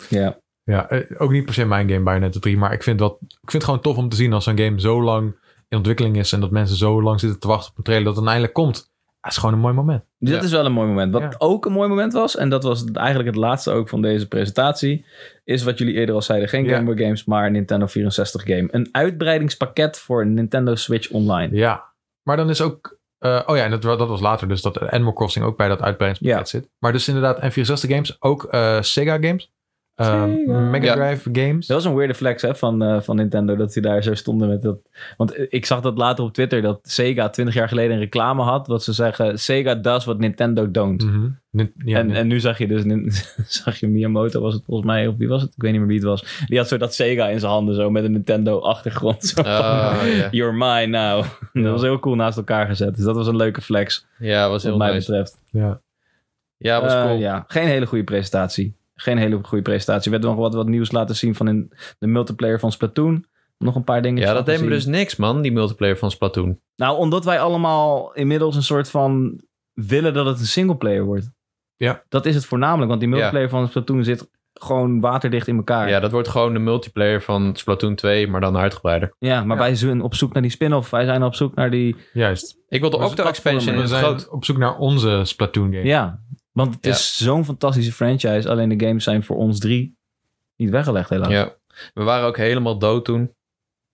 Ja.
Ja, eh, ook niet per se mijn game Bayonetta 3. Maar ik vind, dat, ik vind het gewoon tof om te zien als zo'n game zo lang in ontwikkeling is. En dat mensen zo lang zitten te wachten op een trailer dat het eindelijk komt. Dat is gewoon een mooi moment.
Dus
Ja.
dat is wel een mooi moment. Wat
Ja.
ook een mooi moment was, en dat was eigenlijk het laatste ook van deze presentatie, is wat jullie eerder al zeiden: geen
Ja.
Game Boy Games, maar Nintendo 64 game. Een uitbreidingspakket voor Nintendo Switch Online.
Ja. Maar dan is ook... eh, oh ja, en dat, wa- dat was later dus dat Animal Crossing ook bij dat uitbreidingspakket
Ja.
zit. Maar dus inderdaad N64 games, ook eh, Sega games. eh,
Sega.
Mega
Ja.
Drive games.
Dat was een weirde flex hè, van, eh, van Nintendo, dat die daar zo stonden met dat. Want eh, ik zag dat later op Twitter, dat Sega 20 jaar geleden een reclame had, wat ze zeggen: Sega does what Nintendo don't.
Mhm. Nin- ja,
en,
nin-
en nu zag je dus nin- zag je Miyamoto, was het volgens mij, of wie was het? Ik weet niet meer wie het was. Die had zo dat Sega in zijn handen, zo met een Nintendo-achtergrond. Zo van,
Ah, ja.
You're mine now. Dat was heel cool naast elkaar gezet. Dus dat was een leuke flex,
Ja, was
wat
heel
mij
nice.
betreft.
ja.
Ja, was
Eh,
cool.
ja, geen hele goede presentatie. Geen hele goede presentatie. We hebben nog wat, wat nieuws laten zien van in de multiplayer van Splatoon. Nog een paar dingen.
Ja, dat deed me dus niks, man. Die multiplayer van Splatoon.
Nou, omdat wij allemaal inmiddels een soort van willen dat het een singleplayer wordt.
Ja.
Dat is het voornamelijk, want die
Ja.
multiplayer van Splatoon zit gewoon waterdicht in elkaar.
Ja, dat wordt gewoon de multiplayer van Splatoon 2, maar dan uitgebreider.
Ja, maar
Ja.
wij zijn op zoek naar die spin-off. Wij zijn op zoek naar die...
juist.
Ik wil de
Maar het is
Octo-expansion in
platformen,
We
het
zijn
groot.
op zoek naar onze Splatoon game.
Ja, want het
Ja.
is zo'n fantastische franchise. Alleen de games zijn voor ons drie niet weggelegd helaas.
Ja. We waren ook helemaal dood toen.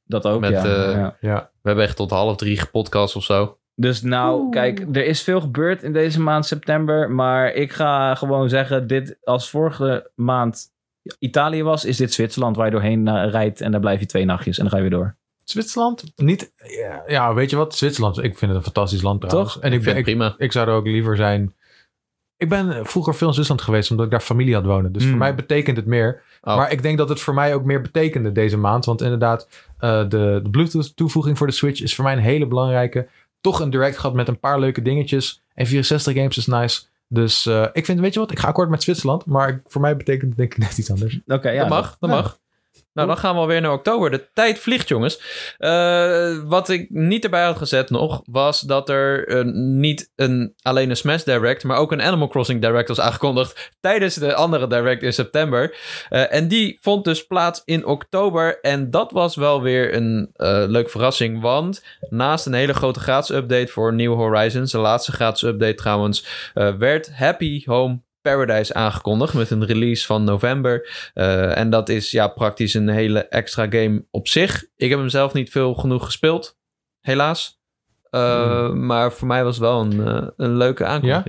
Dat ook,
Met,
ja.
eh,
ja.
Ja.
We hebben echt tot half drie gepodcast of zo.
Dus nou, kijk, er is veel gebeurd in deze maand september. Maar ik ga gewoon zeggen, dit als vorige maand Italië was, is dit Zwitserland waar je doorheen eh, rijdt. En daar blijf je twee nachtjes en dan ga je weer door.
Zwitserland? Niet... Ja, ja, weet je wat? Zwitserland. Ik vind het een fantastisch land trouwens. En
Ik
ik,
vind
ben,
het
ik,
prima.
Ik zou er ook liever zijn. Ik ben eh, vroeger veel in Zwitserland geweest, omdat ik daar familie had wonen. Dus
Hmm.
voor mij betekent het meer.
Oh.
Maar ik denk dat het voor mij ook meer betekende deze maand. Want inderdaad, eh, de, de Bluetooth-toevoeging voor de Switch is voor mij een hele belangrijke. Toch een direct gehad met een paar leuke dingetjes. En 64 games is nice. Dus eh, ik vind, weet je wat, ik ga akkoord met Zwitserland. Maar ik- voor mij betekent het denk ik net iets anders.
Oké, ja.
dat mag, dat
ja.
mag. Nou, dan gaan we alweer naar oktober. De tijd vliegt, jongens. Eh, wat ik niet erbij had gezet nog, was dat er eh, niet een, alleen een Smash Direct, maar ook een Animal Crossing Direct was aangekondigd tijdens de andere Direct in september. Eh, en die vond dus plaats in oktober. En dat was wel weer een eh leuke verrassing, want naast een hele grote gratis update voor New Horizons, de laatste gratis update trouwens, eh, werd Happy Home Paradise aangekondigd met een release van november. Eh, en dat is ja, praktisch een hele extra game op zich. Ik heb hem zelf niet veel genoeg gespeeld, helaas. Eh, Maar voor mij was het wel een, eh, een leuke aankondiging.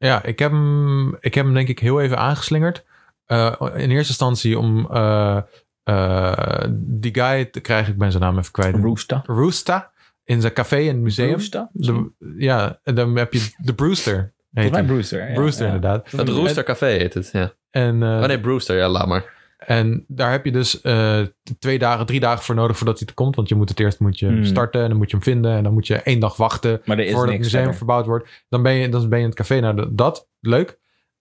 Hmm. Ja, ik heb hem, ik heb hem denk ik heel even aangeslingerd. Eh, in eerste instantie om eh, eh, die guy te krijgen, ik ben zijn naam even kwijt.
Rooster.
Roosta in zijn café in het museum.
Rooster?
De, ja, en dan heb je de Brewster. Heet
Volgens mij
hij.
Brewster. ja,
Brewster
ja.
inderdaad.
Het
En-
Rooster Café heet het, ja.
En, eh,
Oh nee, Brewster, ja, laat maar.
en daar heb je dus eh, twee dagen, drie dagen voor nodig voordat hij er komt. Want je moet het eerst moet je
Hmm.
starten en dan moet je hem vinden. En dan moet je één dag wachten
Maar er is
voordat het
niks
museum
verder.
verbouwd wordt. Dan ben, je, dan ben je in het café. Nou, dat- dat, leuk.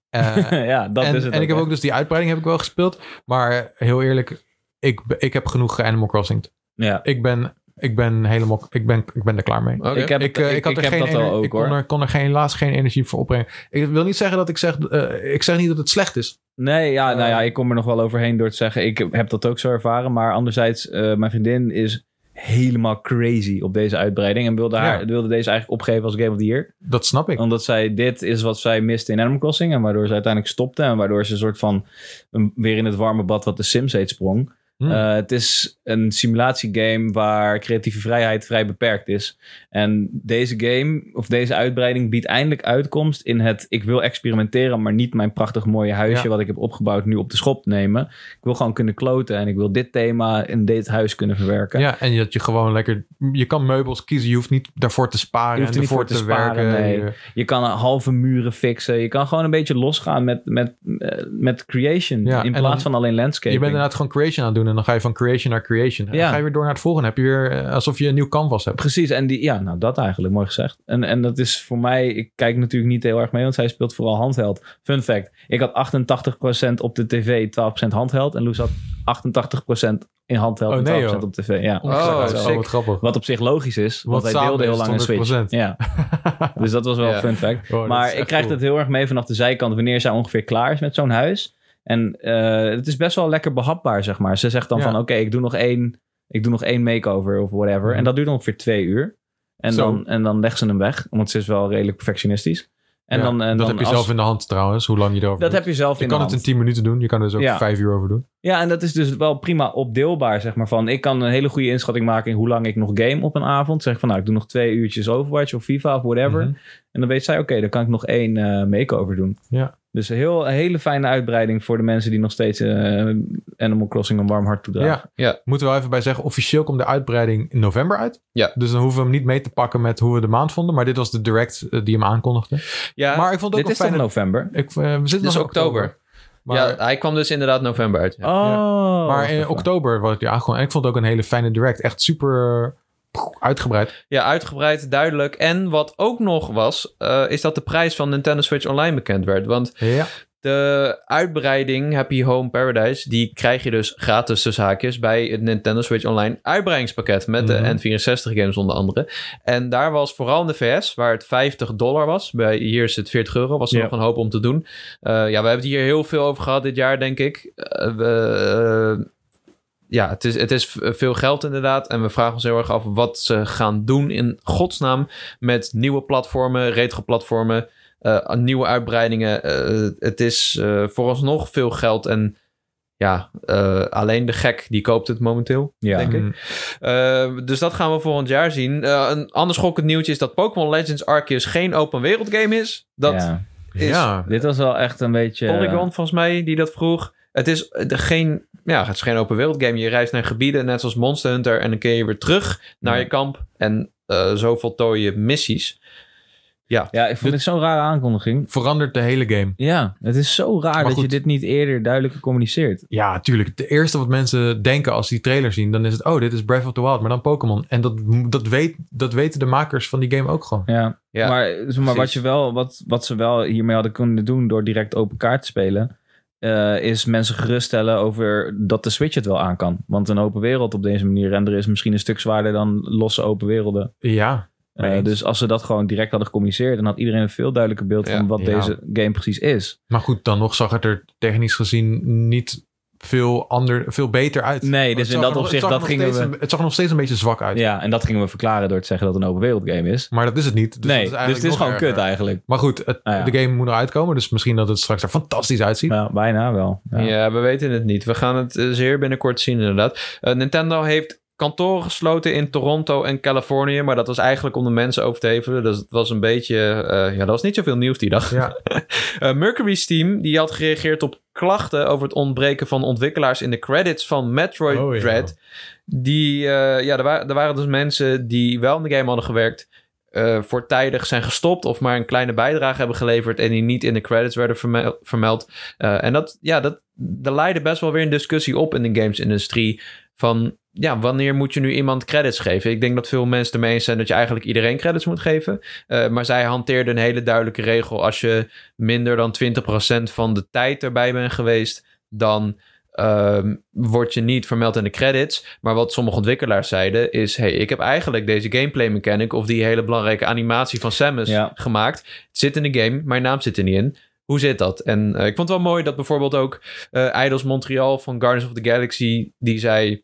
Eh,
ja, dat
en,
is het.
en ik heb
hè.
ook dus die uitbreiding heb ik wel gespeeld. Maar heel eerlijk, ik, ik heb genoeg eh, Animal Crossing.
Ja.
Ik ben, ik ben helemaal, ik ben, ik ben er klaar mee.
Oké.
Ik heb,
Ik,
ik,
eh, ik,
ik,
had er
heb
geen
dat al
ener-
ook
ik
hoor.
kon er, kon er geen, helaas geen energie voor opbrengen. Ik wil niet zeggen dat ik zeg, eh, ik zeg niet dat het slecht is.
Nee, ja, nou ja,
Eh,
ik kom er nog wel overheen door te zeggen. Ik heb dat ook zo ervaren. Maar anderzijds, eh, mijn vriendin is helemaal crazy op deze uitbreiding. En wilde, haar,
Ja.
wilde deze eigenlijk opgeven als Game of the Year.
Dat snap ik.
Omdat zij, dit is wat zij miste in Animal Crossing. En waardoor ze uiteindelijk stopte. En waardoor ze een soort van een- weer in het warme bad wat de Sims heet sprong.
Hmm.
Eh, het is een simulatiegame waar creatieve vrijheid vrij beperkt is. En deze game, of deze uitbreiding, biedt eindelijk uitkomst in het... ik wil experimenteren, maar niet mijn prachtig mooie huisje...
Ja.
wat ik heb opgebouwd nu op de schop nemen. Ik wil gewoon kunnen kloten en ik wil dit thema in dit huis kunnen verwerken.
Ja, en dat je gewoon lekker, je kan meubels kiezen. Je hoeft niet daarvoor te sparen
Je hoeft
en
er niet
ervoor
voor te sparen, nee.
Je-
Je kan halve muren fixen. Je kan gewoon een beetje losgaan met, met, eh, met creation...
Ja,
in
en
plaats
dan-
van alleen
Je
landscaping.
bent inderdaad gewoon creation aan het doen. En dan ga je van creation naar creation. En
Ja.
dan ga je weer door naar het volgende. Heb je weer eh, alsof je een nieuw canvas hebt.
Precies, en die, ja, nou dat eigenlijk, mooi gezegd. En, en dat is voor mij, ik kijk natuurlijk niet heel erg mee, want zij speelt vooral handheld. Fun fact, ik had 88% op de tv, 12% handheld. En Loes had 88% in handheld
Oh,
en 12%
nee, joh.
op tv. Ja.
Oh,
zo,
sick.
wat grappig.
Wat op zich logisch is,
Wat
want hij
samen
deelde heel
is
lang een Switch.
100%.
Ja, dus dat was wel
Ja.
een fun fact.
Oh, dat is
maar
echt
ik krijg
cool.
dat heel erg mee vanaf de zijkant wanneer zij ongeveer klaar is met zo'n huis. En eh, het is best wel lekker behapbaar, zeg maar. Ze zegt dan
Ja.
van, oké, ik doe nog één, ik doe nog één makeover of whatever.
Mhm.
En dat duurt ongeveer twee uur. En
Zo.
dan, en dan legt ze hem weg, want ze is wel redelijk perfectionistisch. En
Ja,
dan,
dat
en dan
heb je
als-
zelf in de hand trouwens, hoe lang je erover
dat
doet.
heb je zelf
je
in
kan
de
het in
hand.
10 minuten doen. Je kan er dus ook
Ja.
5 uur over doen.
Ja, en dat is dus wel prima opdeelbaar, zeg maar. Van, ik kan een hele goede inschatting maken in hoe lang ik nog game op een avond. Zeg ik van, nou, ik doe nog twee uurtjes Overwatch of FIFA of whatever.
Mhm.
En dan weet zij, oké, dan kan ik nog één eh makeover doen.
Ja.
Dus een, heel, een hele fijne uitbreiding voor de mensen die nog steeds eh, Animal Crossing een warm hart toedragen.
Ja. Moeten we wel even bij zeggen, officieel komt de uitbreiding in november uit.
Ja.
Dus dan hoeven we hem niet mee te pakken met hoe we de maand vonden. Maar dit was de direct eh, die hem aankondigde.
Ja,
maar ik vond het ook
Dit
een
is toch
fijne...
november?
Ik, eh, we zitten
dit is
nog in
oktober.
Maar,
ja, hij kwam dus inderdaad november uit. Ja.
maar eh,
Oh. wacht
in
even.
oktober was die aangekondigd. En ik vond het ook een hele fijne direct. Echt super eh, uitgebreid.
Ja, uitgebreid, duidelijk. En wat ook nog was, eh, is dat de prijs van Nintendo Switch Online bekend werd. Want
Ja.
de uitbreiding Happy Home Paradise, die krijg je dus gratis tussen haakjes bij het Nintendo Switch Online uitbreidingspakket met
Mhm.
de N64 games onder andere. En daar was vooral in de VS, waar het 50 dollar was, bij hier is het 40 euro, was er
Ja.
nog een hoop om te doen. Eh, ja, we hebben het hier heel veel over gehad dit jaar, denk ik. Eh, we, eh, ja, het is, het is v- veel geld inderdaad. En we vragen ons heel erg af wat ze gaan doen in godsnaam met nieuwe platformen, retro platformen, eh, nieuwe uitbreidingen. Eh, het is eh, vooralsnog veel geld en ja, eh, alleen de gek die koopt het momenteel.
Ja.
denk ik.
Mm.
Eh, dus dat gaan we volgend jaar zien. Eh, een ander schokkend nieuwtje is dat Pokémon Legends Arceus geen open wereld game is. Dat
Ja.
is
ja.
Dit was wel echt een beetje... eh,
Polygon volgens mij die dat vroeg. Het is, eh, de, geen, ja, het is geen open wereld game. Je reist naar gebieden, net zoals Monster Hunter. En dan keer je weer terug naar
Ja.
je kamp. En eh, zo voltooi je missies.
Ja, ik vond dit zo'n rare aankondiging.
Verandert de hele game.
Ja, het is zo raar dat
goed.
je dit niet eerder duidelijk communiceert.
Ja, tuurlijk. De eerste wat mensen denken als die trailer zien, dan is het... Oh, dit is Breath of the Wild, maar dan Pokémon. En dat, dat, weet, dat weten de makers van die game ook gewoon.
Ja,
Ja,
maar, eh, zeg maar wat,
precies.
je wel, wat, wat ze wel hiermee hadden kunnen doen door direct open kaart te spelen, eh, is mensen geruststellen over dat de Switch het wel aan kan. Want een open wereld op deze manier renderen is misschien een stuk zwaarder dan losse open werelden.
Ja,
Eh,
Eens.
dus als ze dat gewoon direct hadden gecommuniceerd, dan had iedereen een veel duidelijker beeld
Ja.
van wat
Ja.
deze game precies is.
maar goed, dan nog zag het er technisch gezien niet veel, ander, veel beter uit.
Nee, dus
Het zag
in dat
er- het
opzicht
zag er
dat
nog
gingen
steeds
we...
een- het zag er nog steeds een beetje zwak uit.
Ja, en dat gingen we verklaren door te zeggen dat het een open wereld game is.
Maar dat is het niet. Dus
nee,
dat is
dus
eigenlijk
het is
nog
gewoon
erger.
kut eigenlijk.
Maar goed, het-
Ah, ja.
de game moet nog uitkomen. Dus misschien dat het straks er fantastisch uitziet.
Nou, bijna wel.
Ja. we weten het niet. We gaan het eh, zeer binnenkort zien, inderdaad. Eh, Nintendo heeft kantoren gesloten in Toronto en Californië. Maar dat was eigenlijk om de mensen over te hevelen. Dus het was een beetje. eh, ja, er was niet zoveel nieuws die dag.
Ja.
Eh, Mercury's team die had gereageerd op klachten over het ontbreken van ontwikkelaars in de credits van Metroid
Oh, ja.
Dread. Die, eh, ja, er, wa- er waren dus mensen die wel in de game hadden gewerkt, eh voortijdig zijn gestopt of maar een kleine bijdrage hebben geleverd en die niet in de credits werden vermel- vermeld. Eh, en dat, ja, dat, dat leidde best wel weer een discussie op in de gamesindustrie van, ja, wanneer moet je nu iemand credits geven? Ik denk dat veel mensen ermee eens zijn dat je eigenlijk iedereen credits moet geven. Eh, maar zij hanteerden een hele duidelijke regel. Als je minder dan 20% van de tijd erbij bent geweest, dan ehm, word je niet vermeld in de credits. Maar wat sommige ontwikkelaars zeiden is: hey, ik heb eigenlijk deze gameplay mechanic of die hele belangrijke animatie van Samus
Ja.
gemaakt. Het zit in de game, mijn naam zit er niet in. Hoe zit dat? En eh, ik vond het wel mooi dat bijvoorbeeld ook eh Idols Montreal van Guardians of the Galaxy, die zei: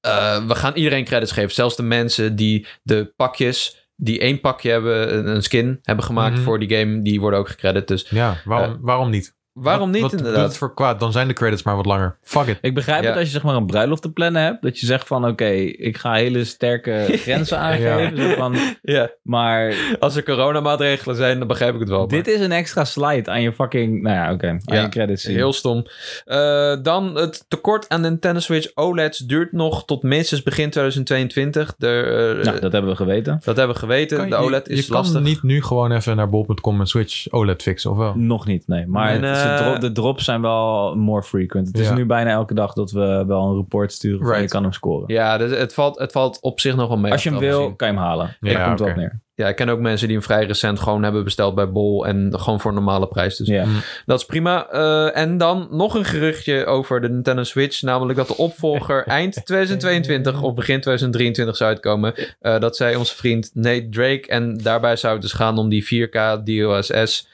eh, We gaan iedereen credits geven. Zelfs de mensen die de pakjes. Die één pakje hebben, een- een skin hebben gemaakt
Mhm.
voor die game, die worden ook gecredit. Dus
Ja, waarom,
Eh,
waarom niet?
Waarom
Wat-
niet,
wat doet het
inderdaad?
voor kwaad? Dan zijn de credits maar wat langer. Fuck it.
Ik begrijp
Ja.
het als je zeg maar een bruiloft te plannen hebt. Dat je zegt van oké, ik ga hele sterke grenzen aangeven. Zo van,
Ja,
maar
als er coronamaatregelen zijn, dan begrijp ik het wel. maar-
dit is een extra slide aan je fucking... Nou ja, oké. aan
Ja,
je credits zien.
Heel stom. Eh, dan het tekort aan Nintendo Switch OLEDs duurt nog tot minstens begin 2022. De, eh,
Nou, dat hebben we geweten.
dat hebben we geweten.
Kan
de
je-
OLED is
je
lastig.
kan niet nu gewoon even naar bol.com en Switch OLED fixen, of wel?
Nog niet, nee. Maar
En,
het is- de,
eh,
drop- de drops zijn wel more frequent. Het is
Ja.
nu bijna elke dag dat we wel een report sturen van
Right.
je kan hem scoren.
Ja, dus het, valt, het valt op zich nog wel mee.
Als je hem
achteraf
wil,
gezien.
kan je hem halen.
Ja,
Daar komt het
oké.
op neer.
Ja, ik ken ook mensen die hem vrij recent gewoon hebben besteld bij Bol. En gewoon voor een normale prijs. Dus
Ja.
Dat is prima. Eh, en dan nog een geruchtje over de Nintendo Switch. Namelijk dat de opvolger eind 2022 of begin 2023 zou uitkomen. Eh, dat zei onze vriend Nate Drake. En daarbij zou het dus gaan om die 4K DLSS.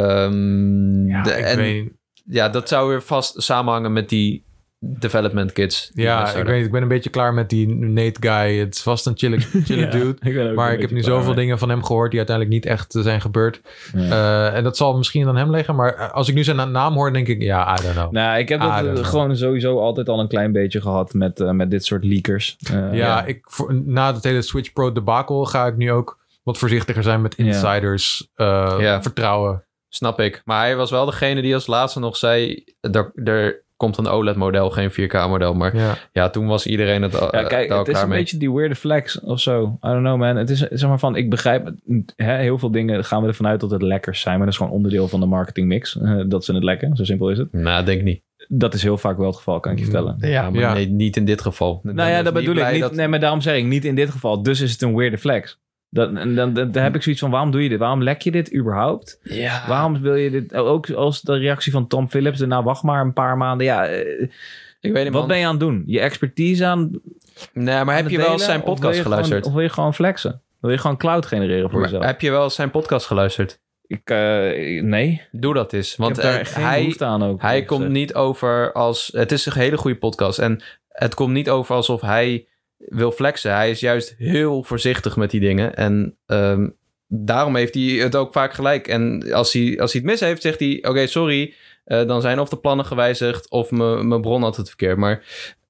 Ehm,
Ja,
de-
ik
en
weet,
ja, dat zou weer vast samenhangen met die development kits. die
ja,
uit
ik,
zouden.
weet, ik ben een beetje klaar met die Nate guy. Het was een chille, chille
Ja,
dude.
ik ben ook
Maar
een
ik heb nu
beetje klaar
zoveel
mee.
dingen van hem gehoord die uiteindelijk niet echt eh, zijn gebeurd.
Ja.
Eh, en dat zal misschien aan hem liggen. Maar eh, als ik nu zijn na- naam hoor, denk ik, ja, I don't know.
Nou, ik heb
Ah,
dat
dat
eh,
is wel-
gewoon sowieso altijd al een klein beetje gehad met, eh, met dit soort leakers. Eh,
ja, Ik, voor- na het hele Switch Pro debacle ga ik nu ook wat voorzichtiger zijn met
Ja.
insiders eh,
Ja.
vertrouwen.
Snap ik. Maar hij was wel degene die als laatste nog zei... Er, er komt een OLED-model, geen 4K-model. Maar
Ja.
ja, toen was iedereen het al,
Ja, kijk,
al
het is
klaar
een
eh, mee.
beetje die weirde flex of zo. I don't know, man. Het is zeg maar van, ik begrijp, het, hè, heel veel dingen gaan we ervan uit dat het lekkers zijn, maar dat is gewoon onderdeel van de marketingmix. eh, dat ze het lekken, zo simpel is het.
Nou, denk niet.
Dat is heel vaak wel het geval, kan ik je vertellen.
Mm. Ja, maar
Ja.
Nee, niet in dit geval. dus
Nou ja, dat bedoel ik niet.
Dat...
Nee, maar daarom zeg ik niet in dit geval. Dus is het een weirde flex. Dat, en dan, dan, dan heb ik zoiets van, waarom doe je dit? Waarom lek je dit überhaupt?
Ja.
Waarom wil je dit? eh, Ook als de reactie van Tom Phillips, nou wacht maar een paar maanden. Ja, eh,
Ik weet het,
wat
man.
ben je aan het doen? Je expertise aan
Nee, maar heb je
aan het
wel eens
delen?
zijn
Of wil
podcast
je gewoon-
geluisterd?
Of wil je gewoon flexen? Wil je gewoon cloud genereren voor
Maar
jezelf?
heb je wel eens zijn podcast geluisterd?
Ik, eh, nee.
Doe dat eens. Want
ik heb daar
eh,
geen
hij,
behoefte aan ook.
hij
eerlijk
komt
gezegd.
niet over als... Het is een hele goede podcast. En het komt niet over alsof hij wil flexen. Hij is juist heel voorzichtig met die dingen. En ehm, daarom heeft hij het ook vaak gelijk. En als hij, als hij het mis heeft, zegt hij... Oké, sorry. eh, dan zijn of de plannen gewijzigd... of me- mijn bron had het verkeerd. Maar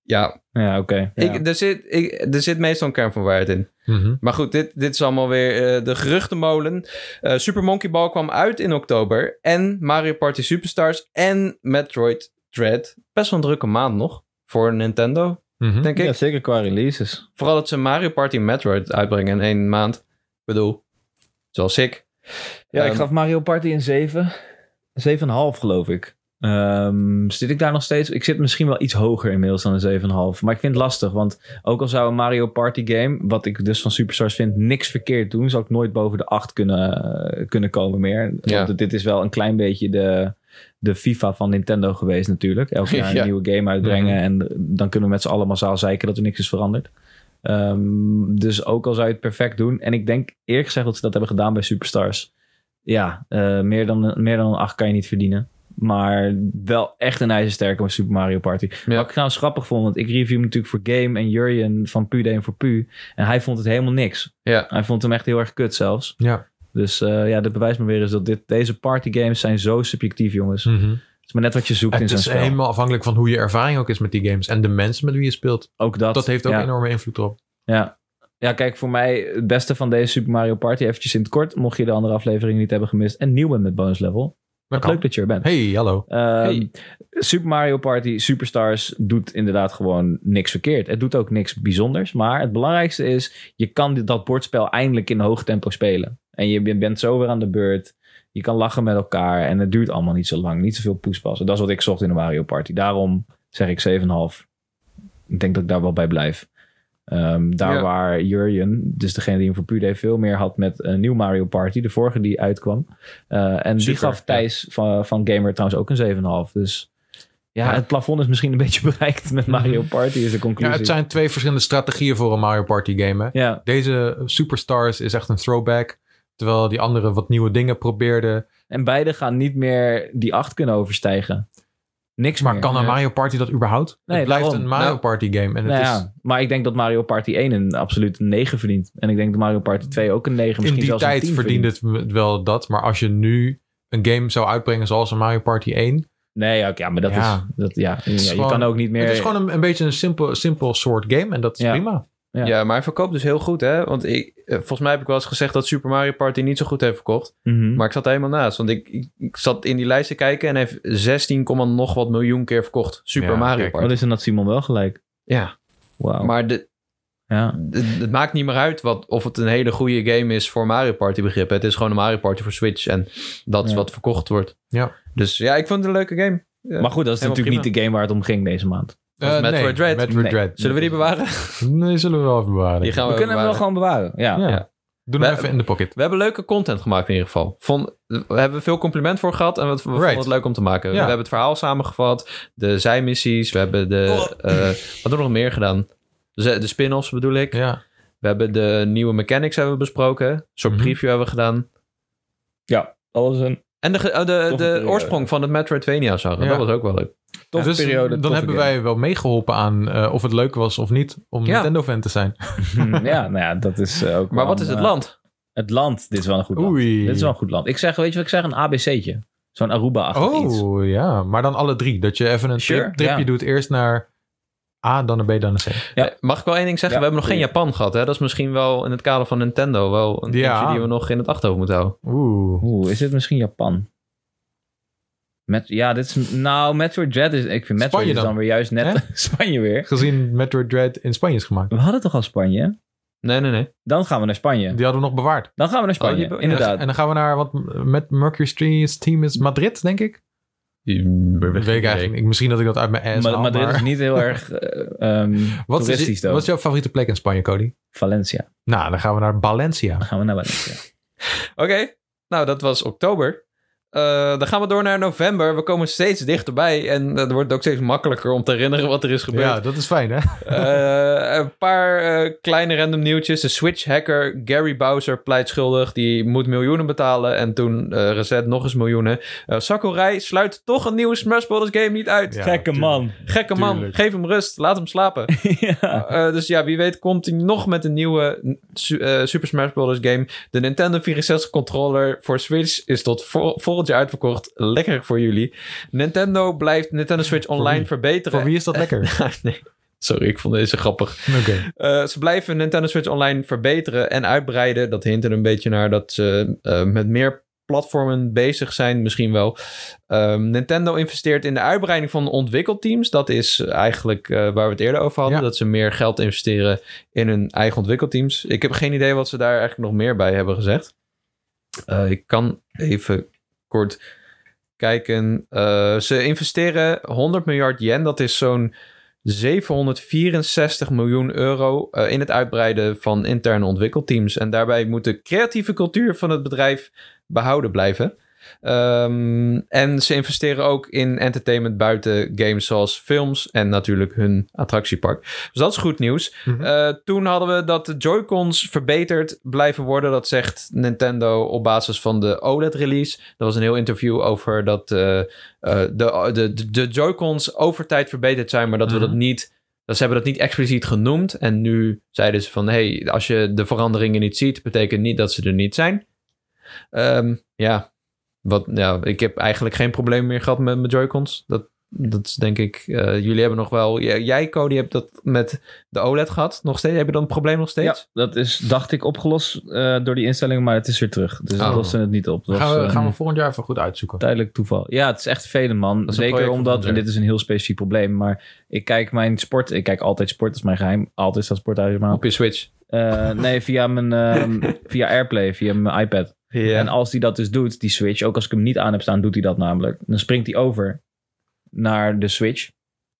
ja,
Ja, oké. Ja.
Ik, er, zit, ik, er zit meestal een kern van waarheid in.
Mhm.
Maar goed, dit, dit is allemaal weer eh, de geruchtenmolen. Eh Super Monkey Ball kwam uit in oktober. En Mario Party Superstars en Metroid Dread. Best wel een drukke maand nog voor Nintendo,
Mhm.
denk ik.
Ja, zeker qua releases.
Vooral dat ze Mario Party en Metroid uitbrengen in één maand. Ik bedoel, zoals ik.
Ja, ik
Ehm,
gaf Mario Party een 7. 7,5 geloof ik. Ehm, zit ik daar nog steeds? Ik zit misschien wel iets hoger inmiddels dan een 7,5. Maar ik vind het lastig, want ook al zou een Mario Party game, wat ik dus van Superstars vind, niks verkeerd doen, zou ik nooit boven de 8 kunnen, eh, kunnen komen meer.
Ja.
Want dit is wel een klein beetje de, de FIFA van Nintendo geweest natuurlijk. Elk jaar een
Ja.
nieuwe game uitbrengen
Mhm.
en dan kunnen we met z'n allen massaal zeiken dat er niks is veranderd. Ehm, dus ook al zou je het perfect doen. En ik denk eerlijk gezegd dat ze dat hebben gedaan bij Superstars. Ja, eh, meer, dan, meer dan een 8 kan je niet verdienen. Maar wel echt een ijzersterke Super Mario Party.
Ja.
Wat ik trouwens grappig vond, want ik review hem natuurlijk voor Game en Jurjen van Pu en voor Pu. En hij vond het helemaal niks.
Ja.
Hij vond hem echt heel erg kut zelfs.
Ja.
Dus eh, ja, dat bewijst me weer eens dat dit, deze partygames zijn zo subjectief, jongens.
mhm.
Het is maar net wat je zoekt in
Het
zo'n
is
spel.
helemaal afhankelijk van hoe je ervaring ook is met die games. En de mensen met wie je speelt.
Ook dat.
Dat heeft ook
ja.
enorme invloed op.
Ja. ja, kijk, voor mij het beste van deze Super Mario Party, eventjes in het kort, mocht je de andere aflevering niet hebben gemist. En nieuw bent met bonus level.
Dat
Wat leuk dat je er bent.
Hey, hallo.
Ehm,
Hey.
Super Mario Party Superstars doet inderdaad gewoon niks verkeerd. Het doet ook niks bijzonders. Maar het belangrijkste is, je kan dit- dat bordspel eindelijk in hoog tempo spelen. En je ben- bent zo weer aan de beurt. Je kan lachen met elkaar. En het duurt allemaal niet zo lang. Niet zoveel poespassen. Dat is wat ik zocht in een Mario Party. Daarom zeg ik 7,5. Ik denk dat ik daar wel bij blijf. Ehm, daar
Ja.
waar Jurjen, dus degene die hem voor Puur deed, veel meer had met een nieuw Mario Party. De vorige die uitkwam. Eh, en die
Super,
gaf
ja.
Thijs van, van Gamer trouwens ook een 7,5. Dus ja,
Ja.
het plafond is misschien een beetje bereikt met Mario Party, is de
Ja,
conclusie.
het zijn twee verschillende strategieën voor een Mario Party game. Hè?
Ja,
Deze Superstars is echt een throwback. Terwijl die andere wat nieuwe dingen probeerde.
en beide gaan niet meer die 8 kunnen overstijgen. Niks
Maar
meer.
kan een
Ja.
Mario Party dat überhaupt?
Nee,
het blijft
daarom.
een Mario
Nou,
Party game. En het
Nou
is,
ja, maar ik denk dat Mario Party 1 een absoluut een 9 verdient. En ik denk dat Mario Party 2 ook een 9,
in
misschien
die
zelfs een 10
tijd verdiende het m- wel dat. Maar als je nu een game zou uitbrengen zoals een Mario Party 1.
Nee, ja, oké, ja, maar dat
Ja.
is... Dat, ja, ja, je
gewoon-
kan ook niet meer...
Het is gewoon een, een beetje een simpel, simpel soort game. En dat is
Ja.
prima.
Ja.
Ja. maar hij verkoopt dus heel goed, hè? Want ik, eh, volgens mij heb ik wel eens gezegd dat Super Mario Party niet zo goed heeft verkocht.
Mhm.
Maar ik zat er helemaal naast. Want ik, ik, ik zat in die lijst te kijken en hij heeft 16, nog wat miljoen keer verkocht. Super
Ja,
Mario
kijk.
Wat
Party.
Oh, is er dat Simon wel gelijk?
Ja,
Wauw.
maar de,
ja.
de- het maakt niet meer uit wat, of het een hele goede game is voor Mario Party begrippen. Het is gewoon een Mario Party voor Switch en dat is
Ja.
wat verkocht wordt.
Ja.
Dus ja, ik vond het een leuke game. Ja.
Maar goed, dat is
Helemaal
natuurlijk niet de game waar het om ging deze maand.
Dat is
Eh,
Metroid
nee,
Dread.
Metroid
Nee.
Dread.
Zullen we die bewaren?
Nee, zullen we wel even bewaren.
Die gaan we,
We kunnen hem
bewaren.
wel gewoon bewaren.
Ja.
Ja.
Ja.
Doe hem
We-
even in de pocket.
We hebben leuke content gemaakt in ieder geval. Vond, we hebben veel compliment voor gehad en we, we vonden
Right.
het leuk om te maken. We hebben het verhaal samengevat, de zijmissies, we hebben de... eh, wat hebben we nog meer gedaan? De, de spin-offs bedoel ik.
Ja.
We hebben de nieuwe mechanics hebben we besproken. Een soort
Mhm.
preview hebben we gedaan.
Alles een
En de, ge- eh, de,
Toffe
de
periode.
oorsprong van het Metroidvania zagen.
Ja.
Dat was ook wel leuk.
toffe
Dus
periode.
Dan
toffe
hebben wij wel meegeholpen aan eh, of het leuk was of niet om
Ja.
Nintendo-fan te zijn.
game. ja, nou ja, dat is eh, ook.
Maar
wel
wat is
een,
het
eh,
land?
Het land. Dit is wel een goed land.
Oei.
Dit is wel een goed land. Ik zeg, weet je wat ik zeg? Een ABC'tje. Zo'n Aruba-achtig iets.
Oh ja, maar dan alle drie. Dat je even een
Sure,
trip- tripje
ja.
doet. Eerst naar A, dan naar B, dan naar C.
ja.
Eh, Mag ik wel één ding zeggen?
Ja,
we hebben nog geen
goeie.
Japan gehad. Hè? Dat is misschien wel in het kader van Nintendo wel een
Ja.
dingetje die we nog in het achterhoofd moeten houden.
Oeh.
Oeh, is dit misschien Japan? Met, ja, dit is. Nou, Metroid Dread is. Ik vind Metroid
Spanje
is dan.
dan.
weer juist net. Spanje weer.
Gezien Metroid Dread in Spanje is gemaakt.
We hadden toch al Spanje?
Nee, nee, nee.
Dan gaan we naar Spanje.
Die hadden we nog bewaard.
Dan gaan we naar
Oh,
Spanje.
je-
Inderdaad.
En dan gaan we naar wat met Mercury Street's team is Madrid, denk ik. Dat mm, weet ik eigenlijk niet. Misschien dat ik dat uit mijn ass
maar,
haal,
maar dit
maar-
is niet heel erg eh, ehm,
Wat
toeristisch
is,
dan.
wat is jouw favoriete plek in Spanje, Cody?
Valencia.
Nou, dan gaan we naar Valencia.
Dan gaan we naar Valencia.
Oké, nou dat was oktober. Eh, dan gaan we door naar november. We komen steeds dichterbij en eh, het wordt ook steeds makkelijker om te herinneren wat er is gebeurd.
Ja, dat is fijn, hè?
Eh, een paar eh, kleine random nieuwtjes. De Switch-hacker Gary Bowser pleit schuldig. Die moet miljoenen betalen en toen eh reset nog eens miljoenen. Eh, Sakurai sluit toch een nieuwe Smash Bros. game niet uit.
Ja,
Gekke
tuurlijk.
man.
Gekke man,
tuurlijk.
geef hem rust, laat hem slapen.
ja.
Eh, dus ja, wie weet komt hij nog met een nieuwe su- eh, Super Smash Bros. game. De Nintendo 64 controller voor Switch is tot vol- volgend jaar uitverkocht. Lekker voor jullie. Nintendo blijft Nintendo Switch online
wie?
verbeteren.
Voor wie is dat lekker?
nee. Sorry, ik vond deze grappig.
Oké.
Eh, ze blijven Nintendo Switch Online verbeteren en uitbreiden. Dat hint er een beetje naar dat ze eh, met meer platformen bezig zijn, misschien wel. Ehm, Nintendo investeert in de uitbreiding van ontwikkelteams. Dat is eigenlijk eh, waar we het eerder over hadden.
Ja.
Dat ze meer geld investeren in hun eigen ontwikkelteams. Ik heb geen idee wat ze daar eigenlijk nog meer bij hebben gezegd. Eh, ik kan even kort kijken. Eh, ze investeren 100 miljard yen. Dat is zo'n 764 miljoen euro eh, in het uitbreiden van interne ontwikkelteams. En daarbij moet de creatieve cultuur van het bedrijf behouden blijven. Ehm, en ze investeren ook in entertainment buiten games zoals films en natuurlijk hun attractiepark. Dus dat is goed nieuws.
Mhm.
Eh, toen hadden we dat de Joy-Cons verbeterd blijven worden. Dat zegt Nintendo op basis van de OLED-release. Er was een heel interview over dat eh, eh, de, de, de- de Joy-Cons over tijd verbeterd zijn, maar dat we
Mhm.
dat niet. Dat ze hebben dat niet expliciet genoemd. En nu zeiden ze van: hey, als je de veranderingen niet ziet, betekent niet dat ze er niet zijn. Ehm, ja. Wat, ja, ik heb eigenlijk geen probleem meer gehad met mijn Joy-Cons. Dat, dat is denk ik. eh, jullie hebben nog wel. j- Jij, Cody, hebt dat met de OLED gehad. Nog steeds? Heb je dan een probleem nog steeds?
Ja, dat is, dacht ik, opgelost eh, door die instellingen, maar het is weer terug. Dus
Oh.
dat lossen het niet op. Dat was,
Gaan we,
eh,
gaan we volgend jaar even goed uitzoeken.
Tijdelijk toeval. Ja, het is echt vervelend, man.
is een
Zeker
project van
omdat,
Hunter.
en dit is een heel specifiek probleem, maar ik kijk mijn sport, ik kijk altijd sport, dat is mijn geheim. Altijd staat sport uit, maar
Op je Switch.
Eh, nee, via mijn ehm, via Airplay, via mijn iPad. En als hij dat dus doet, die Switch, ook als ik hem niet aan heb staan, doet hij dat namelijk. Dan springt hij over naar de Switch,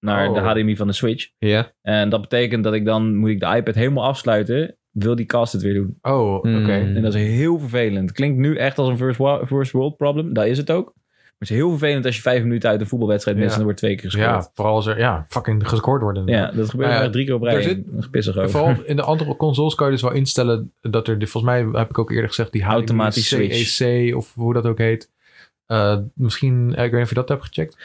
naar
Oh.
de HDMI van de Switch.
Ja.
En dat betekent dat ik dan, moet ik de iPad helemaal afsluiten, wil die cast het weer doen.
Oh, oké.
Mm.
En dat is heel vervelend. Klinkt nu echt als een first, wa- first world problem, dat is het ook. Maar het is heel vervelend als je vijf minuten uit een voetbalwedstrijd mist
Ja.
en er wordt twee keer gescoord.
Ja, vooral als er ja, fucking gescoord worden.
Ja, dat gebeurt
Nou ja,
echt drie keer op rij.
er
Er
zit-
pissig over.
Vooral in de andere consoles kan je dus wel instellen dat er, volgens mij heb ik ook eerder gezegd, die HDMI
Automatisch
CEC of hoe dat ook heet. Eh, misschien, eh, ik weet niet of je dat hebt gecheckt.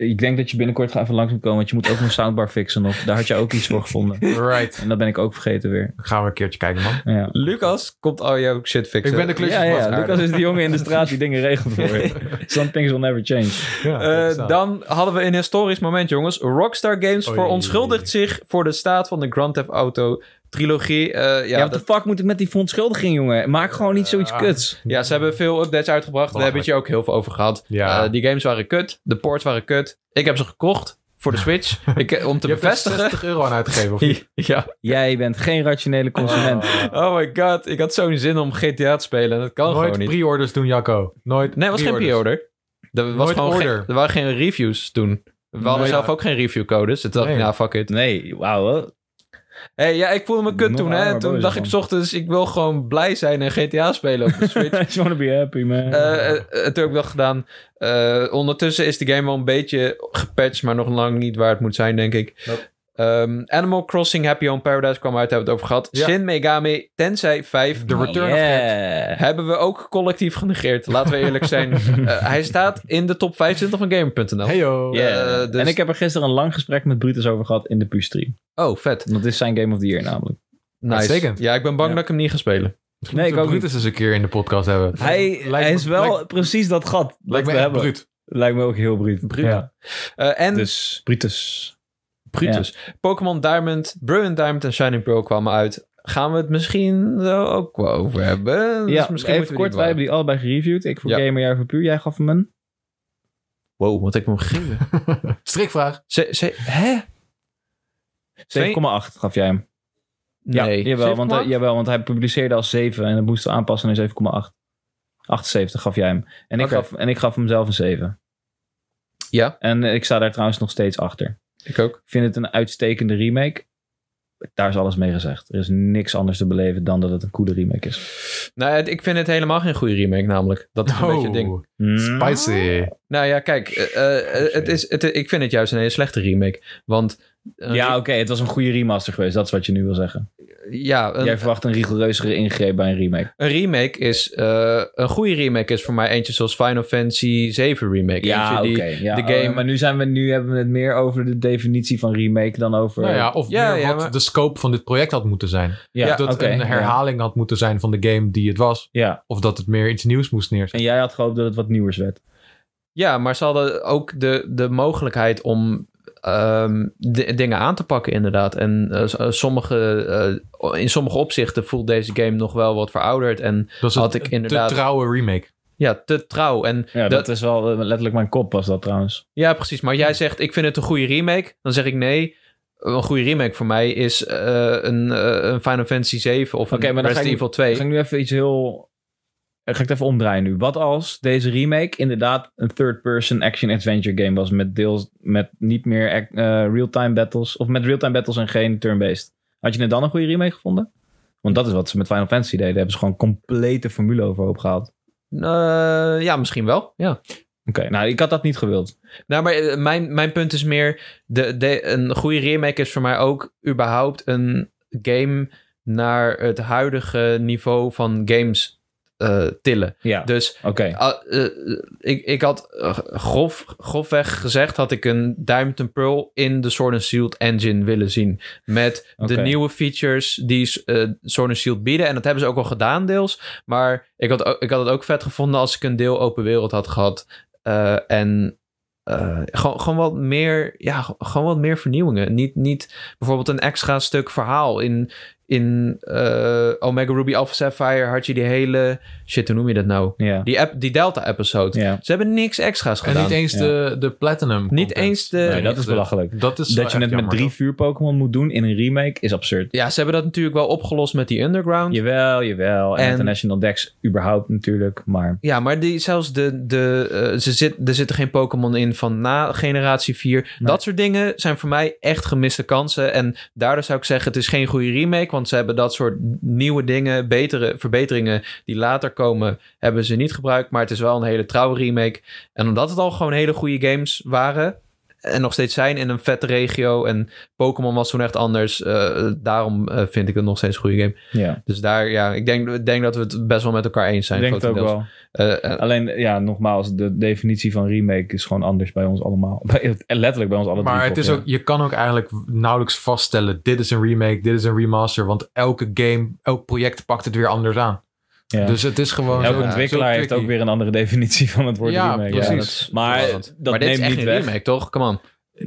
Ik denk dat je binnenkort gaat even langs moet komen, want je moet ook een soundbar fixen nog. Daar had je ook iets voor gevonden.
Right.
En dat ben ik ook vergeten weer.
Gaan we een keertje kijken, man.
Ja.
Lucas komt al jouw shit fixen.
Ik ben de klus-
Ja, ja,
Aardig.
Lucas is die jongen in de straat die dingen regelt voor je. Some things will never change.
Ja,
Eh,
dat is dat.
dan hadden we een historisch moment, jongens. Rockstar Games
Oei.
verontschuldigt zich voor de staat van de Grand Theft Auto trilogie. Eh, ja,
Ja, wat
dat-
de fuck moet ik met die verontschuldiging, jongen? Maak gewoon niet zoiets
Ja.
kuts.
ja, ze hebben veel updates uitgebracht. Daar hebben we het je ook heel veel over gehad.
Ja.
Eh, die games waren kut. De ports waren kut. Ik heb ze gekocht voor de Switch. ik, eh, om te
je hebt er
bevestigen.
60 euro aan uitgegeven. Of
ja.
Jij bent geen rationele consument.
Oh my god. Ik had zo'n zin om GTA te spelen. En dat kan
nooit
gewoon niet.
pre-orders doen, Jacco. Nooit
Nee, het was geen
pre-orders.
pre-order. Er, was
Nooit
gewoon geen,
order.
er waren geen reviews toen. We hadden
Nee,
zelf
ja.
ook geen reviewcodes. Dus ik dacht
Nee.
ik, nou, fuck it.
Nee, wauw. hè?
Hey, ja, ik voelde me kut
Nog
toen, hè.
armer
Toen
boos
dacht
dan.
ik 's ochtends, ik wil gewoon blij zijn en GTA spelen op de Switch.
I just wanna be happy, man.
Eh, eh, eh, Het heb ik wel gedaan. Eh, ondertussen is de game wel een beetje gepatcht, maar nog lang niet waar het moet zijn, denk ik.
Nope.
Ehm, Animal Crossing Happy Home Paradise kwam uit, hebben we het over gehad.
Ja.
Shin Megami Tensei 5.
De Return of
yeah.
Hebben we ook collectief genegeerd, laten we eerlijk zijn. Eh, hij staat in de top 25 van Gamer.nl.
Hey oh. yo.
Yeah.
Eh, dus-
En ik heb er gisteren een lang gesprek met Brutus over gehad in de Pustream.
Oh, vet.
Dat is zijn Game of the Year namelijk.
Nice.
Uitstekend.
Ja, ik ben bang
Ja.
dat ik hem niet ga spelen.
Misschien
Nee,
moeten
ik
we
ook
Brutus eens een keer in de podcast hebben.
Hij,
Lijkt
hij
me-
is wel
Lijkt,
precies dat gat dat
lijkt
we
me echt
hebben.
bruut.
Lijkt me ook heel bruut.
Bruut.
Ja.
Eh, en
Dus Brutus.
Brutus. Pokémon Diamond, Brilliant Diamond en Shining Pearl kwamen uit. Gaan we het misschien wel ook wel over hebben? Dus
Ja,
misschien
even kort. Wij hebben die allebei gereviewd. Ik voor
Ja.
Gamer Jaar voor Puur. Jij gaf hem een.
Wow, wat ik me gegeven.
Strikvraag.
Ze, ze, hè?
7,8 gaf jij hem.
nee.
Ja, jawel, want, hij-
7,8?
jawel, want hij publiceerde als 7 en dat moesten we aanpassen naar 7,8. 78 gaf jij hem. En ik,
Oké.
gaf, en ik gaf hem zelf een 7.
Ja.
En eh, ik sta daar trouwens nog steeds achter.
Ik ook.
Ik vind het een uitstekende remake. Daar is alles mee gezegd. Er is niks anders te beleven dan dat het een coole remake is.
Nou, het- ik vind het helemaal geen goede remake namelijk. Dat is een beetje het ding.
Oh,
Hmm. Mm.
spicy.
Ah.
Nou ja, kijk. eh,
Oh,
eh, eh, het is, het, ik vind het juist een hele slechte remake. Want... eh,
Ja, oké, het was een goede remaster geweest. Dat is wat je nu wil zeggen.
ja, een,
Jij verwacht een rigoureuzere ingreep bij een remake.
Een remake is... eh, een goede remake is voor mij eentje zoals Final Fantasy 7 remake.
Ja,
Eentje
oké.
die-
ja,
de
oh,
game-
maar nu, zijn we, nu hebben we het meer over de definitie van remake dan over...
Nou ja, of
Ja,
meer
ja,
wat
maar-
de scope van dit project had moeten zijn.
ja,
of dat
oké,
een
ja.
herhaling had moeten zijn van de game die het was.
Ja.
Of dat het meer iets nieuws moest neerzetten.
en jij had gehoopt dat het wat nieuwers werd.
Ja, maar ze hadden ook de, de mogelijkheid om ehm, di- dingen aan te pakken, inderdaad. En eh, s- eh, sommige, eh, in sommige opzichten voelt deze game nog wel wat verouderd. En
Dat is
Had
een
ik inderdaad-
te trouwe remake.
ja, te trouw. En
Ja, dat,
dat-
is wel eh, letterlijk mijn kop was dat trouwens.
ja, precies. Maar jij zegt, ik vind het een goede remake. Dan zeg ik nee. Een goede remake voor mij is eh, een, eh, een Final Fantasy 7 of
Oké,
een
maar dan
Resident
ga ik-
Evil 2.
Ga ik nu even iets heel... eh, Ga ik het even omdraaien nu. Wat als deze remake inderdaad een third-person action-adventure game was... met deels met niet meer ac- eh, real-time battles... of met real-time battles en geen turn-based. Had je het dan een goede remake gevonden? Want dat is wat ze met Final Fantasy deden. Daar hebben ze gewoon complete formule over opgehaald.
Eh, ja, misschien wel. Ja.
Oké, nou, ik had dat niet gewild.
Nou, maar eh, mijn, mijn punt is meer... De, de, een goede remake is voor mij ook überhaupt een game... naar het huidige niveau van games eh, tillen.
Ja,
Dus
oké.
ah, eh, ik, ik had eh, grof, grofweg gezegd... had ik een Diamond and Pearl in de Sword and Shield engine willen zien. Met de
Oké.
nieuwe features die eh Sword and Shield bieden. En dat hebben ze ook al gedaan deels. Maar ik had, ook- ik had het ook vet gevonden als ik een deel open wereld had gehad... Eh, en eh, gewoon, gewoon wat meer, ja, gewoon wat meer vernieuwingen. Niet, niet bijvoorbeeld een extra stuk verhaal. In, in eh, Omega Ruby Alpha Sapphire had je die hele... Shit, hoe noem je dat nou?
Ja,
Die, app, die Delta-episode.
ja.
Ze hebben niks extra's
En
gedaan.
niet eens
Ja.
de, de platinum.
Niet
content.
eens de...
Nee, dat is belachelijk.
Dat is wel
Dat je
echt
het met
jammer,
drie
toch?
vuur Pokémon moet doen in een remake is absurd.
Ja, ze hebben dat natuurlijk wel opgelost met die Underground.
Jawel, jawel. En,
En-
International Dex überhaupt natuurlijk, maar...
Ja, maar die, zelfs de, de, eh, ze zit, er zitten geen Pokémon in van na generatie 4. Dat soort dingen zijn voor mij echt gemiste kansen. En daardoor zou ik zeggen, het is geen goede remake. Want ze hebben dat soort nieuwe dingen, betere verbeteringen die later komen, hebben ze niet gebruikt. Maar het is wel een hele trouwe remake. En omdat het al gewoon hele goede games waren. En nog steeds zijn in een vette regio. En Pokémon was toen echt anders. eh, daarom eh, vind ik het nog steeds een goede game.
Ja,
Dus daar, ja, ik denk, ik denk dat we het best wel met elkaar eens zijn.
ik denk het ook
grotendeels.
wel.
Eh, eh,
Alleen, ja, nogmaals, de definitie van remake is gewoon anders bij ons allemaal. Bij, letterlijk bij ons allemaal.
Maar het is ook, je kan ook eigenlijk nauwelijks vaststellen: dit is een remake, dit is een remaster. Want elke game, elk project pakt het weer anders aan.
Ja.
Dus het is gewoon.
Elke
zo-
ontwikkelaar
zo
heeft
tricky.
ook weer een andere definitie van het woord
Ja,
remake.
precies.
dat- maar dat
maar dit is
neemt
echt
niet
een
weg.
remake, toch? Come on.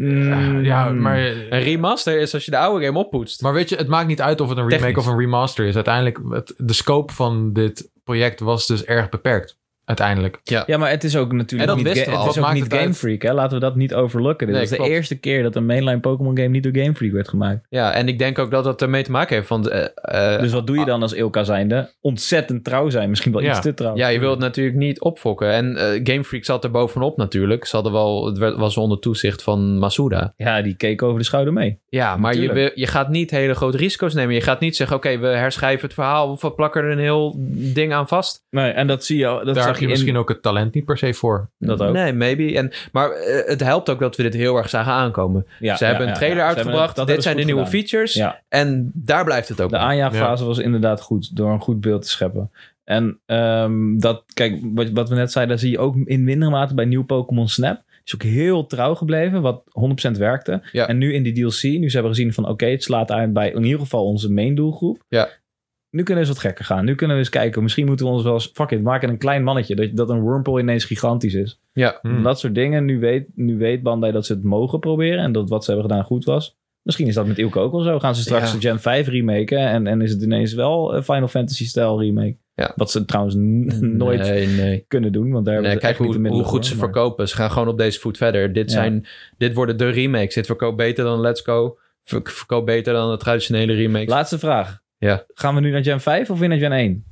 Mm,
Ja, maar.
Een remaster is als je de oude game oppoetst.
Hmm. Maar weet je, het maakt niet uit of het een remake
Technisch.
of een remaster is. Uiteindelijk, het, de scope van dit project was dus erg beperkt. Uiteindelijk.
Ja, maar het is ook natuurlijk
En dat
niet,
wisten
ga-
we al.
het is
Wat
ook
maakt
niet
het
Game
uit?
Freak. Hè? Laten we dat niet overlokken. Dit
Nee,
was de
klopt.
eerste keer dat een mainline Pokémon game niet door Game Freak werd gemaakt.
Ja, en ik denk ook dat dat ermee te maken heeft. Want eh, eh,
dus wat doe je dan als Ilka zijnde? Ontzettend trouw zijn. Misschien wel
Ah. Ja.
iets te trouw.
ja, je wilt natuurlijk niet opfokken. En eh, Game Freak zat er bovenop natuurlijk. Ze hadden wel, het werd- was onder toezicht van Masuda.
Ja, die keek over de schouder mee.
Ja, maar je, wil,
Natuurlijk.
je gaat niet hele grote risico's nemen. Je gaat niet zeggen, oké, we herschrijven het verhaal. Of we plakken er een heel ding aan vast.
Nee, en dat zie je al- dat
Daar
zag
heb je
je
misschien
in,
ook het talent niet per se voor.
Dat ook.
Nee, maybe. En, maar eh, het helpt ook dat we dit heel erg zagen aankomen.
Ja,
ze hebben
ja,
een
ja,
trailer
ja. Ze hebben-
uitgebracht.
dat
dit
hebben ze
zijn de
goed
nieuwe
gedaan.
features.
Ja.
En daar blijft het ook.
De
bij.
aanjaagfase was inderdaad goed. Door een goed beeld te scheppen. En ehm, dat, kijk, wat, wat we net zeiden, dat zie je ook in mindere mate bij nieuw Pokémon Snap. Is ook heel trouw gebleven, wat 100% werkte.
Ja.
En nu in die DLC, nu ze hebben gezien van oké, het slaat uit bij in ieder geval onze main doelgroep.
Ja.
Nu kunnen we eens wat gekker gaan. Nu kunnen we eens kijken. Misschien moeten we ons wel eens, fuck it, maken een klein mannetje. Dat, dat een Wormpole ineens gigantisch is.
Ja.
Hmm.
Dat soort dingen. Nu weet, nu weet Bandai dat ze het mogen proberen. En dat wat ze hebben gedaan goed was. Misschien is dat met Ilke ook wel zo. Gaan ze straks
Ja.
de Gen 5 remaken. En, en is het ineens wel een Final Fantasy stijl remake.
Ja.
Wat ze trouwens n- nooit
Nee, nee.
kunnen doen. Want daar
Nee,
hebben ze
kijk
echt
hoe,
niet de
hoe
middelen
goed ze
voor, maar-
verkopen. Ze gaan gewoon op deze voet verder. Dit,
Ja.
zijn, dit worden de remakes. Dit verkoopt beter dan Let's Go. Ver- verkoopt beter dan de traditionele remakes.
Laatste vraag.
Ja.
Gaan we nu naar Gen 5 of weer naar Gen 1?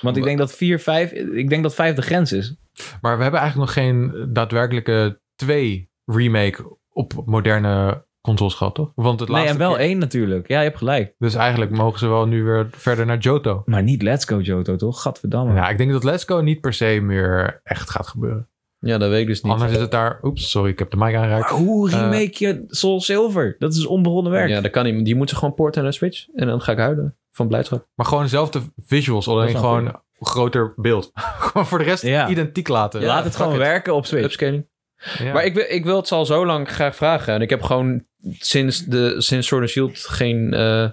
want ik denk dat 4, 5... Ik denk dat 5 de grens is.
Maar we hebben eigenlijk nog geen daadwerkelijke twee remake op moderne consoles gehad, toch? Want het
Nee,
laatste
en wel
keer-
één natuurlijk. Ja, je hebt gelijk.
Dus eigenlijk mogen ze wel nu weer verder naar Johto.
Maar niet Let's Go Johto, toch? Gadverdamme.
Ja, ik denk dat Let's Go niet per se meer echt gaat gebeuren.
Ja, dat weet ik dus niet.
Anders is het daar... Oeps, sorry, ik heb de mic aangeraakt.
Maar hoe remake je Soul Silver? Dat is onbegonnen werk.
Ja, dat kan niet. Die moeten gewoon porten naar Switch. En dan ga ik huilen van blijdschap.
Maar gewoon dezelfde visuals,
Dat is
alleen
wel
gewoon groter beeld. gewoon voor de rest
Ja.
identiek laten.
Ja.
Laat het gewoon
fuck it.
werken op Switch.
Upscaling.
Ja.
Maar ik, wil- ik wil het al zo lang graag vragen. En ik heb gewoon sinds, de, sinds Sword and Shield geen eh, eh,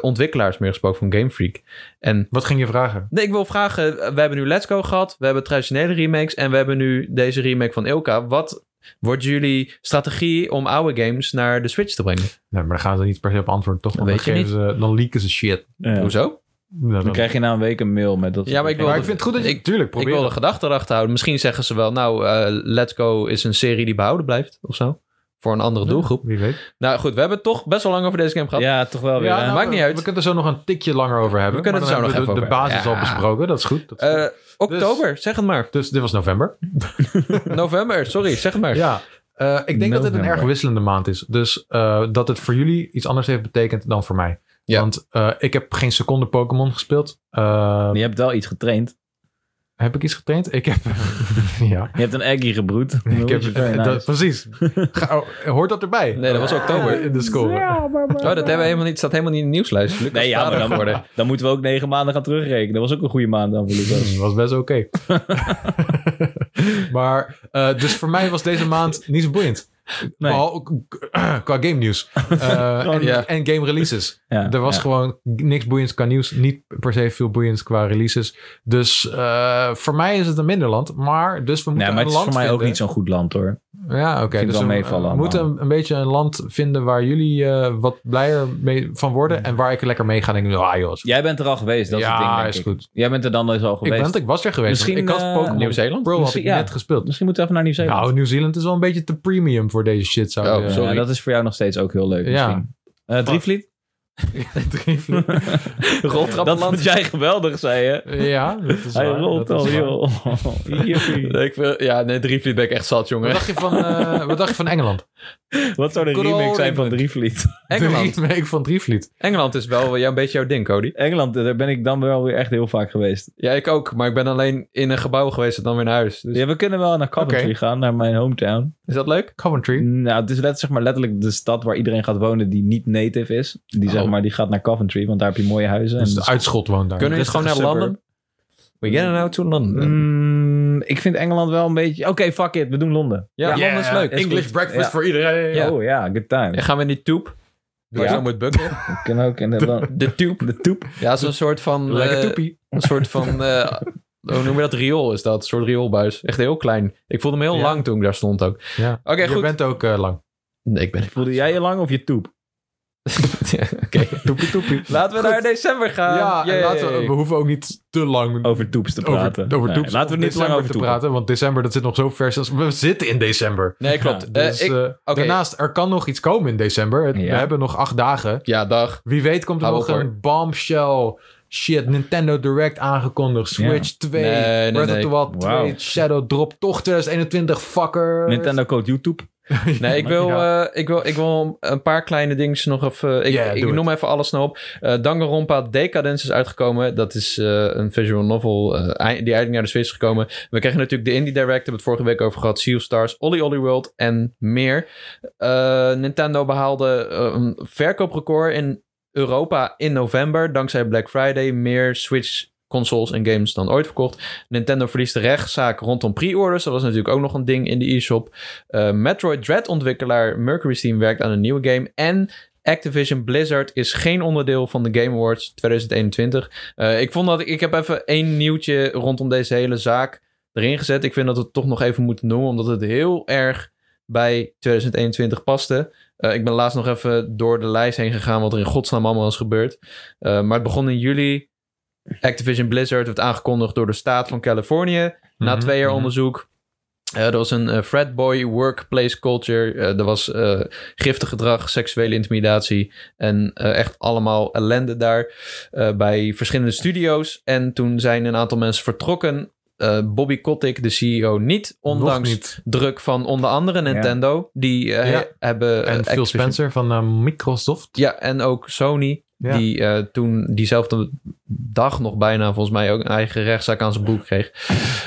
ontwikkelaars meer gesproken van Game Freak. En
Wat ging je vragen?
Nee, ik wil vragen. eh, We hebben nu Let's Go gehad. We hebben traditionele remakes. En we hebben nu deze remake van Ilka. Wat wordt jullie strategie om oude games naar de Switch te brengen?
Nee, maar daar gaan ze niet per se op antwoorden, toch? Want
Weet
dan,
je
geven ze, dan leaken ze shit.
Ja.
Hoezo?
Ja, dan-
Dan krijg je na een week een mail met dat.
Ja, maar ik wil-
maar ik vind het goed dat je...
Ik-
tuurlijk,
Ik
probeer
wil de
het.
gedachte erachter houden. Misschien zeggen ze wel, nou, eh, Let's Go is een serie die behouden blijft of zo. Voor een andere doelgroep.
Wie weet.
Nou goed, we hebben het toch best wel lang over deze game gehad.
Ja, toch wel weer. hè?
nou,
eh, maakt
we-
niet uit.
We kunnen er zo nog een tikje langer over hebben.
We kunnen
maar
het
dan
zo
hebben
nog
we
even
de,
over
de basis al
hebben. Ja.
besproken, dat is goed. dat is goed.
Eh, oktober, zeg het maar.
dus dit was november.
November, sorry, zeg het maar.
Ja, eh, ik denk dat dit een
November.
erg wisselende maand is. Dus eh, dat het voor jullie iets anders heeft betekend dan voor mij.
Ja.
Want eh, ik heb geen seconde Pokémon gespeeld. Eh,
Je hebt wel iets getraind.
Heb ik iets getraind? Ik heb... ja.
Je hebt een eggie gebroed.
Ik heb,
Very
eh,
nice.
dat, precies. Ga- oh, hoort dat erbij?
Nee, dat was oktober.
Eh, In de score.
Oh, dat hebben we helemaal niet, staat helemaal niet in de nieuwslijst. Lucas
Nee, ja,
vader
maar dan,
geworden.
dan moeten we ook negen maanden gaan terugrekenen. Dat was ook een goede maand dan voor Lucas.
Dat was best oké. maar, eh, dus voor mij was deze maand niet zo boeiend.
Nee. Oh,
Behal- qua game nieuws. Eh, en,
Ja.
en game releases.
Ja,
er was
ja.
gewoon niks boeiends qua nieuws. Niet per se veel boeiends qua releases. Dus eh, voor mij is het een minder land. Maar dus we moeten
Nee, maar
een
het is
land
voor mij
vinden.
ook niet zo'n goed land hoor.
Ja, oké.
vind
Dus
het wel
we-
meevallen
we moeten een, een beetje een land vinden waar jullie eh, wat blijer mee van worden. En waar ik lekker mee ga denken. Ah joh, is-
Jij bent er al geweest, dat is
Ja,
het ding denk
is
ik.
goed.
Jij bent er dan dus al
ik,
geweest.
ben, ik was er geweest.
Misschien,
ik had
eh,
Pokémon
Nieuw-Zeeland?
Pro had ik
Misschien- ja.
net gespeeld.
Misschien moeten we even naar Nieuw-Zeeland.
Nou, Nieuw-Zeeland is wel een beetje te premium voor deze shit. Zou
Oh,
ik, eh,
Ja,
sorry.
dat is voor jou nog steeds ook heel leuk
Ja.
misschien. Eh, Drievliet?
drie-
Dat vond jij geweldig, zei je.
ja, dat is
Hij
waar,
rolt
dat
al,
is waar.
joh. Jippie.
Ik vind- ja, nee, Drievliet ben ik echt zat,
Wat
jongen.
dacht, je van, eh, wat dacht je van Engeland?
Wat zou de
Good
remake
old
zijn van Drievliet?
Engeland.
De remake van Drievliet.
Engeland is wel ja, een beetje jouw ding, Cody.
Engeland, daar ben ik dan wel weer echt heel vaak geweest.
Ja, ik ook. Maar ik ben alleen in een gebouw geweest en dan weer naar huis. Dus,
Ja, we kunnen wel naar Coventry
Oké.
gaan, naar mijn hometown.
Is dat leuk?
Coventry.
Nou, het is let, zeg maar letterlijk de stad waar iedereen gaat wonen die niet native is. Die, zeg
Oh.
maar, die gaat naar Coventry, want daar heb je mooie huizen.
Dus
en
de uitschot woont daar.
Kunnen we niet gewoon naar
Rustige
Londen? We gaan nou to London.
Mm, ik vind Engeland wel een beetje... Oké, fuck it, we doen Londen.
Ja,
Ja,
Londen is leuk.
English
goed.
breakfast
Ja.
voor iedereen.
Ja.
Oh ja, good time.
En gaan we in die toep? Waar
Ja.
zo moet bukken.
Ik kan ook in de...
De toep.
De toep.
Ja, zo'n soort van...
Lekker
eh,
toepie.
Een soort van... eh, hoe noem je dat? Riool is dat. Een soort rioolbuis. Echt heel klein. Ik voelde hem heel
Ja.
lang toen ik daar stond ook.
Ja.
Oké,
Je
goed.
bent ook eh, lang.
Nee, ik ben...
Voelde jij je lang of je toep?
Ja, Oké.
Toepie toepie.
Laten we
Goed.
naar december gaan.
ja, en
Yay.
laten we, we hoeven ook niet te lang over,
Over toeps te
over,
praten. Nee,
toeps-
laten we niet te lang
december
over
te
toepen.
praten. Want december, dat zit nog zo ver. sinds- We zitten in december.
Nee, klopt. Eh,
Dus,
ik-
eh, Daarnaast, er kan nog iets komen in december. Het- We
Ja.
hebben nog acht dagen.
Ja, dag.
Wie weet komt er
Hou
nog
op, hoor.
een bombshell. Shit, Nintendo Direct aangekondigd. Switch 2,
Nee, nee,
Breath
nee.
of the Wild 2,
Wauw.
Shadow Drop. Toch 2021, fucker.
Nintendo code YouTube.
Nee, ik wil,
Ja.
eh, ik, wil, ik wil een paar kleine dingetjes nog even... Eh, Ik,
Ja,
ik
doe
noem even alles snel op. Eh Danganronpa Decadence is uitgekomen. Dat is eh, een visual novel eh, ei- die eindelijk naar de Switch is gekomen. We kregen natuurlijk de Indie Direct. Hebben we het vorige week over gehad. Sea of Stars, Olly Olly World en meer. Eh, Nintendo behaalde eh, een verkooprecord in Europa in november. Dankzij Black Friday meer Switch consoles en games dan ooit verkocht. Nintendo verliest de rechtszaak rondom pre-orders. Dat was natuurlijk ook nog een ding in de e-shop. Eh, Metroid Dread ontwikkelaar Mercury's Team werkt aan een nieuwe game. En Activision Blizzard is geen onderdeel van de Game Awards 2021. Eh, ik vond dat ik, ik heb even één nieuwtje rondom deze hele zaak erin gezet. Ik vind dat we het toch nog even moeten noemen, omdat het heel erg bij 2021 paste. Eh, ik ben laatst nog even door de lijst heen gegaan wat er in godsnaam allemaal is gebeurd. Eh, maar het begon in juli. Activision Blizzard werd aangekondigd door de staat van Californië. Na
Mhm,
twee jaar
mhm.
onderzoek. eh, er was een eh, fratboy workplace culture. Eh, er was eh, giftig gedrag, seksuele intimidatie. En eh, echt allemaal ellende daar eh, bij verschillende studio's. En toen zijn een aantal mensen vertrokken. Eh, Bobby Kotick, de CEO, niet.
Nog
Ondanks
niet.
druk van onder andere Nintendo. Die eh,
Ja.
hebben... eh,
En Phil
Activision-
Spencer van eh, Microsoft.
Ja, en ook Sony.
Ja.
Die eh, toen diezelfde dag nog bijna volgens mij ook een eigen rechtszaak aan zijn broek kreeg.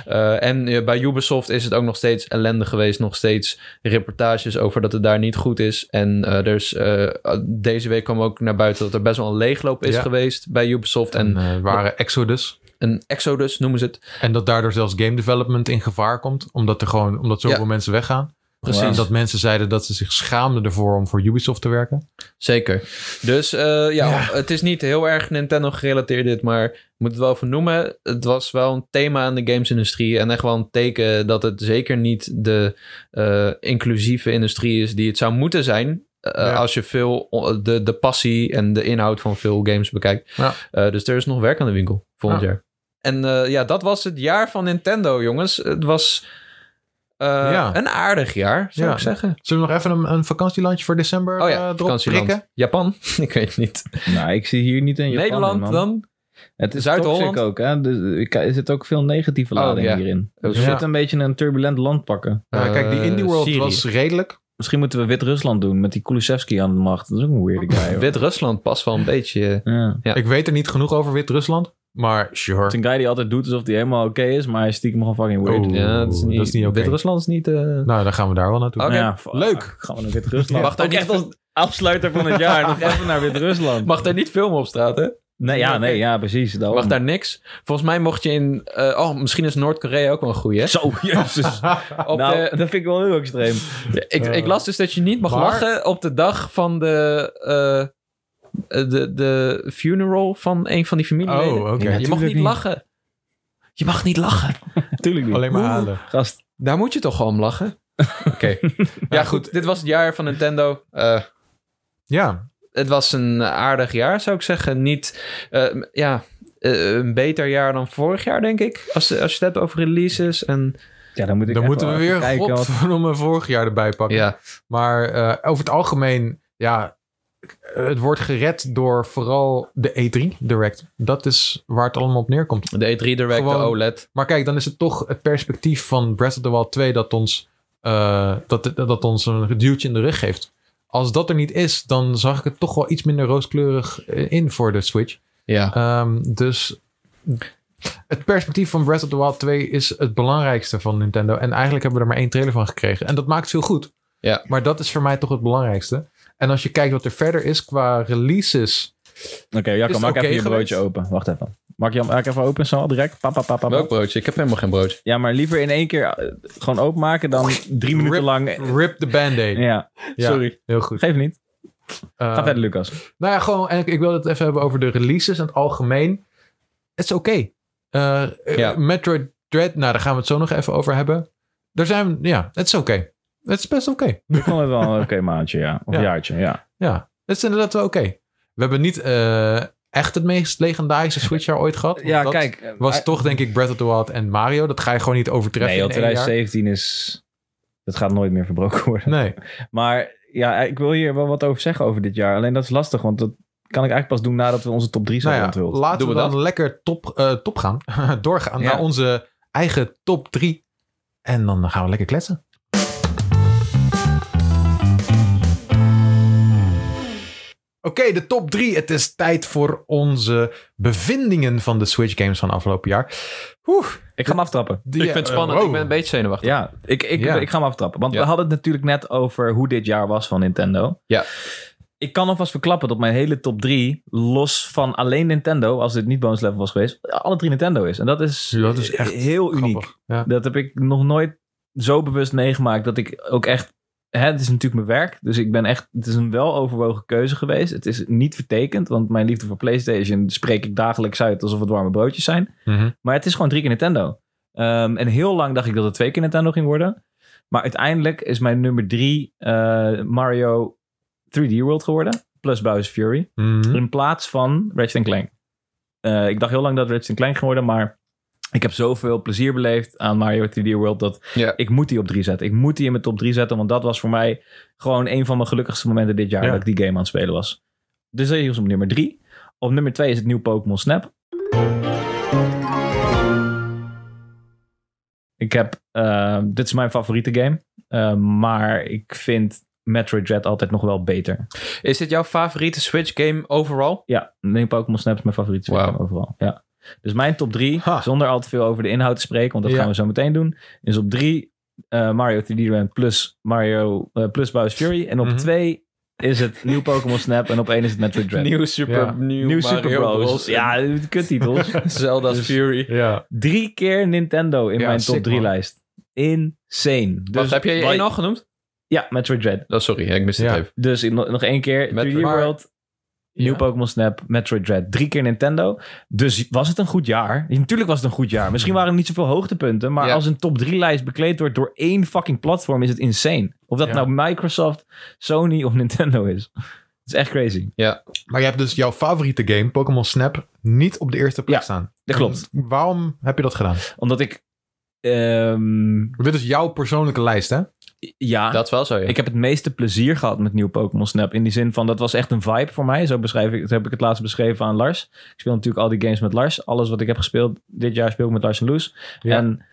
Eh, en eh, bij Ubisoft is het ook nog steeds ellende geweest. Nog steeds reportages over dat het daar niet goed is. En eh, er is, eh, deze week kwam ook naar buiten dat er best wel een leegloop is
Ja.
geweest bij Ubisoft. En
En eh, waren Exodus.
een exodus noemen ze het.
En dat daardoor zelfs game development in gevaar komt. Omdat er gewoon omdat zoveel
Ja.
mensen weggaan.
Precies.
En dat mensen zeiden dat ze zich schaamden ervoor om voor Ubisoft te werken.
Zeker. Dus eh, ja, het is niet heel erg Nintendo gerelateerd dit, maar ik moet het wel even noemen. Het was wel een thema in de gamesindustrie en echt wel een teken dat het zeker niet de eh, inclusieve industrie is die het zou moeten zijn. eh,
Ja.
Als je veel o- de, de passie en de inhoud van veel games bekijkt.
Ja.
Eh, dus er is nog werk aan de winkel volgend
Ja.
jaar. En eh, ja, dat was het jaar van Nintendo, jongens. Het was eh,
Ja.
een aardig jaar, zou
Ja.
ik zeggen.
Zullen we nog even een, een vakantielandje voor december
Oh
eh,
ja,
erop
vakantieland.
prikken?
Japan? ik weet het niet.
Nou, ik zie hier niet in Japan.
Nederland
man.
dan?
Het is
Zuid-Holland?
toxic ook, hè? Dus ik- er zit ook veel negatieve
Oh,
lading
ja.
hierin. Dus we
Ja.
zitten een beetje in een turbulent land pakken.
Nou, kijk, die
Eh,
Indie World
Syrië.
was redelijk.
Misschien moeten we Wit-Rusland doen met die Kulusevski aan de macht. Dat is ook een weird guy. hoor.
Wit-Rusland past wel een beetje. eh,
Ja.
Ja.
Ik weet er niet genoeg over Wit-Rusland, maar
Het is
sure.
een guy die altijd doet alsof hij helemaal oké is, maar hij is stiekem gewoon fucking weird.
Oeh,
ja, dat is niet,
Oh, dat is niet oké.
Wit-Rusland is niet... eh,
Nou, dan gaan we daar wel naartoe.
Oh, oké.
Ja, fuck.
Leuk.
Gaan we naar Wit-Rusland.
Wacht
Wacht
ook
ook
niet
echt als afsluiter van het jaar. nog even naar Wit-Rusland.
Mag daar niet filmen op straat, hè?
Nee, ja, nee, ja, precies. daarom.
Mag daar niks. Volgens mij mocht je in... eh, oh, misschien is Noord-Korea ook wel een goeie, hè?
Zo, jezus.
Op
nou,
de-
dat vind ik wel heel extreem.
ik, ik las dus dat je niet mag
maar-
lachen op de dag van de... eh, de, de funeral van een van die familieleden.
Oh, oké.
Ja, je mag
Natuurlijk
niet
niet.
lachen. Je mag niet lachen.
Tuurlijk niet.
Alleen maar halen.
Gast.
Daar moet je toch gewoon om lachen? Oké. Ja, goed. Dit was het jaar van Nintendo. Eh,
Ja,
het was een aardig jaar, zou ik zeggen. Niet, eh, ja, eh, een beter jaar dan vorig jaar, denk ik. Als, als je het hebt over releases en...
Ja, dan moet ik
dan
echt
moeten we
wel
weer
even kijken.
op
wat-
om mijn vorig jaar erbij pakken.
Ja,
Maar eh, over het algemeen, ja, het wordt gered door vooral de E3 Direct. Dat is waar het allemaal op neerkomt.
de E E3 Direct,
Gewoon-
de OLED.
Maar kijk, dan is het toch het perspectief van Breath of the Wild 2 dat ons, eh, dat, dat ons een duwtje in de rug geeft. Als dat er niet is, dan zag ik het toch wel iets minder rooskleurig eh, in voor de Switch.
Ja.
Ehm, dus het perspectief van Breath of the Wild 2 is het belangrijkste van Nintendo. En eigenlijk hebben we er maar één trailer van gekregen. En dat maakt veel goed.
Ja.
Maar dat is voor mij toch het belangrijkste. En als je kijkt wat er verder is qua releases.
Oké, Jacco,
Is het
maak
oké
even je broodje
geweest?
open. Wacht even. Maak je maak even open zo direct. Pap, pap, pap, pap,
Welk
pap.
broodje? Ik heb helemaal geen broodje.
Ja, maar liever in één keer eh, gewoon openmaken dan drie minuten
Rip.
lang.
Rip the Band-Aid.
Ja,
Ja,
sorry.
Heel goed.
Geef niet.
Eh,
Ga verder, Lucas.
Nou ja, gewoon. En ik, ik wil het even hebben over de releases in het algemeen. Het is oké. Eh, eh,
Ja.
Metroid Dread, nou daar gaan we het zo nog even over hebben. Daar zijn we, ja, het is oké. Het is best oké.
Ik vond het wel een oké maandje, ja. Of
Ja.
jaartje, ja.
Ja, het is inderdaad wel oké. We hebben niet eh, echt het meest legendarische Switchjaar ooit gehad. want dat Was toch denk ik Breath of the Wild en Mario. Dat ga je gewoon niet overtreffen
Nee, joh,
in één jaar.
2017 is... Dat gaat nooit meer verbroken worden.
Nee,
Maar ja, eh, ik wil hier wel wat over zeggen over dit jaar. Alleen dat is lastig, want dat kan ik eigenlijk pas doen nadat we onze top 3 zijn
nou ja,
onthuld.
laten
Doen
we
we
dan lekker top, eh, top gaan. Doorgaan
Ja.
naar onze eigen top 3. En dan gaan we lekker kletsen. Oké, de top 3. Het is tijd voor onze bevindingen van de Switch games van afgelopen jaar. Oeh,
Ik ga hem aftrappen.
die-
ik vind het spannend.
eh, wow.
Ik ben een beetje zenuwachtig.
Ja, ik, ik,
Ja.
ik ga hem aftrappen. Want
Ja.
we hadden het natuurlijk net over hoe dit jaar was van Nintendo.
Ja.
Ik kan alvast verklappen dat mijn hele top 3, los van alleen Nintendo, als dit niet bonus level was geweest, alle drie Nintendo is. En dat is,
Dat is echt
heel Eh, uniek.
Grappig. Ja.
Dat heb ik nog nooit zo bewust meegemaakt dat ik ook echt. Hè, het is natuurlijk mijn werk, dus ik ben echt. Het is een weloverwogen keuze geweest. Het is niet vertekend, want mijn liefde voor PlayStation spreek ik dagelijks uit alsof het warme broodjes zijn.
Mhm.
Maar het is gewoon drie keer Nintendo. Ehm, en heel lang dacht ik dat het twee keer Nintendo ging worden. Maar uiteindelijk is mijn nummer drie eh, Mario 3D World geworden. Plus Bowser Fury.
Mhm.
In plaats van Ratchet Clank. Eh, ik dacht heel lang dat het Ratchet Clank ging worden, maar... Ik heb zoveel plezier beleefd aan Mario 3D World dat
Ja.
ik moet die op 3 zetten. Ik moet die in mijn top 3 zetten, want dat was voor mij gewoon een van mijn gelukkigste momenten dit jaar
Ja.
dat ik die game aan het spelen was. Dus dat is op nummer 3. Op nummer 2 is het nieuwe Pokémon Snap. Ik heb, eh, dit is mijn favoriete game, eh, maar ik vind Metroid Dread altijd nog wel beter.
Is dit jouw favoriete Switch game overal?
Ja, nee, Pokémon Snap is mijn favoriete
Wauw.
game overal. Ja. Dus mijn top 3,
Ha.
zonder al te veel over de inhoud te spreken, want dat
Ja.
gaan we zo meteen doen, is op 3 Mario 3D Land plus Mario eh, plus Bowser Fury. En op
Mhm.
2 is het nieuw Pokémon Snap en op 1 is het Metroid Dread.
Nieuw Super,
Ja.
nieuw
Nieuw
Mario
Super Bros.
Bros.
Ja, kuttitels.
Zelda's
Dus-
Fury.
Ja.
Drie keer Nintendo in
Ja,
mijn
sick,
top 3
man.
lijst. Insane. Dus,
Wacht, heb jij je
Bye.
één al genoemd?
Ja, Metroid Dread.
Oh, sorry, ik miste
Ja.
het even.
Dus in- nog één keer 3D
Metroid.
World, Nieuw
Ja.
Pokémon Snap, Metroid Dread. Drie keer Nintendo. Dus was het een goed jaar? Natuurlijk was het een goed jaar. Misschien waren er niet zoveel hoogtepunten. Maar
Ja.
als een top 3 lijst bekleed wordt door één fucking platform, is het insane. Of dat
Ja.
nou Microsoft, Sony of Nintendo is. Het is echt crazy.
Maar je hebt dus jouw favoriete game, Pokémon Snap, niet op de eerste plek
Ja,
staan.
Dat klopt.
Waarom heb je dat gedaan?
Omdat ik. ehm,
Dit is jouw persoonlijke lijst, hè?
ja.
Dat wel zo, ja.
Ik heb het meeste plezier gehad met nieuw Pokémon Snap. In die zin van, dat was echt een vibe voor mij. Zo beschrijf ik, dat heb ik het laatst beschreven aan Lars. Ik speel natuurlijk al die games met Lars. Alles wat ik heb gespeeld dit jaar speel ik met Lars en Loes.
Ja.
En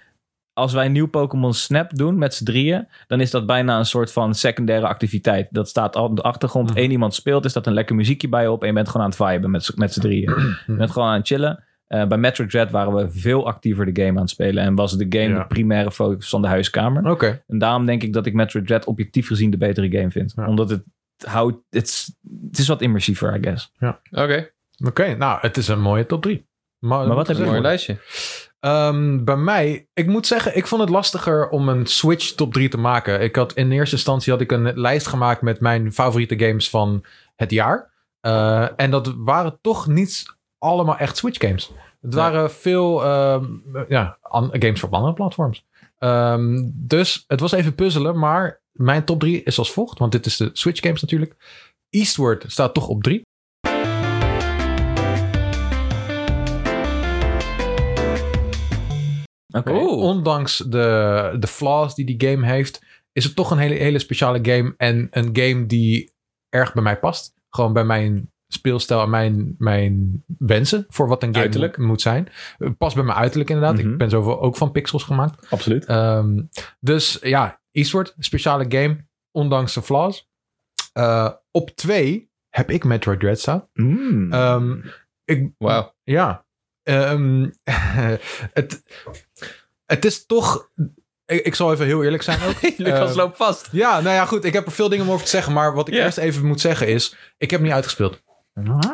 als wij nieuw Pokémon Snap doen met z'n drieën, dan is dat bijna een soort van secundaire activiteit. Dat staat al op de achtergrond.
Mhm.
Eén iemand speelt, is dat een lekker muziekje bij op en je bent gewoon aan het viben met, z'n- met z'n drieën.
Mhm.
Je bent gewoon aan het chillen. Eh, bij Metro Dread waren we veel actiever de game aan het spelen en was de game
Ja.
de primaire focus van de huiskamer.
Oké.
En daarom denk ik dat ik Metroid Dread objectief gezien de betere game vind.
Ja.
Omdat het houdt, het is, het is wat immersiever, I guess.
Oké,
Oké, nou, het is een mooie top 3.
Maar wat heb je
je
voor
mooi lijstje.
Ehm, bij mij, ik moet zeggen, ik vond het lastiger om een Switch top 3 te maken. Ik had in eerste instantie had ik een lijst gemaakt met mijn favoriete games van het jaar. Eh, en dat waren toch niet allemaal echt Switch games. Het
Nee.
waren veel ehm, ja, an- games voor andere platforms. Ehm, dus het was even puzzelen, maar mijn top 3 is als volgt, want dit is de Switch games natuurlijk. Eastward staat toch op 3.
Oké.
Oeh.
Ondanks de, de flaws die die game heeft, is het toch een hele, hele speciale game. En een game die erg bij mij past. Gewoon bij mijn speelstijl en mijn, mijn wensen voor wat een game
Uiterlijk.
moet- moet zijn. Eh, Past bij mijn uiterlijk inderdaad.
Mhm.
Ik ben zoveel ook van pixels gemaakt.
Absoluut.
Ehm, dus ja, Eastward, speciale game, ondanks de flaws. Eh, op twee heb ik Metroid Dread staan.
Mm.
Ehm, ik,
Wauw.
ja. Ehm, het, het is toch. Ik, ik zal even heel eerlijk zijn ook.
Lucas
Eh,
loopt vast.
Ja, nou ja, goed. Ik heb er veel dingen om over te zeggen. Maar wat ik
Ja.
eerst even moet zeggen is. Ik heb hem niet uitgespeeld.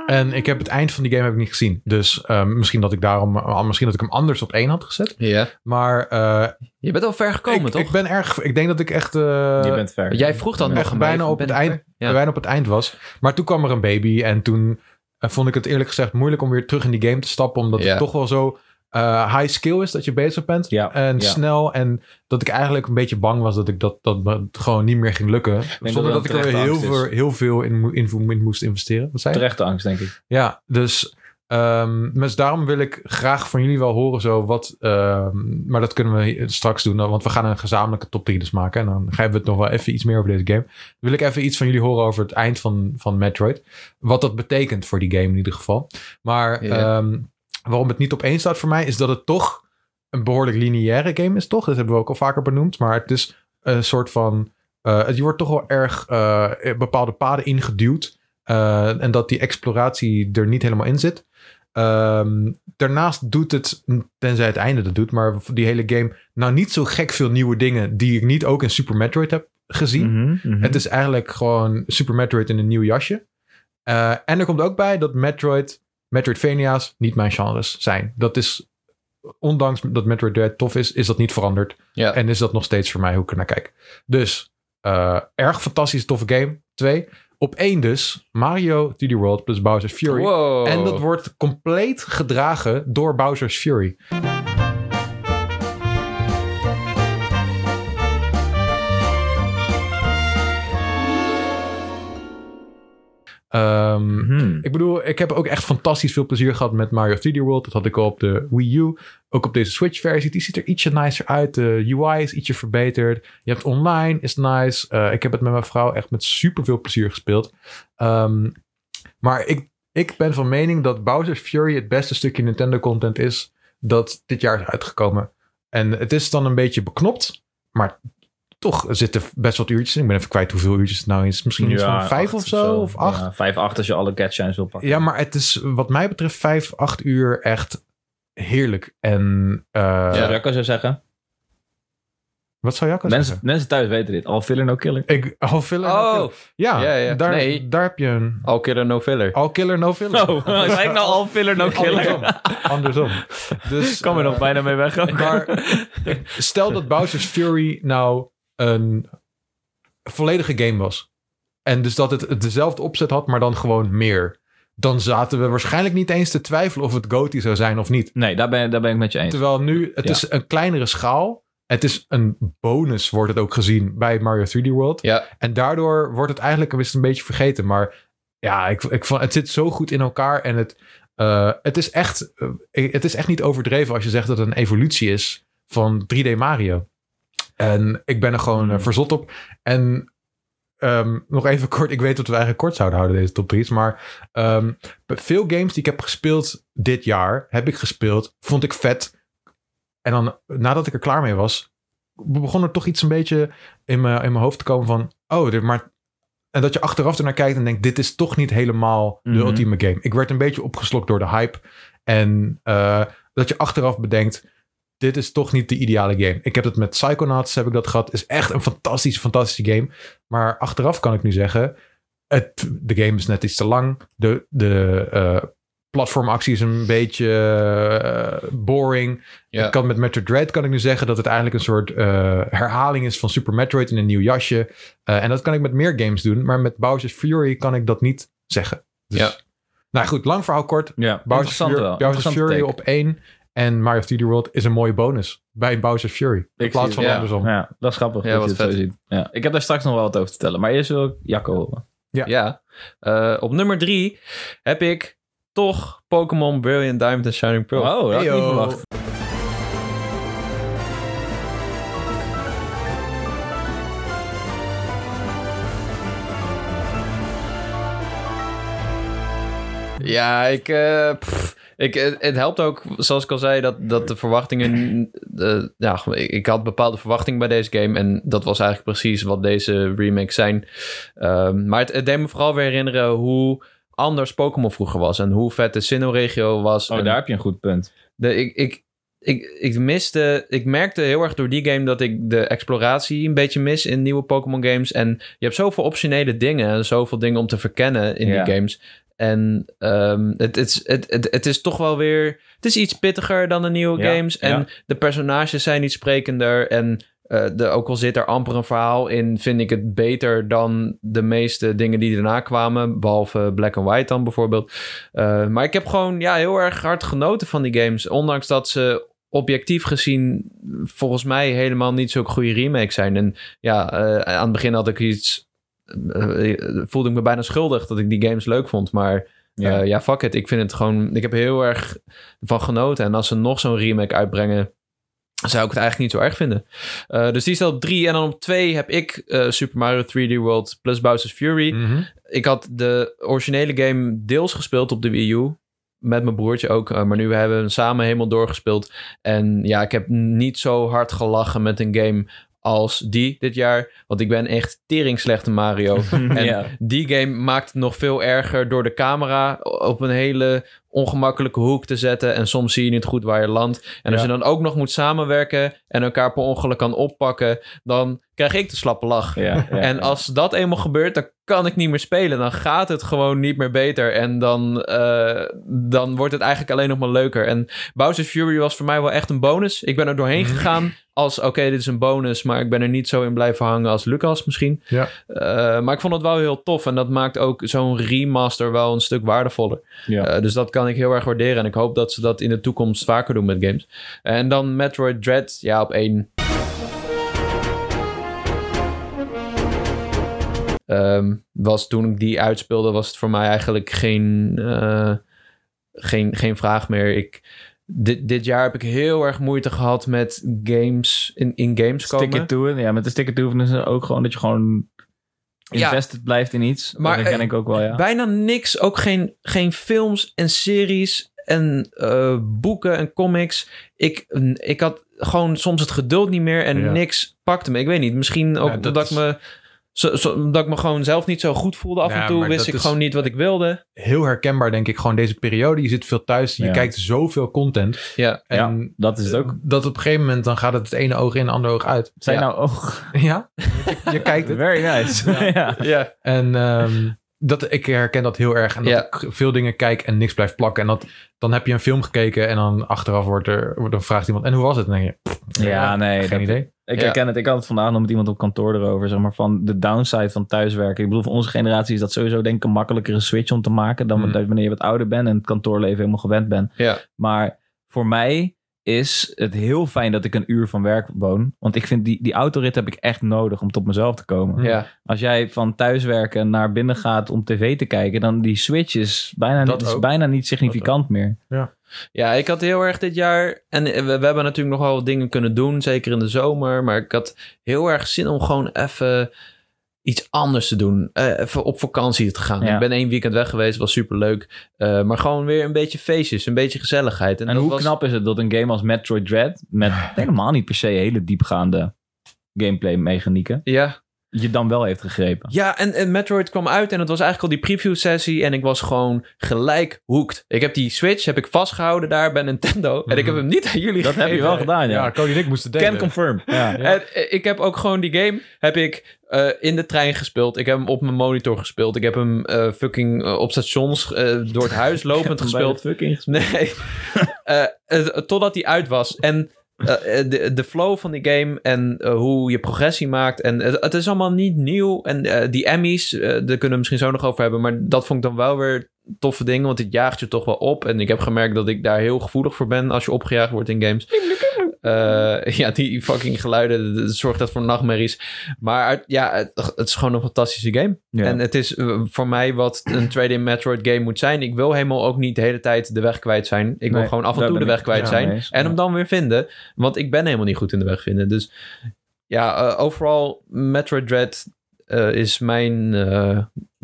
En ik heb het eind van die game heb ik niet gezien. Dus ehm, misschien dat ik daarom. eh, Misschien dat ik hem anders op één had gezet.
Ja.
Maar. eh,
Je bent al ver gekomen,
ik,
toch?
ik ben erg. Ik denk dat ik echt. eh,
je bent ver.
Jij vroeg dan
Ik ben
echt
nog aan mij,
bijna
van,
op
ben
het
ik
eind,
Ja.
bijna op het eind was. Maar toen kwam er een baby en toen eh, vond ik het eerlijk gezegd moeilijk om weer terug in die game te stappen, omdat
Ja.
het toch wel zo eh, high skill is dat je bezig bent
Ja,
en
ja.
snel en dat ik eigenlijk een beetje bang was dat ik dat dat me het gewoon niet meer ging lukken,
dat
zonder
dat
dat, ik er
terechte
heel
angst is.
veel, heel veel in, mo- in, in moest investeren. Wat zei je?
Terechte angst, denk ik.
Ja, dus, ehm, dus daarom wil ik graag van jullie wel horen zo wat... ehm, maar dat kunnen we hier straks doen, want we gaan een gezamenlijke top 3 dus maken. En dan gaan we het nog wel even iets meer over deze game. Dan wil ik even iets van jullie horen over het eind van, van Metroid. Wat dat betekent voor die game in ieder geval. Maar
Ja.
ehm, waarom het niet op één staat voor mij... is dat het toch een behoorlijk lineaire game is, toch? Dat hebben we ook al vaker benoemd. Maar het is een soort van... eh, je wordt toch wel erg eh, bepaalde paden ingeduwd... Eh, en dat die exploratie er niet helemaal in zit. Ehm, daarnaast doet het, tenzij het einde dat doet, maar die hele game nou niet zo gek veel nieuwe dingen die ik niet ook in Super Metroid heb gezien.
Mhm, mhm.
Het is eigenlijk gewoon Super Metroid in een nieuw jasje. Eh, en er komt ook bij dat Metroid, Metroidvania's niet mijn genres zijn. Dat is, ondanks dat Metroid Dread tof is, is dat niet veranderd.
Ja.
En is dat nog steeds voor mij hoe ik er naar kijk. Dus eh, erg fantastisch, toffe game. Twee. Op één dus Mario 3D World plus Bowser's Fury.
Wow.
En dat wordt compleet gedragen door Bowser's Fury. Ehm,
Mhm.
ik bedoel, ik heb ook echt fantastisch veel plezier gehad met Mario 3D World. Dat had ik al op de Wii U. Ook op deze Switch-versie. Die ziet er ietsje nicer uit. De UI is ietsje verbeterd. Je hebt online, is nice. Eh, ik heb het met mijn vrouw echt met super veel plezier gespeeld. Ehm, maar ik, ik ben van mening dat Bowser's Fury het beste stukje Nintendo-content is dat dit jaar is uitgekomen. En het is dan een beetje beknopt, maar toch zitten best wat uurtjes in. Ik ben even kwijt hoeveel uurtjes het nou is. Misschien iets
Ja,
van vijf
acht
of zo, of acht.
Ja, vijf, acht als je alle catchines wil pakken.
Ja, maar het is wat mij betreft vijf, acht uur echt heerlijk. En eh,
Zou Jacco zo zeggen?
wat zou Jacco
Mensen,
zeggen?
mensen thuis weten dit. Al filler, no killer.
Ik, al filler, no
Oh,
killer. Ja,
Ja, ja.
Daar,
Nee.
daar heb je een.
al killer no filler.
All killer, no filler.
Oh, zei ik nou al filler, no
Andersom.
killer?
Andersom. Dus,
Kan me
eh,
nog bijna mee weg. ook.
maar- Stel dat Bowser's Fury nou een volledige game was. En dus dat het het dezelfde opzet had, maar dan gewoon meer. Dan zaten we waarschijnlijk niet eens te twijfelen of het GOTY zou zijn of niet.
Nee, daar ben, daar ben ik met je eens.
Terwijl nu, het
Ja.
is een kleinere schaal. Het is een bonus, wordt het ook gezien bij Mario 3D World.
Ja,
En daardoor wordt het eigenlijk een- is het een beetje vergeten. Maar ja, ik, ik, vond- het zit zo goed in elkaar. En het, eh, het, is echt, eh, het is echt niet overdreven als je zegt dat het een evolutie is van 3D Mario. En ik ben er gewoon
Hmm.
eh, verzot op. En ehm, nog even kort. Ik weet dat we eigenlijk kort zouden houden deze top 3's. Maar ehm, veel games die ik heb gespeeld dit jaar, heb ik gespeeld. Vond ik vet. En dan, nadat ik er klaar mee was, begon er toch iets een beetje in mijn, in mijn hoofd te komen van... Oh, dit, maar... En dat je achteraf ernaar kijkt en denkt, dit is toch niet helemaal de
Mhm.
ultieme game. Ik werd een beetje opgeslokt door de hype. En eh, dat je achteraf bedenkt, dit is toch niet de ideale game. Ik heb het met Psychonauts, heb ik dat gehad. Is echt een fantastische, fantastische game. Maar achteraf kan ik nu zeggen, het, de game is net iets te lang. De, de eh, platformactie is een beetje eh, boring.
Ja.
Ik kan met Metroid Dread kan ik nu zeggen dat het eigenlijk een soort eh, herhaling is van Super Metroid in een nieuw jasje. Eh, en dat kan ik met meer games doen, maar met Bowser's Fury kan ik dat niet zeggen. Dus,
Ja.
Nou goed, lang verhaal kort.
Ja,
Bowser's
interessant
Fury,
wel.
Bowser's
Interessante
Fury
take.
op 1 en Mario 3D World is een mooie bonus bij Bowser's Fury. In
Ik
plaats
zie
van
het, ja.
andersom.
Ja, dat is grappig
Ja,
dat
wat
je het
vet.
zo ziet. Ja. Ik heb daar straks nog wel wat over te vertellen. Maar eerst wil ik Jacco horen.
Ja. Eh, op nummer drie heb ik toch Pokémon Brilliant Diamond en Shining Pearl.
Oh, dat had ik niet
Heyo.
verwacht.
Ja, ik, eh, pff, ik, eh, het helpt ook, zoals ik al zei, dat, dat de verwachtingen... eh, ja, ik ik had bepaalde verwachtingen bij deze game en dat was eigenlijk precies wat deze remakes zijn. Ehm, maar het, het deed me vooral weer herinneren hoe anders Pokémon vroeger was en hoe vet de Sinnoh-regio was.
Oh,
en
daar heb je een goed punt.
de, ik, ik, ik, ik miste. Ik merkte heel erg door die game dat ik de exploratie een beetje mis in nieuwe Pokémon games. En je hebt zoveel optionele dingen en zoveel dingen om te verkennen in
Ja.
die games. En ehm, het, het, is- het, het, het is toch wel weer. Het is iets pittiger dan de nieuwe
Ja,
games. En
ja.
de personages zijn iets sprekender. En eh, de, ook al zit er amper een verhaal in, vind ik het beter dan de meeste dingen die daarna kwamen. Behalve Black and White dan bijvoorbeeld. Eh, maar ik heb gewoon ja, heel erg hard genoten van die games. Ondanks dat ze objectief gezien volgens mij helemaal niet zo'n goede remake zijn. En ja, eh, aan het begin had ik iets... eh, eh, voelde ik me bijna schuldig dat ik die games leuk vond. Maar ja,
Ja.
Eh, ja fuck it. Ik vind het gewoon... Ik heb heel erg van genoten. En als ze nog zo'n remake uitbrengen... Zou ik het eigenlijk niet zo erg vinden. Eh, dus die staat op drie. En dan op twee heb ik eh, Super Mario 3D World plus Bowser's Fury
Mhm.
ik had de originele game deels gespeeld op de Wii U. Met mijn broertje ook. eh, maar nu hebben we hem samen helemaal doorgespeeld. En ja, ik heb niet zo hard gelachen met een game als die dit jaar. Want ik ben echt tering slechte Mario. En
Ja.
die game maakt het nog veel erger door de camera op een hele ongemakkelijke hoek te zetten. En soms zie je niet goed waar je landt. En als
Ja.
je dan ook nog moet samenwerken en elkaar per ongeluk kan oppakken, dan krijg ik de slappe lach.
Ja, ja,
En
ja.
als dat eenmaal gebeurt, dan kan ik niet meer spelen. Dan gaat het gewoon niet meer beter. En dan, eh, dan wordt het eigenlijk alleen nog maar leuker. En Bowser's Fury was voor mij wel echt een bonus. Ik ben er doorheen gegaan als... Oké, dit is een bonus, maar ik ben er niet zo in blijven hangen als Lucas misschien.
Ja.
Eh, maar ik vond het wel heel tof. En dat maakt ook zo'n remaster wel een stuk waardevoller.
Ja.
Eh, dus dat kan ik heel erg waarderen. En ik hoop dat ze dat in de toekomst vaker doen met games. En dan Metroid Dread, ja, op één. Ehm, was toen ik die uitspeelde, was het voor mij eigenlijk geen, eh, geen, geen vraag meer. Ik, dit, dit jaar heb ik heel erg moeite gehad met games in, in games komen.
Stick it to it. Ja, met de stick it to it is het ook gewoon dat je gewoon
Ja.
invested blijft in iets.
Maar,
dat herken
eh,
ik ook wel, ja.
Bijna niks, ook geen, geen films en series en eh, boeken en comics. Ik, ik had gewoon soms het geduld niet meer en
Ja.
niks pakte me. Ik weet niet, misschien ook
Ja, dat
omdat
is-
ik me... Zo, zo- omdat ik me gewoon zelf niet zo goed voelde af
Ja,
en toe,
maar
wist
dat
ik
is-
gewoon niet wat ik wilde.
Heel herkenbaar denk ik gewoon deze periode. Je zit veel thuis, je
Ja.
kijkt zoveel content.
Ja,
En
ja, dat is het ook.
dat op een gegeven moment dan gaat het het ene oog in, het andere oog uit.
Zijn
ja.
nou oog.
Ja, je, je kijkt het.
Very nice. ja.
ja.
En ehm, dat, ik herken dat heel erg. En dat
Ja.
ik veel dingen kijk en niks blijft plakken. En dat, dan heb je een film gekeken en dan achteraf wordt er, wordt- dan vraagt iemand... En hoe was het? En dan denk je,
Ja, nee.
geen
dat-
idee.
Ik
Ja.
herken het. Ik had het vandaag nog met iemand op kantoor erover. Zeg maar van de downside van thuiswerken. Ik bedoel, voor onze generatie is dat sowieso denk ik een makkelijkere switch om te maken. Dan
Mm.
dat wanneer je wat ouder bent en het kantoorleven helemaal gewend bent.
Ja.
Maar voor mij is het heel fijn dat ik een uur van werk woon. Want ik vind die, die autorit heb ik echt nodig om tot mezelf te komen.
Mm.
ja.
Als jij van thuiswerken naar binnen gaat om tv te kijken, dan die switch is bijna,
Dat
niet, is
ook.
bijna niet significant meer.
Ja, ik had heel erg dit jaar. En we, we hebben natuurlijk nog wel wat dingen kunnen doen, zeker in de zomer. Maar ik had heel erg zin om gewoon even iets anders te doen. Eh, even op vakantie te gaan.
Ja.
Ik ben één weekend weg geweest, was superleuk. Eh maar gewoon weer een beetje feestjes, een beetje gezelligheid.
En
dat
hoe
was-
knap is het dat een game als Metroid Dread... met helemaal niet per se hele diepgaande gameplay mechanieken...
Ja,
je dan wel heeft gegrepen.
Ja, en, en Metroid kwam uit en het was eigenlijk al die preview sessie en ik was gewoon gelijk hooked. Ik heb die Switch heb ik vastgehouden daar bij Nintendo en ik heb hem niet aan jullie
Mhm. Dat heb je wel gedaan, ja.
Ja, Cody en ik moesten delen.
Can confirm. Ja.
Ja.
En, eh, ik heb ook gewoon die game heb ik eh, in de trein gespeeld. Ik heb hem op mijn monitor gespeeld. Ik heb hem eh, fucking eh, op stations eh, door het huis lopend gespeeld. Nee. Eh, eh, totdat die uit was. En eh, eh, de, de flow van die game en eh, hoe je progressie maakt. En eh, het, het is allemaal niet nieuw. En eh, die Emmys, eh, daar kunnen we misschien zo nog over hebben. Maar dat vond ik dan wel weer toffe dingen. Want het jaagt je toch wel op. En ik heb gemerkt dat ik daar heel gevoelig voor ben als je opgejaagd wordt in games. Eh, ja, die fucking geluiden, dat zorgt dat voor nachtmerries. Maar uit- ja, het, het is gewoon een fantastische game.
Ja.
En het is eh, voor mij wat een 2D Metroid game moet zijn. Ik wil helemaal ook niet de hele tijd de weg kwijt zijn. Ik wil
Nee,
gewoon af en
daar
toe de
ben
weg
ik
kwijt
het
zijn.
mee eens.
en
Ja.
hem dan weer vinden. Want ik ben helemaal niet goed in de weg vinden. Dus ja, eh, overal Metroid Dread eh, is mijn eh,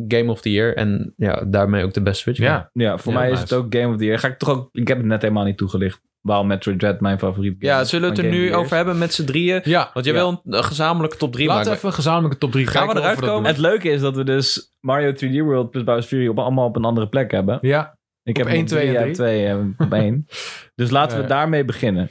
game of the year. En ja, daarmee ook de beste Switch game.
Ja,
Ja, voor
Ja,
mij
nice.
is het ook Game of the Year. Ga ik toch ook... Ik heb het net helemaal niet toegelicht. Waarom Metroid Dread mijn favoriet
Ja, zullen we het er nu over hebben met z'n drieën?
ja.
Want jij
Ja.
wil een eh, gezamenlijke top 3
Laten
maken.
we even een gezamenlijke top 3
Gaan we eruit komen?
Het leuke is dat we dus Mario 3D World plus Bowser's Fury op, allemaal op een andere plek hebben.
Ja,
Ik
Op
heb
één,
één,
twee en
twee,
drie.
twee en op één. Dus laten we
Ja.
daarmee beginnen.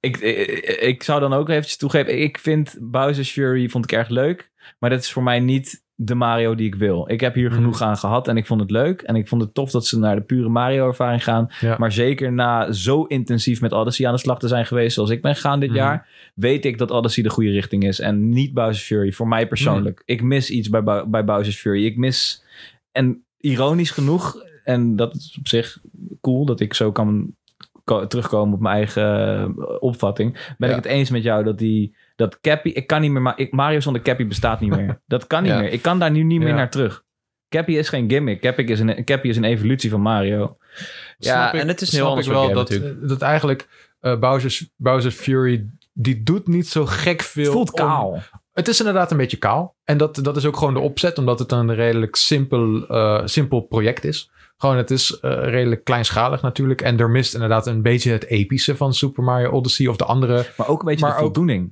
Ik, ik, ik zou dan ook eventjes toegeven, ik vind Bowser's Fury vond ik erg leuk. Maar dat is voor mij niet de Mario die ik wil. Ik heb hier
Mhm.
genoeg aan gehad en ik vond het leuk. En ik vond het tof dat ze naar de pure Mario-ervaring gaan.
Ja.
Maar zeker na zo intensief met Odyssey aan de slag te zijn geweest zoals ik ben gegaan dit
Mhm.
jaar... weet ik dat Odyssey de goede richting is. En niet Bowser's Fury, voor mij persoonlijk. Ik mis iets bij, Bou- bij Bowser's Fury. Ik mis... En ironisch genoeg, en dat is op zich cool dat ik zo kan ko- terugkomen op mijn eigen eh, opvatting, ben
Ja.
ik het eens met jou dat die dat Cappy, ik kan niet meer, Ma- ik, Mario zonder Cappy bestaat niet meer. dat kan niet
Ja.
meer. Ik kan daar nu niet meer
Ja.
naar terug. Cappy is geen gimmick. Cappy is een, Cappy is een evolutie van Mario.
Ja,
snap ik-
en het is een heel
snap
ander
ik
soort
wel
game
dat, dat eigenlijk eh, Bowser's, Bowser's Fury, die doet niet zo gek veel.
Het voelt
om-
kaal.
Het is inderdaad een beetje kaal. En dat, dat is ook gewoon de opzet, omdat het een redelijk simpel, eh, simpel project is. Gewoon, het is eh, redelijk kleinschalig natuurlijk. En er mist inderdaad een beetje het epische van Super Mario Odyssey of de andere
Maar ook een beetje
Maar
de
ook-
voldoening.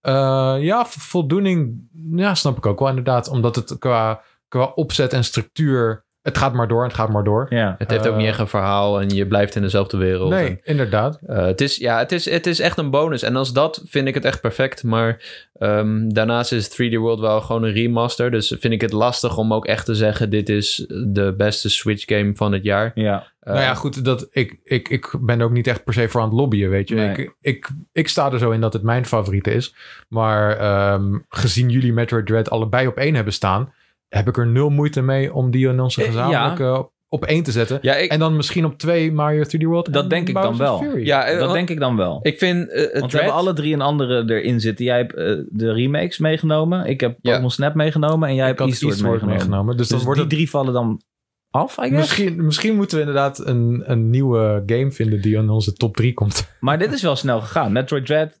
Eh, ja, vo- voldoening. Ja, snap ik ook wel inderdaad. Omdat het qua, qua opzet en structuur. Het gaat maar door en het gaat maar door.
Ja.
Het heeft ook
Eh,
niet echt een verhaal en je blijft in dezelfde wereld.
nee,
En,
inderdaad.
eh, het, is, ja, het, is, het is echt een bonus. En als dat vind ik het echt perfect. Maar ehm, daarnaast is 3D World wel gewoon een remaster. Dus vind ik het lastig om ook echt te zeggen... dit is de beste Switch game van het jaar.
Ja.
Eh,
nou ja, goed. Dat, ik, ik, ik ben ook niet echt per se voor aan het lobbyen, weet je.
Nee.
Ik, ik, ik sta er zo in dat het mijn favoriete is. Maar ehm, gezien jullie Metroid Dread allebei op één hebben staan... heb ik er nul moeite mee om die in onze
Eh, ja.
gezamenlijke op- op één te zetten.
ja, ik,
En dan misschien op twee Mario 3D World.
Dat
en
denk ik dan
Bowser's
wel.
Fury.
ja, eh,
Dat denk ik dan wel.
ik vind eh, het
Want we hebben
Dread-
alle drie een andere erin zitten. Jij hebt eh, de remakes meegenomen. Ik heb
Ja.
Pokémon Snap meegenomen. En jij
ik
hebt
had
Eastward, meegenomen.
Dus,
Dus
dan wordt
die
het
drie vallen dan af, I guess?
Misschien, misschien moeten we inderdaad een, een nieuwe game vinden die in onze top 3 komt.
Maar dit is wel snel gegaan. Metroid Dread,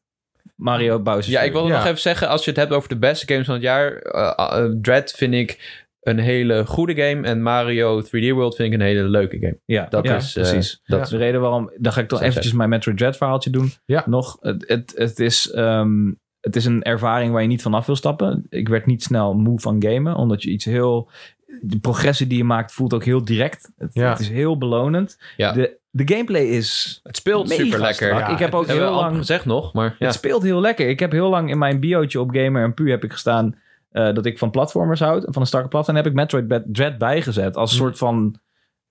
Mario Bowser.
Ja, ik wilde
Ja.
nog even zeggen, als je het hebt over de beste games van het jaar, eh, eh, Dread vind ik een hele goede game en Mario 3D World vind ik een hele leuke game.
Ja,
Dat
ja,
is eh,
precies.
Dat
Ja.
Dat is de reden waarom... Dan ga ik toch
Zo
eventjes mijn Metroid Dread verhaaltje doen.
Ja.
Nog, het, het, het is... ehm, het is een ervaring waar je niet vanaf wil stappen. Ik werd niet snel moe van gamen, omdat je iets heel... De progressie die je maakt voelt ook heel direct. Het,
Ja.
het is heel belonend.
Ja.
De, de gameplay is
Het speelt
mega
super lekker.
strak.
Ja,
ik heb ook
Dat hebben
heel
we al
lang
gezegd nog, maar ja.
Het speelt heel lekker. Ik heb heel lang in mijn biootje op Gamer en Pu heb ik gestaan eh, dat ik van platformers houd. Van een strakke platform. En heb ik Metroid Bad- Dread bijgezet als
Hm.
soort van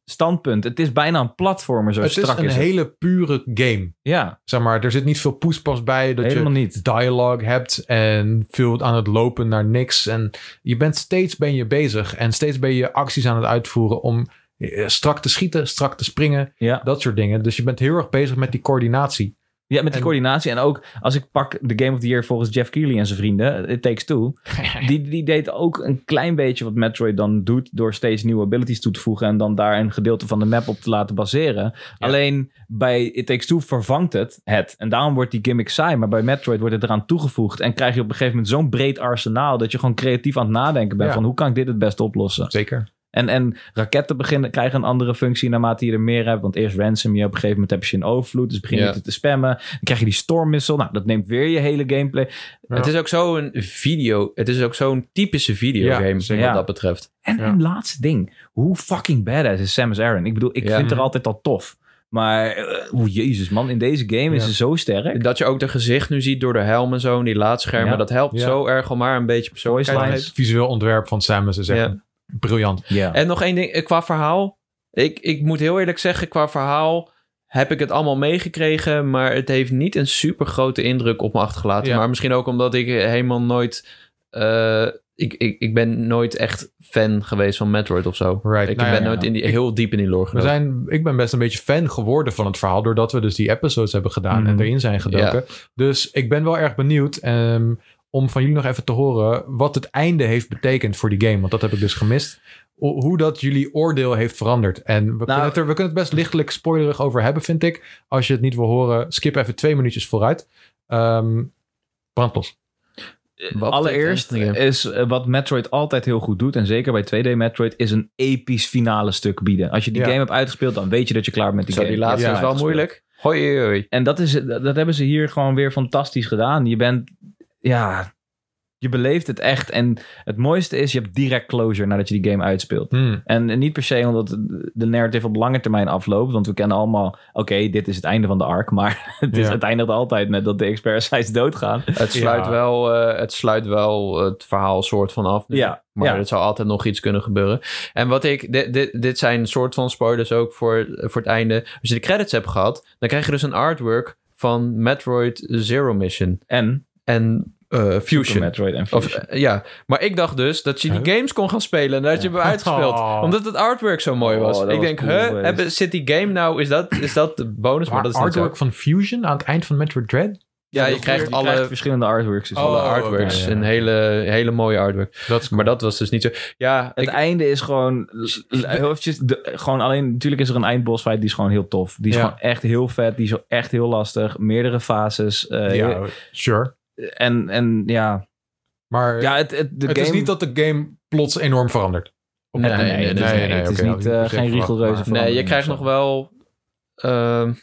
standpunt. Het is bijna een platformer zo
het is
strak
een
is het.
hele pure game.
Ja,
Zeg maar, er zit niet veel poespas bij. Dat
helemaal
je
niet.
dialogue hebt en veel aan het lopen naar niks. En je bent steeds ben je bezig en steeds ben je acties aan het uitvoeren om eh, strak te schieten, strak te springen,
Ja.
dat soort dingen. Dus je bent heel erg bezig met die coördinatie.
Ja, met die
En-
coördinatie. En ook als ik pak de Game of the Year volgens Jeff Keighley en zijn vrienden, eh, It Takes Two. Die, die deed ook een klein beetje wat Metroid dan doet door steeds nieuwe abilities toe te voegen en dan daar een gedeelte van de map op te laten baseren. Alleen bij It Takes Two vervangt het het. En daarom wordt die gimmick saai, maar bij Metroid wordt het eraan toegevoegd en krijg je op een gegeven moment zo'n breed arsenaal dat je gewoon creatief aan het nadenken bent
Ja.
van hoe kan ik dit het best oplossen.
Zeker.
En, en raketten beginnen, krijgen een andere functie naarmate je er meer hebt. Want eerst ransom je, op een gegeven moment heb je ze in overvloed. Dus begin je
Ja.
te- te spammen. Dan krijg je die storm missile. Nou, dat neemt weer je hele gameplay.
Ja.
Het is ook zo'n video. Het is ook zo'n typische videogame
Ja,
wat
zeker.
dat betreft.
En
Ja.
een laatste ding. Hoe fucking badass is Samus Aran? Ik bedoel, ik
Ja.
vind haar altijd al tof. Maar, eh, oeh, jezus man, in deze game is
Ja.
ze zo sterk.
Dat je ook de gezicht nu ziet door de helm en zo. En die laadschermen.
Ja.
Dat helpt
Ja.
zo erg om haar een beetje
Voice
persoonlijkheid te
lines.
geven.
Het visueel ontwerp van Samus is echt
Ja.
briljant.
Ja.
En nog één ding. eh, Qua verhaal. Ik, ik moet heel eerlijk zeggen. Qua verhaal heb ik het allemaal meegekregen. Maar het heeft niet een super grote indruk op me achtergelaten.
Ja.
Maar misschien ook omdat ik helemaal nooit... eh, ik, ik, ik ben nooit echt fan geweest van Metroid of zo.
Right.
Ik
Nou ja,
ben nooit
ja.
in die, heel diep in die lore
We
gedoken.
zijn, ik ben best een beetje fan geworden van het verhaal. Doordat we dus die episodes hebben gedaan
Mhm.
en erin zijn gedoken. Dus ik ben wel erg benieuwd ehm, om van jullie nog even te horen. wat het einde heeft betekend voor die game. Want dat heb ik dus gemist. O- hoe dat jullie oordeel heeft veranderd. En we, kunnen het er, we kunnen het best lichtelijk spoilerig over hebben, vind ik. Als je het niet wil horen, skip even twee minuutjes vooruit. Ehm brandlos.
Wat
Allereerst
betreft, ja.
is eh, wat Metroid altijd heel goed doet, en zeker bij 2D Metroid, is een episch finale stuk bieden. Als je die
Ja.
game hebt uitgespeeld, dan weet je dat je klaar bent met die
Zo,
game.
die laatste
Ja,
is wel
uitgespeeld.
moeilijk. Hoi, hoi, hoi.
En dat, is, dat dat hebben ze hier gewoon weer fantastisch gedaan. Je bent, ja, je beleeft het echt. En het mooiste is, je hebt direct closure nadat je die game uitspeelt.
Hmm.
En en niet per se omdat de narrative op lange termijn afloopt. Want we kennen allemaal, oké, dit is het einde van de arc. Maar het, is,
Ja.
het eindigt altijd met dat de experts doodgaan.
Het sluit,
Ja.
wel, eh, het sluit wel het verhaal soort van af. nu.
Ja,
Maar
ja.
er zou altijd nog iets kunnen gebeuren. En wat ik... Dit, dit, dit zijn soort van spoilers ook voor, voor het einde. Als je de credits hebt gehad, dan krijg je dus een artwork van Metroid Zero Mission.
En
En eh,
Super
Fusion.
Metroid en
Of,
Fusion.
eh, ja, maar ik dacht dus dat je die
Huh?
games kon gaan spelen en dat je hem uitgespeeld.
Oh.
Omdat het artwork zo mooi
Oh,
was.
dat
ik
was
denk,
cool
huh,
geweest.
hebben, zit die game nou, is dat, is dat de bonus? Maar,
Maar
dat is niet zo.
artwork van Fusion aan het eind van Metroid Dread?
Ja, je
Je
krijgt alle,
verschillende artworks. dus
Oh,
alle
wel.
artworks.
oké.
Een hele, hele mooie artwork.
Dat is
Maar dat was dus niet zo. Ja,
Het
ik-
einde is gewoon heel eventjes de- gewoon alleen. Natuurlijk is er een eindbosfight die is gewoon heel tof. Die is
Ja.
gewoon echt heel vet. Die is echt heel lastig. Meerdere fases. eh,
ja, sure.
En, en ja,
Maar
ja het, het, de
het
game,
is niet dat de game plots enorm verandert. Op
Nee,
dat
nee,
moment.
nee,
nee, het is
oké,
niet,
dat
eh,
heb ik
geen
verwacht,
rigelreuze
maar-
van-
nee, je
verandering
krijgt
of
nog wel ehm,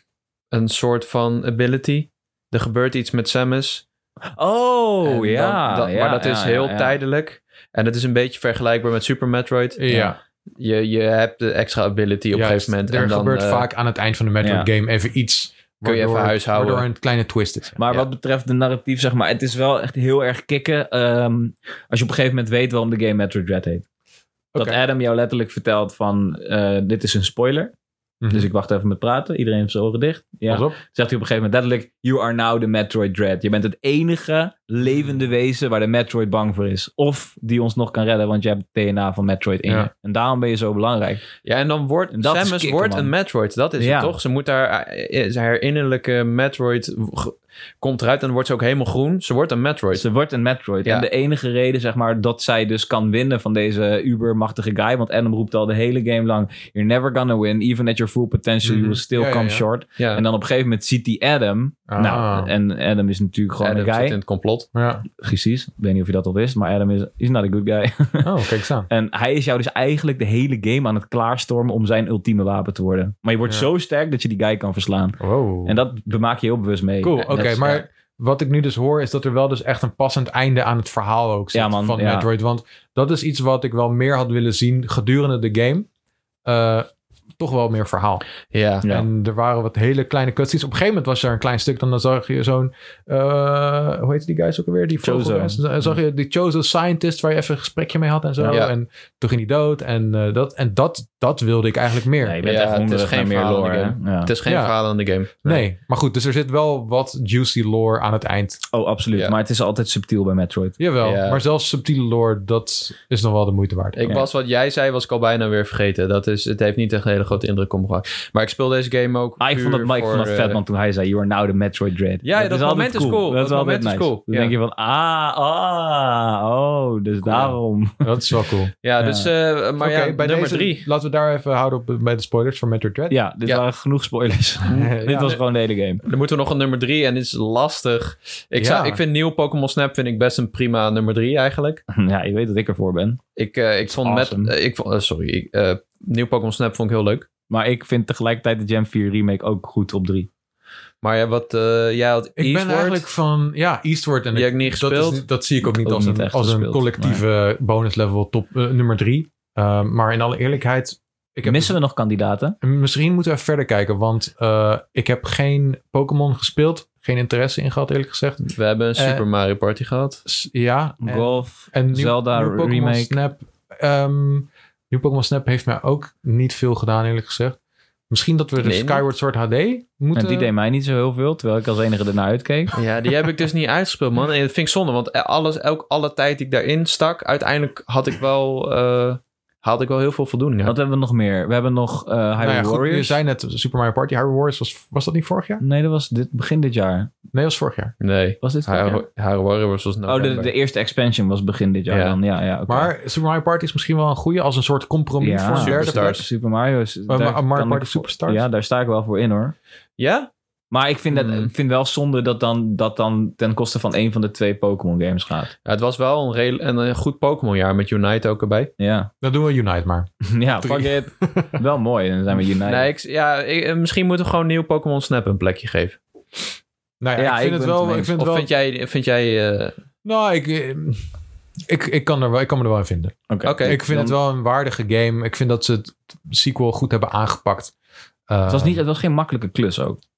een soort van ability. Er gebeurt iets met Samus.
Oh
En dan-
ja,
dat-
ja,
Maar dat
ja,
is
ja,
heel
ja.
tijdelijk. En het is een beetje vergelijkbaar met Super Metroid.
Ja,
Je, je hebt de extra ability op een
juist.
gegeven moment.
Er
en dan,
gebeurt
eh,
vaak aan het eind van de Metroid game even iets.
Kun je even
waardoor-
huishouden.
Waardoor een kleine twist is.
Maar
Ja.
wat betreft de narratief, zeg maar, het is wel echt heel erg kicken. ehm, als je op een gegeven moment weet waarom de game Metroid Dread heet. Dat
Oké.
Adam jou letterlijk vertelt van, eh, dit is een spoiler.
Mhm.
Dus ik wacht even met praten. Iedereen heeft zijn oren dicht. Ja.
Pas op.
Zegt hij op een gegeven moment letterlijk, you are now the Metroid Dread. Je bent het enige levende
Hmm.
wezen waar de Metroid bang voor is. Of die ons nog kan redden, want je hebt het DNA van Metroid in je.
Ja.
En daarom ben je zo belangrijk.
Ja, en dan wordt
En dat is
Samus
kicken,
wordt
man.
een Metroid. Dat is
Ja.
het toch? Ze moet haar, eh, haar innerlijke Metroid ge- komt eruit en dan wordt ze ook helemaal groen. Ze wordt een Metroid.
Ze wordt een Metroid.
Ja.
En de enige reden, zeg maar, dat zij dus kan winnen van deze ubermachtige guy. Want Adam roept al de hele game lang, you're never gonna win. Even at your full potential, you
Mhm.
will still
Ja, ja,
come
ja.
short.
ja.
En dan op een gegeven moment ziet hij Adam.
Ah.
Nou, en Adam is natuurlijk gewoon
Adam
een
zit
guy.
in het complot.
Ja.
Precies. Ik weet niet of je dat al wist, maar Adam is is not a good guy.
Oh, kijk eens aan.
en hij is jou dus eigenlijk de hele game aan het klaarstormen om zijn ultieme wapen te worden. Maar je wordt
Ja.
zo sterk dat je die guy kan verslaan.
Wow.
En dat maak je heel bewust mee.
cool,
En
oké.
dat is-
maar
ja.
wat ik nu dus hoor is dat er wel dus echt een passend einde aan het verhaal ook zit
Ja, man,
van
ja.
Metroid. Want dat is iets wat ik wel meer had willen zien gedurende de game. Eh, toch wel meer verhaal.
Ja.
Ja.
En er waren wat hele kleine cutscenes. Op een gegeven moment was er een klein stuk. Dan dan zag je zo'n... eh, hoe heet die guys ook alweer? Die
Chozo.
vogelmens. Dan zag je die Chozo scientist waar je even een gesprekje mee had en zo.
Ja.
En toen ging hij dood. En, eh, dat, en dat, Dat wilde ik eigenlijk meer.
Ja, je
Nee,
bent
Ja,
echt
het is
hongerig
geen
naar meer
verhaal in
lore.
de
hè? Ja.
Het is geen
Ja.
verhaal aan de game.
maar goed, dus er zit wel wat juicy lore aan het eind.
Oh, absoluut.
Ja.
Maar het is altijd subtiel bij Metroid.
Jawel,
Ja.
maar zelfs subtiele lore, dat is nog wel de moeite waard.
Ik
Ja.
was wat jij zei, was ik al bijna weer vergeten. Dat is, het heeft niet echt een hele grote indruk omgehakt. Maar ik speel deze game ook.
Ah, ik vond dat,
puur
maar ik vond dat
voor,
vet,
eh,
man. Toen hij zei, you are now the Metroid Dread.
Ja, dat
altijd
moment is cool. Dat
altijd
moment is cool.
Dan
Ja.
denk je van, ah, ah, oh, dus daarom.
Dat is wel cool.
Ja,
Ja.
dus. eh, maar
Oké,
ja,
bij
nummer
deze,
drie.
Laten we daar even houden op bij de spoilers van Metroid Dread.
Ja, dit
Ja.
waren genoeg spoilers.
Ja.
Dit was gewoon de hele game.
Dan moeten we nog een nummer drie. En dit is lastig. Ik, zou,
Ja.
ik vind nieuw Pokémon Snap vind ik best een prima nummer drie eigenlijk.
Ja, je weet dat ik ervoor ben.
Ik, eh, ik vond
awesome.
met. eh, ik vond, eh, sorry. Ik, eh, nieuw Pokémon Snap vond ik heel leuk.
Maar ik vind tegelijkertijd de Jam 4 remake ook goed op 3.
Maar ja, wat. eh jij had
Ik ben
Eastward.
eigenlijk van, ja, Eastward. En
Die
ik-
heb ik niet
dat
gespeeld.
is niet- dat zie ik ook niet
Ook
als
niet
een,
echt
als een
gespeeld,
collectieve bonus level top eh, nummer drie. Eh, maar in alle eerlijkheid, ik heb
Missen we nog kandidaten?
En Misschien moeten we even verder kijken, want eh, ik heb geen Pokémon gespeeld. Geen interesse in gehad, eerlijk gezegd.
We hebben een
Eh,
Super Mario Party gehad.
S- ja. en-
Golf,
en nieuw-
Zelda
nieuw Pokémon
remake.
Snap. ehm nieuw Pokémon Snap heeft mij ook niet veel gedaan, eerlijk gezegd. Misschien dat we de
Nee, niet?
Skyward Sword HD
En
moeten... Nou
die deed mij niet zo heel veel, terwijl ik als enige ernaar uitkeek.
Ja, die heb ik dus niet uitgespeeld, man. En dat vind ik zonde, want alles, elk, alle tijd die ik daarin stak, uiteindelijk had ik wel, eh haalde ik wel heel veel voldoening
Wat
uit.
hebben we nog meer? We hebben nog eh Hyrule
Nou ja, goed, je
Warriors.
zei net Super Mario Party. Hyrule Warriors, was, was dat niet vorig jaar?
Nee, dat was dit, begin dit jaar.
Nee, dat was vorig jaar.
Nee,
Was dit vorig jaar?
haar, haar Warriors was dus
Oh, de,
november.
de eerste expansion was begin dit jaar
Ja.
dan. Ja, ja, oké.
Maar Super Mario Party is misschien wel een goede als een soort compromis
Ja.
voor een derde
Superstars.
plek.
Super Mario is...
Maar-
daar
maar Mario
kan
Party
ik voor-
Superstars?
Ja, daar sta ik wel voor in hoor.
Ja?
Maar ik vind, dat,
Hmm.
ik vind wel zonde dat dan, dat dan ten koste van een van de twee Pokémon games gaat.
Ja, Het was wel een, redel- een, een goed Pokémon jaar met Unite ook erbij.
Ja,
Dan doen we Unite maar.
ja
Drie.
fuck it. wel mooi, dan zijn we United.
Nee, ik, ja, ik- eh, misschien moeten we gewoon nieuw Pokémon Snap een plekje geven.
Nou ja,
Ja,
ik vind
ik
het
ben het
wel...
mee
Ik
eens.
vind het
Of
wel
vind jij... Vind jij eh,
Nou, ik, eh, ik, ik, kan er wel, ik kan me er wel in vinden.
Oké.
Oké.
ik vind
dan-
het wel een waardige game. Ik vind dat ze het sequel goed hebben aangepakt. Eh,
Het was, niet, het was geen makkelijke klus ook. Het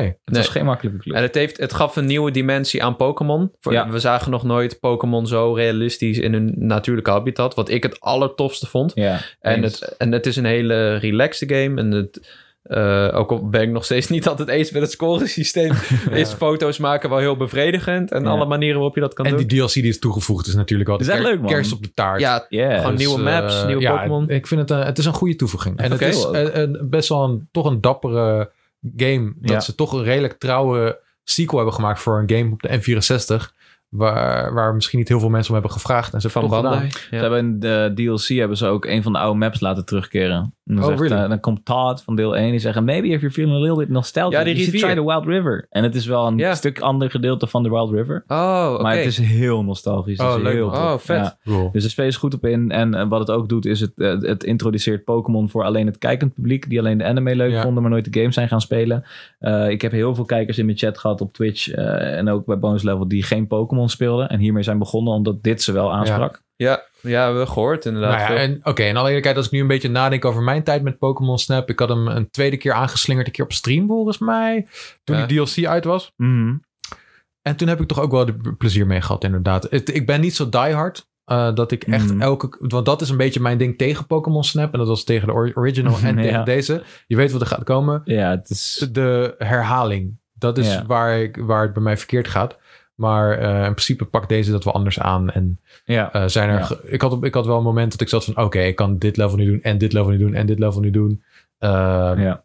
Nee,
Nee.
was geen makkelijke klus.
en het, heeft, het gaf een nieuwe dimensie aan Pokémon. Voor-
Ja.
We zagen nog nooit Pokémon zo realistisch in hun natuurlijke habitat. Wat ik het allertofste vond.
ja,
En
eens.
het, en het is een hele relaxed game. En het, eh, ook al ben ik nog steeds niet altijd eens met het scoresysteem, is foto's maken wel heel bevredigend. En
Ja.
alle manieren waarop je dat kan
en
doen.
die DLC die is toegevoegd is natuurlijk wel de
Is echt
ker-
leuk, man.
kerst op de taart.
ja,
Yeah.
gewoon
Dus,
nieuwe
eh,
maps, nieuwe
ja,
Pokémon.
Ik vind het, een, het is een goede toevoeging. En
Oké.
het is eh, een- best wel een, toch een dappere game. Dat
Ja.
ze toch een redelijk trouwe sequel hebben gemaakt voor een game op de N64. Waar, waar misschien niet heel veel mensen om hebben gevraagd. En ze
Van
hebben het toch
Bandai.
gedaan.
Ja.
Ze hebben in de DLC hebben ze ook een van de oude maps laten terugkeren. En dan,
Oh,
zegt,
really?
eh, dan komt Todd van deel 1 die zegt... Maybe if you're feeling a little bit nostalgic,
Ja, die
you should
rivier.
try the Wild River. En het is wel een
Ja.
stuk ander gedeelte van de Wild River.
Oh, oké.
Maar het is heel nostalgisch. Het
Oh,
is
leuk,
heel
man.
tof.
Oh, vet.
Cool.
Dus er spelen ze goed op in. En eh, wat het ook doet, is het, eh, het introduceert Pokémon voor alleen het kijkend publiek. Die alleen de anime leuk
Ja.
vonden, maar nooit de game zijn gaan spelen. Eh, ik heb heel veel kijkers in mijn chat gehad op Twitch. eh, en ook bij Bonus Level die geen Pokémon speelden. En hiermee zijn begonnen, omdat dit ze wel aansprak.
Ja, ja, we hebben gehoord inderdaad.
Nou ja,
veel.
en oké, in alle eerlijkheid, als ik nu een beetje nadenk over mijn tijd met Pokémon Snap. Ik had hem een tweede keer aangeslingerd, een keer op stream volgens mij. Toen
Ja.
die DLC uit was.
Mhm.
En toen heb ik toch ook wel de p- plezier mee gehad, inderdaad. Het- ik ben niet zo diehard. eh dat ik echt
Mhm.
elke. Want dat is een beetje mijn ding tegen Pokémon Snap. En dat was tegen de ori- original en
Ja.
tegen deze. Je weet wat er gaat komen.
Ja, het is...
De herhaling. Dat is
Ja.
waar, ik, waar het bij mij verkeerd gaat. Maar eh, in principe pakt deze dat wel anders aan. En
Ja.
eh, zijn er
Ja.
ge- ik, had op, ik had wel een moment dat ik zat van... oké, ik kan dit level nu doen en dit level nu doen en dit level nu doen. Eh,
Ja.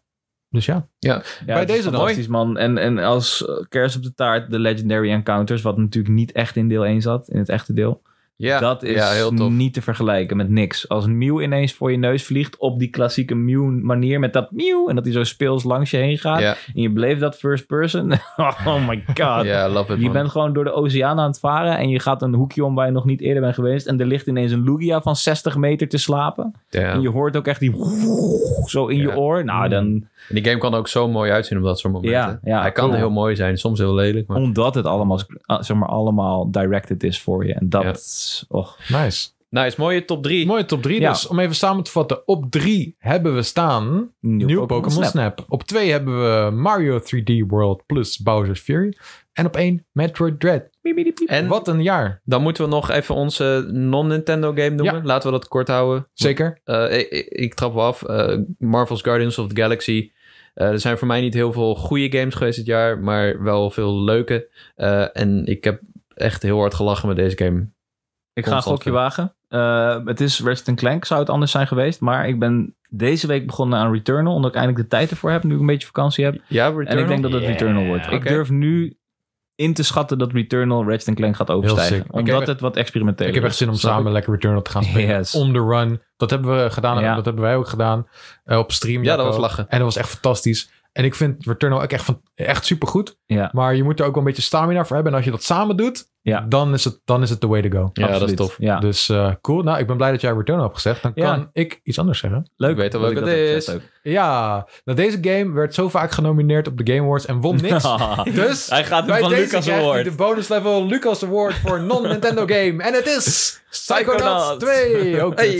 Dus ja.
Ja,
Bij
het is
deze dan.
fantastisch, man. En, en als eh, kers op de taart, de Legendary Encounters, wat natuurlijk niet echt in deel 1 zat, in het echte deel.
ja,
dat is
ja, heel tof.
niet te vergelijken met niks. Als een Mew ineens voor je neus vliegt op die klassieke Mew manier met dat Mew en dat hij zo speels langs je heen gaat
Ja.
en je beleeft dat first person. oh my god.
Ja, love it,
Je
man.
bent gewoon door de oceaan aan het varen en je gaat een hoekje om waar je nog niet eerder bent geweest en er ligt ineens een Lugia van 60 meter te slapen.
Damn.
En je hoort ook echt die zo in
Ja. Mm.
je oor. Nou, dan
En die game kan ook zo mooi uitzien op dat soort momenten.
Ja, ja,
Hij kan
cool.
heel mooi zijn, soms heel lelijk. Maar...
omdat het allemaal zeg maar allemaal directed is voor je en dat
Ja.
och.
Nice.
Nice, Nou, mooie top 3.
Mooie top 3
Ja.
dus. Om even samen te vatten. Op 3 hebben we staan
Nieuw,
Nieuw Pokémon Snap. Op 2 hebben we Mario 3D World plus Bowser's Fury. En op 1 Metroid Dread.
En-
Wat een jaar.
Dan moeten we nog even onze non-Nintendo game noemen. Laten we dat kort houden.
Zeker.
Eh, ik, ik- ik trap wel af. Eh, Marvel's Guardians of the Galaxy. Eh, er zijn voor mij niet heel veel goede games geweest dit jaar, maar wel veel leuke. Eh, en ik heb echt heel hard gelachen met deze game.
Ik ga een gokje wagen. Eh, het is Resident Clank, zou het anders zijn geweest. Maar ik ben deze week begonnen aan Returnal. Omdat ik eindelijk de tijd ervoor heb. Nu ik een beetje vakantie heb.
Ja, Returnal?
En ik denk dat het
Yeah.
Returnal wordt. Ik
Oké.
durf nu in te schatten dat Returnal Ratchet Clank gaat overstijgen.
sick. Ik
Omdat
heb-
het wat experimenteel
Ik
is.
heb echt zin om
Snap
samen
ik?
lekker Returnal te gaan spelen.
Yes.
On the run. Dat hebben we gedaan.
Ja.
Dat hebben wij ook gedaan. eh, op stream.
Ja, dat was
Jacco.
lachen.
En dat was echt fantastisch. En ik vind Returnal ook echt, van, echt supergoed.
Ja.
Maar je moet er ook wel een beetje stamina voor hebben. En als je dat samen doet,
Ja.
dan, is het, dan is het the way to go.
Ja, dat is
Absoluut.
tof.
Ja,
Dus eh, cool. Nou, ik ben blij dat jij Returnal hebt gezegd. Dan
Ja.
kan ik iets anders zeggen.
leuk.
Ik weet al
dat
welke
ik dat
het
heb
is.
gezegd ook.
Ja, nou deze game werd zo vaak genomineerd op de Game Awards en won niks. Dus
Hij gaat hem
bij
van
deze
Lucas
krijgt hij
Award.
de bonus level Lucas Award voor non-Nintendo game. En het is Psychonauts
Psychonauts.
2. Ook
Hey!
kut.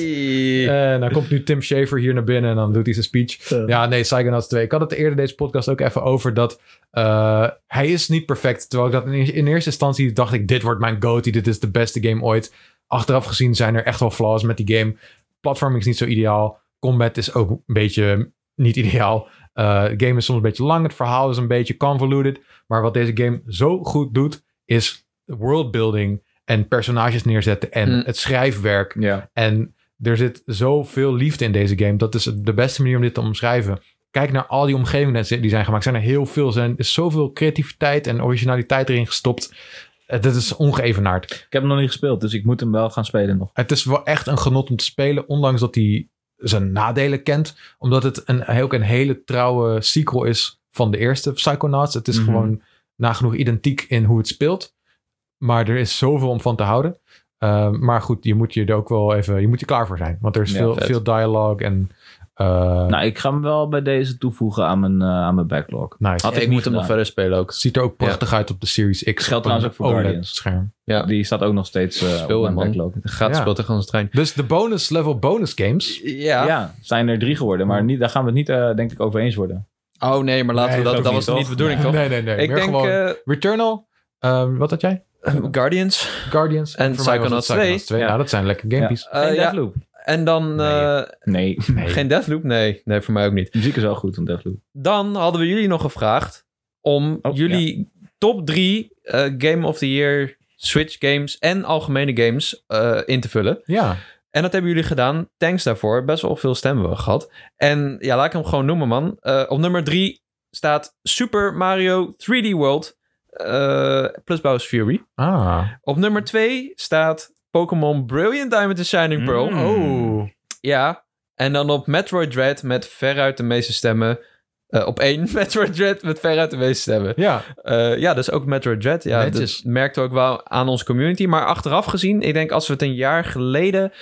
eh,
En dan komt nu Tim Schafer hier naar binnen en dan doet hij zijn speech. Ja, nee, Psychonauts 2. Ik had het eerder deze podcast ook even over dat eh, hij is niet perfect. Terwijl ik dat in, in eerste instantie dacht ik, dit wordt mijn goatee. Dit is de beste game ooit. Achteraf gezien zijn er echt wel flaws met die game. Platforming is niet zo ideaal. Combat is ook een beetje niet ideaal. Eh, De game is soms een beetje lang. Het verhaal is een beetje convoluted. Maar wat deze game zo goed doet, is worldbuilding en personages neerzetten en
Mm.
het schrijfwerk.
Ja.
En er zit zoveel liefde in deze game. Dat is de beste manier om dit te omschrijven. Kijk naar al die omgevingen die zijn gemaakt. Er Zijn er heel veel. Er is zoveel creativiteit en originaliteit erin gestopt. Eh, Dat is ongeëvenaard.
Ik heb hem nog niet gespeeld, dus ik moet hem wel gaan spelen nog.
Het is wel echt een genot om te spelen. Ondanks dat hij zijn nadelen kent. Omdat het een, ook een hele trouwe sequel is van de eerste Psychonauts. Het is
Mhm.
gewoon nagenoeg identiek in hoe het speelt. Maar er is zoveel om van te houden. Eh, maar goed, je moet je er ook wel even... Je moet er klaar voor zijn. Want er is
Ja,
veel,
vet.
veel dialoog en... eh,
Nou, ik ga hem wel bij deze toevoegen aan mijn, eh, aan mijn backlog.
nice.
Had
ik
ik
niet
moet hem nog
gedaan.
verder spelen ook.
Het ziet er ook prachtig uit op de Series X.
Geldt
op een
trouwens ook voor Guardians.
scherm.
Ja.
Die staat ook nog steeds eh
Speel
op mijn
hem, man.
backlog.
Gaat
Ja.
speelt tegen ons trein.
Dus de bonus level bonus games.
Ja.
Ja, zijn er drie geworden, maar niet, daar gaan we het niet, eh, denk ik, over eens worden.
Oh nee, maar laten
Nee,
we
dat
dat. Dat
ook
was
niet,
niet de
toch? eh,
bedoeling, toch?
Nee, nee, nee.
Ik
meer
denk
gewoon Returnal. ehm, wat had jij?
eh, Guardians.
Guardians.
En
Voor mij was het
Psychonauts
twee.
Ja.
Nou, dat zijn lekker gamepjes.
Eh,
Geen
ja.
Deathloop.
En dan
Nee.
eh,
Nee,
Nee.
geen Deathloop? Nee. nee, voor mij ook niet.
de muziek is wel goed van Deathloop.
Dan hadden we jullie nog gevraagd om
Oh,
jullie top drie eh, Game of the Year Switch games en algemene games eh, in te vullen.
Ja.
En dat hebben jullie gedaan. Thanks daarvoor. Best wel veel stemmen we gehad. En ja, laat ik hem gewoon noemen, man. Eh, op nummer 3 staat Super Mario 3D World eh, plus Bowser's Fury.
Ah.
Op nummer 2 staat Pokémon Brilliant Diamond and Shining Pearl.
Mm.
Oh.
Ja. En dan op Metroid Dread met veruit de meeste stemmen. Eh, op 1 Metroid Dread met veruit de meeste stemmen.
Ja.
Eh, ja, dus ook Metroid Dread. Ja,
Netjes.
dat merkte ook wel aan onze community. Maar achteraf gezien, ik denk als we het een jaar geleden...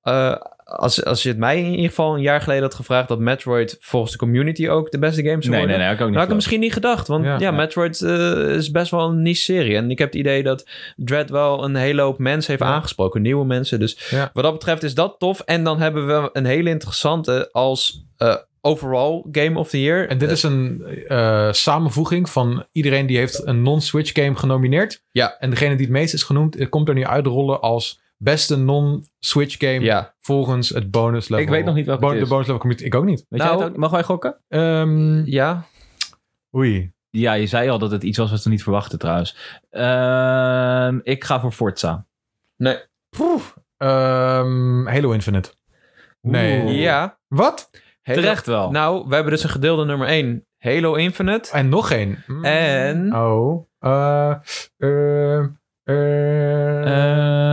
eh, als, als je het mij in ieder geval een jaar geleden had gevraagd... dat Metroid volgens de community ook de beste game zou worden...
nee, ik ook
Dan had ik hem misschien niet gedacht. Want
Ja.
ja,
Ja.
Metroid eh, is best wel een niche serie. En ik heb het idee dat Dread wel een hele hoop mensen heeft
Ja.
aangesproken. Nieuwe mensen. Dus
Ja.
wat dat betreft is dat tof. En dan hebben we een hele interessante als eh, overall Game of the Year.
En dit is een eh, samenvoeging van iedereen die heeft een non-Switch game genomineerd.
Ja.
En degene die het meest is genoemd, eh, komt er nu uitrollen als beste non-Switch game
Ja,
volgens het bonus level.
Ik weet nog niet welke
Bon-
het
De
is.
bonus level community. Ik ook niet.
Weet
Nou-
jij het ook? Mag wij gokken?
Ehm,
ja.
oei.
Ja, je zei al dat het iets was wat we niet verwachten trouwens. Ehm, ik ga voor Forza.
Ehm, Halo Infinite. Nee.
Oeh.
Ja.
Wat?
Halo-
Oh. Terecht wel.
Nou, we hebben dus een gedeelde nummer 1. Halo Infinite.
En nog één. Mm.
En-
Oh. Eh, eh, eh,
Ehm,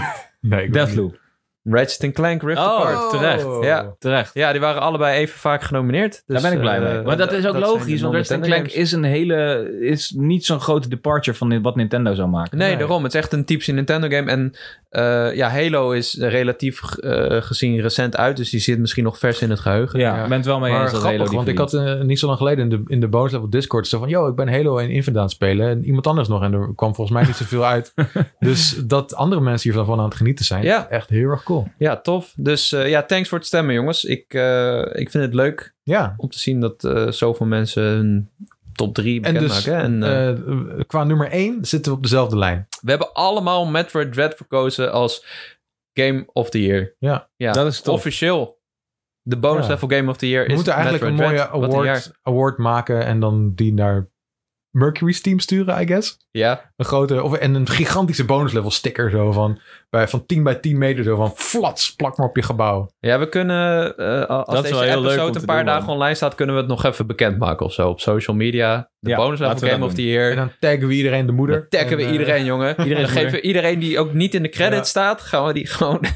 nee, ik weet niet.
Deathloop.
Ratchet Clank Rift
Oh.
Apart.
terecht.
Ja.
Terecht.
Ja, die waren allebei even vaak genomineerd. Dus,
Daar ben ik blij
eh,
mee. Maar dat is ook
zijn de
logisch, want Ratchet
non-Nintendo
Clank
games.
is een hele... is niet zo'n grote departure van wat Nintendo zou maken.
Nee,
Nee.
daarom. Het is echt een typische Nintendo game. En eh, ja, Halo is relatief eh, gezien recent uit. Dus die zit misschien nog vers in het geheugen.
Ja,
Ja.
ik ben het wel mee
Maar
eens dat Halo
grappig,
die
want ik
verdient.
had eh, niet zo lang geleden in de, in de bonus level Discord zo van... Yo, ik ben Halo en Infinite aan het spelen. En iemand anders nog. En er kwam volgens mij niet zoveel uit. Dus dat andere mensen hiervan aan het genieten zijn.
Ja.
Echt heel erg cool.
Ja, tof. Dus eh, ja, thanks voor het stemmen, jongens. Ik, eh, ik vind het leuk
Ja.
om te zien dat eh, zoveel mensen hun top 3
En
bekend
dus
maken. En, eh,
eh, qua nummer 1 zitten we op dezelfde lijn.
we hebben allemaal Metroid Dread verkozen als Game of the Year.
Ja.
ja.
Dat is tof.
Officieel. De bonus
Ja.
level Game of the Year
We
is
moeten eigenlijk een
Metroid
mooie
Dread. Wat een jaar.
award, award maken en dan die naar Mercury's team sturen, I guess.
Ja,
Een grote, of, en een gigantische bonus level sticker zo van, bij, van 10 bij 10 meter zo van flats, plak maar op je gebouw.
ja we kunnen, eh, als
is
deze
wel heel leuk om
episode
te
een paar
doen,
dagen
man.
online staat, kunnen we het nog even bekendmaken of zo op social media. De
Ja,
bonus level
laten we
Game
dat
of
doen.
the Year.
En dan taggen we iedereen de moeder.
Dan taggen we
En, eh,
iedereen, jongen.
Iedereen
dan
moeder.
geven we iedereen die ook niet in de credit
Ja.
staat, gaan we die gewoon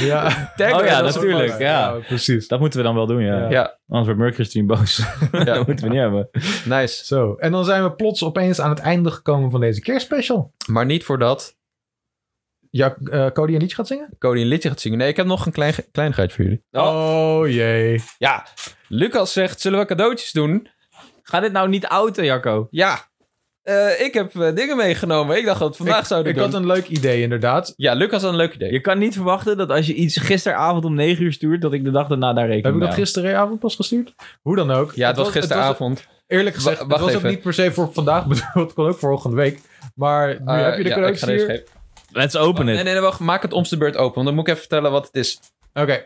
ja,
taggen.
Oh ja,
Dat is-
natuurlijk,
ook-
ja.
precies.
Dat moeten we dan wel doen, ja.
Ja.
Ja,
Anders wordt Mercury's team boos.
ja,
dat moeten we niet hebben.
nice.
Zo, en dan zijn we plots opeens aan het einde gekomen van deze kerstspecial.
Maar niet voordat
Ja, eh, Cody en liedje gaat zingen?
Cody een liedje gaat zingen. Nee, ik heb nog een klein, kleinigheid voor jullie.
Oh, jee.
Ja, Lucas zegt, zullen we cadeautjes doen?
Ga dit nou niet outen, Jacco.
Ja, Eh, ik heb eh, dingen meegenomen. Ik dacht dat we het vandaag
ik
zouden
ik
doen.
had een leuk idee inderdaad.
Ja, Lucas had een leuk idee.
Je kan niet verwachten dat als je iets gisteravond om 9 uur stuurt, dat ik de dag daarna daar rekening
Heb ik
mee
dat
hou.
gisteravond pas gestuurd? Hoe dan ook.
Nou. Ja, het was
het was-
gisteravond.
Eerlijk gezegd,
Wa-
het
wacht
was
even.
ook niet per se voor vandaag bedoeld. Het kon ook voor volgende week. Maar nu
Eh,
heb je de
ja, ik
cadeautjes
ga deze
hier.
geven.
Let's open
Nee,
it.
nee, nee, wacht. Maak het om de beurt open. Want dan moet ik even vertellen wat het is.
Oké,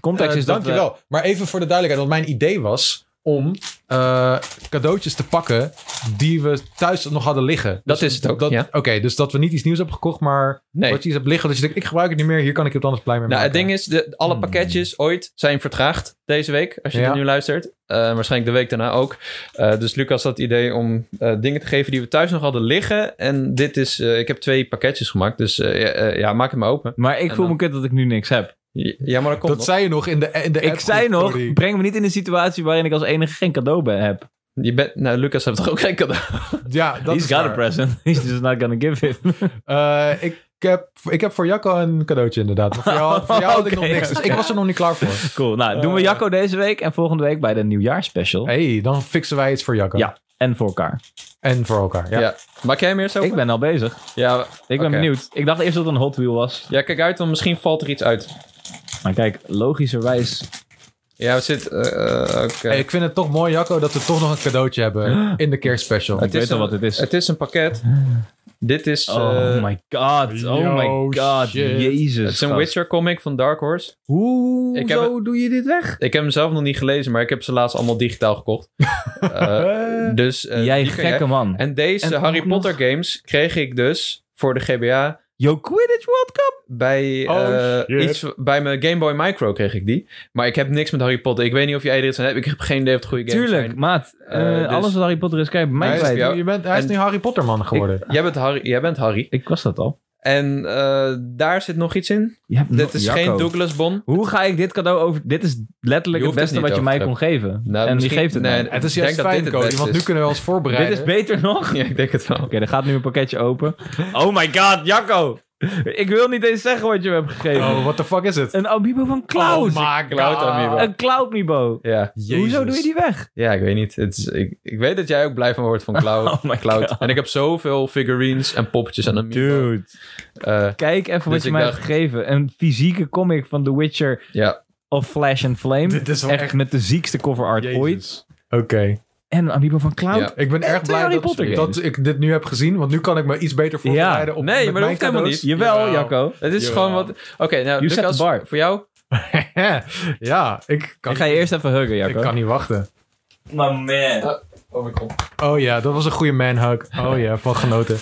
Context
eh,
is dat... we-
dankjewel. Maar even voor de duidelijkheid. Want mijn idee was om eh, cadeautjes te pakken die we thuis nog hadden liggen. Dus
Dat is het ook,
dat-
ja.
Oké, dus dat we niet iets nieuws hebben gekocht, maar
Nee.
wat je iets hebt liggen. Dat je denkt, ik gebruik het niet meer. Hier kan ik het anders blij mee
Nou,
maken.
het ding is, de, alle
Hmm.
pakketjes ooit zijn vertraagd deze week. Als je
Ja.
dit nu luistert. Eh, waarschijnlijk de week daarna ook. Eh, dus Lucas had het idee om eh, dingen te geven die we thuis nog hadden liggen. En dit is, eh, ik heb twee pakketjes gemaakt. Dus eh, ja, eh, ja, maak het maar open.
Maar ik
En
voel
dan-
me kut dat ik nu niks heb.
Ja, maar dat komt
dat
nog.
zei je nog in de in de
Ik
appgroep,
zei nog,
Cody.
breng me niet in een situatie waarin ik als enige geen cadeau bij heb.
Je bent, nou, Lucas heeft toch ook geen cadeau?
Ja, dat
He's
is
got a
waar.
present. He's just not gonna give it.
Eh, ik, heb, ik heb voor Jacco een cadeautje inderdaad. Maar voor jou, voor jou had ik nog
Oké,
niks. Dus ik
oké.
was er nog niet klaar voor.
Cool. Nou, doen we
Eh.
Jacco deze week en volgende week bij de nieuwjaarspecial.
hey, dan fixen wij iets voor Jacco.
Ja. En voor elkaar.
En voor elkaar. Ja.
Ja. Maak jij hem eerst open?
Ik ben al bezig.
Ja,
Ik ben
Oké.
benieuwd. Ik dacht eerst dat het een Hot Wheel was.
ja, kijk uit, want misschien valt er iets uit.
Maar kijk, logischerwijs.
Ja, we zitten... eh, eh, oké.
Hey, ik vind het toch mooi, Jacco, dat we toch nog een cadeautje hebben in de kerstspecial.
Ik weet al wat het is.
Het is een pakket. Dit is...
oh
eh,
my god. Oh
yo,
my god.
shit.
Jezus.
Het is een
gast.
Witcher comic van Dark Horse.
Hoe
Ik heb
zo doe je dit weg?
Ik heb hem zelf nog niet gelezen, maar ik heb ze laatst allemaal digitaal gekocht. Eh,
Eh,
dus, eh,
Jij
die kan
gekke man.
En deze
En
Harry
ook nog-
Potter games kreeg ik dus voor de GBA
Yo, Quidditch World Cup.
bij,
Oh,
eh,
shit.
iets, bij mijn Game Boy Micro kreeg ik die. Maar ik heb niks met Harry Potter. Ik weet niet of jij er iets aan hebt. Ik heb geen idee of het goede games
Tuurlijk,
zijn.
maat. eh,
dus-
Alles wat Harry Potter is, kijk, bij mij
hij, is,
bij
kwijt.
jou.
je bent, hij is
En-
nu Harry Potter man geworden.
Ik- jij, bent Harry, jij bent Harry.
Ik was dat al.
En eh, daar zit nog iets in.
Je hebt nog-
Dit is
Jacco.
geen Douglas Bon.
Hoe ga ik dit cadeau over... Dit is letterlijk
Je
het
hoeft
beste
het
wat
niet
je mij
over
kon
te
geven.
Nou,
en die
misschien-
geeft het
nee,
mij.
ik
het is
denk
juist
dat dit
fijn,
het
Cody,
beste
want nu
is.
kunnen we ons
Dit
voorbereiden.
is beter nog.
Ja, ik denk het wel.
Oké, er gaat nu een pakketje open. Oh my god, Jacco. Ik wil niet eens zeggen wat je me hebt gegeven.
Oh, what the fuck is het?
Een amiibo van Cloud.
Oh my
Cloud amiibo.
een Cloud amiibo.
Ja.
Jezus.
Hoezo doe je die weg?
Ja, ik weet niet. Het is, ik, ik weet dat jij ook blij van wordt van Cloud.
Oh my
Cloud.
God.
En ik heb zoveel figurines en poppetjes en amiibo. Eh,
Kijk even wat
Dus
je
ik
mij
dacht-
hebt gegeven. Een fysieke comic van The Witcher
ja,
of Flash and Flame.
Dit is wel
echt,
echt-
met de ziekste cover art
Jezus.
ooit.
Oké.
En een amiibo van Cloud.
Ja.
Ik ben
En
erg
twee
blij
Harry
dat,
Potter
dat
games.
ik dit nu heb gezien, want nu kan ik me iets beter voorbereiden op met
Nee, maar dat
mijn
hoeft helemaal
cadeaus.
Jawel, Jacco.
het is
Jawel.
gewoon wat... Oké, nou,
You set
Lucas,
the bar.
voor jou?
ja, ik kan,
Ik ga je eerst even huggen,
ik
Jacco.
kan niet wachten.
Maar man.
Oh my god.
Oh ja, dat was een goede manhug. Oh ja, van genoten.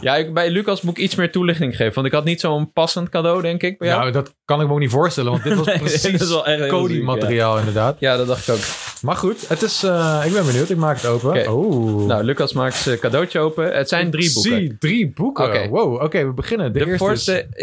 Ja, ik, bij Lucas moet ik iets meer toelichting geven. Want ik had niet zo'n passend cadeau, denk ik, bij jou.
Nou, dat kan ik me ook niet voorstellen, want dit was
Dit is
precies
wel echt heel ziek,
Cody-materiaal inderdaad.
Ja, dat dacht ik ook.
Maar goed, het is, eh, ik ben benieuwd. Ik maak het open.
Oké.
Oh.
Nou, Lucas maakt zijn cadeautje open. Het zijn drie boeken.
Zie, drie boeken.
Oké.
Wow, oké, we beginnen. De,
De,
eerste
voorste
is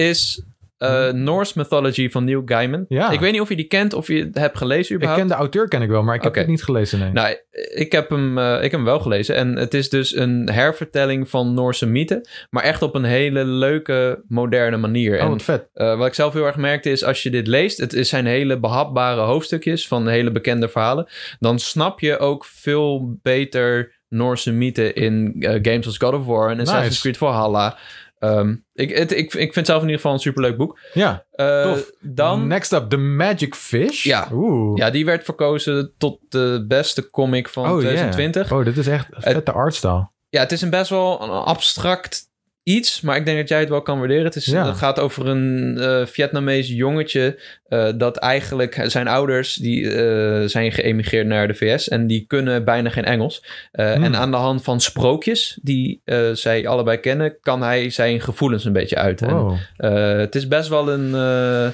is eh, Norse Mythology van Neil Gaiman.
Ja.
Ik weet niet of je die kent of je het hebt gelezen
Ik
überhaupt.
ken de auteur ken ik wel, maar ik heb
Oké.
het niet gelezen. Nee.
Nou, ik heb, hem, eh, ik heb hem wel gelezen. En het is dus een hervertelling van Noorse mythen. Maar echt op een hele leuke, moderne manier.
oh,
en
wat vet.
eh, wat ik zelf heel erg merkte is, als je dit leest, het is- zijn hele behapbare hoofdstukjes van hele bekende verhalen. Dan snap je ook veel beter Noorse mythen in eh, games als God of War en Assassin's
Nice.
Creed Valhalla. Ehm ik, het, ik, ik vind het zelf in ieder geval een superleuk boek.
Ja,
Eh,
Tof.
Dan,
Next up, The Magic Fish.
Ja.
Oeh.
ja, die werd verkozen tot de beste comic van
Oh, yeah.
2020.
Oh, dit is echt een vette artstyle.
Ja, het is een best wel een abstract iets, maar ik denk dat jij het wel kan waarderen. Het, is,
Ja.
het gaat over een eh Vietnamees jongetje eh, dat eigenlijk zijn ouders die eh, zijn geëmigreerd naar de VS en die kunnen bijna geen Engels. Eh,
Hmm.
En aan de hand van sprookjes die eh, zij allebei kennen, kan hij zijn gevoelens een beetje uiten. En,
Wow.
eh, het is best wel een eh,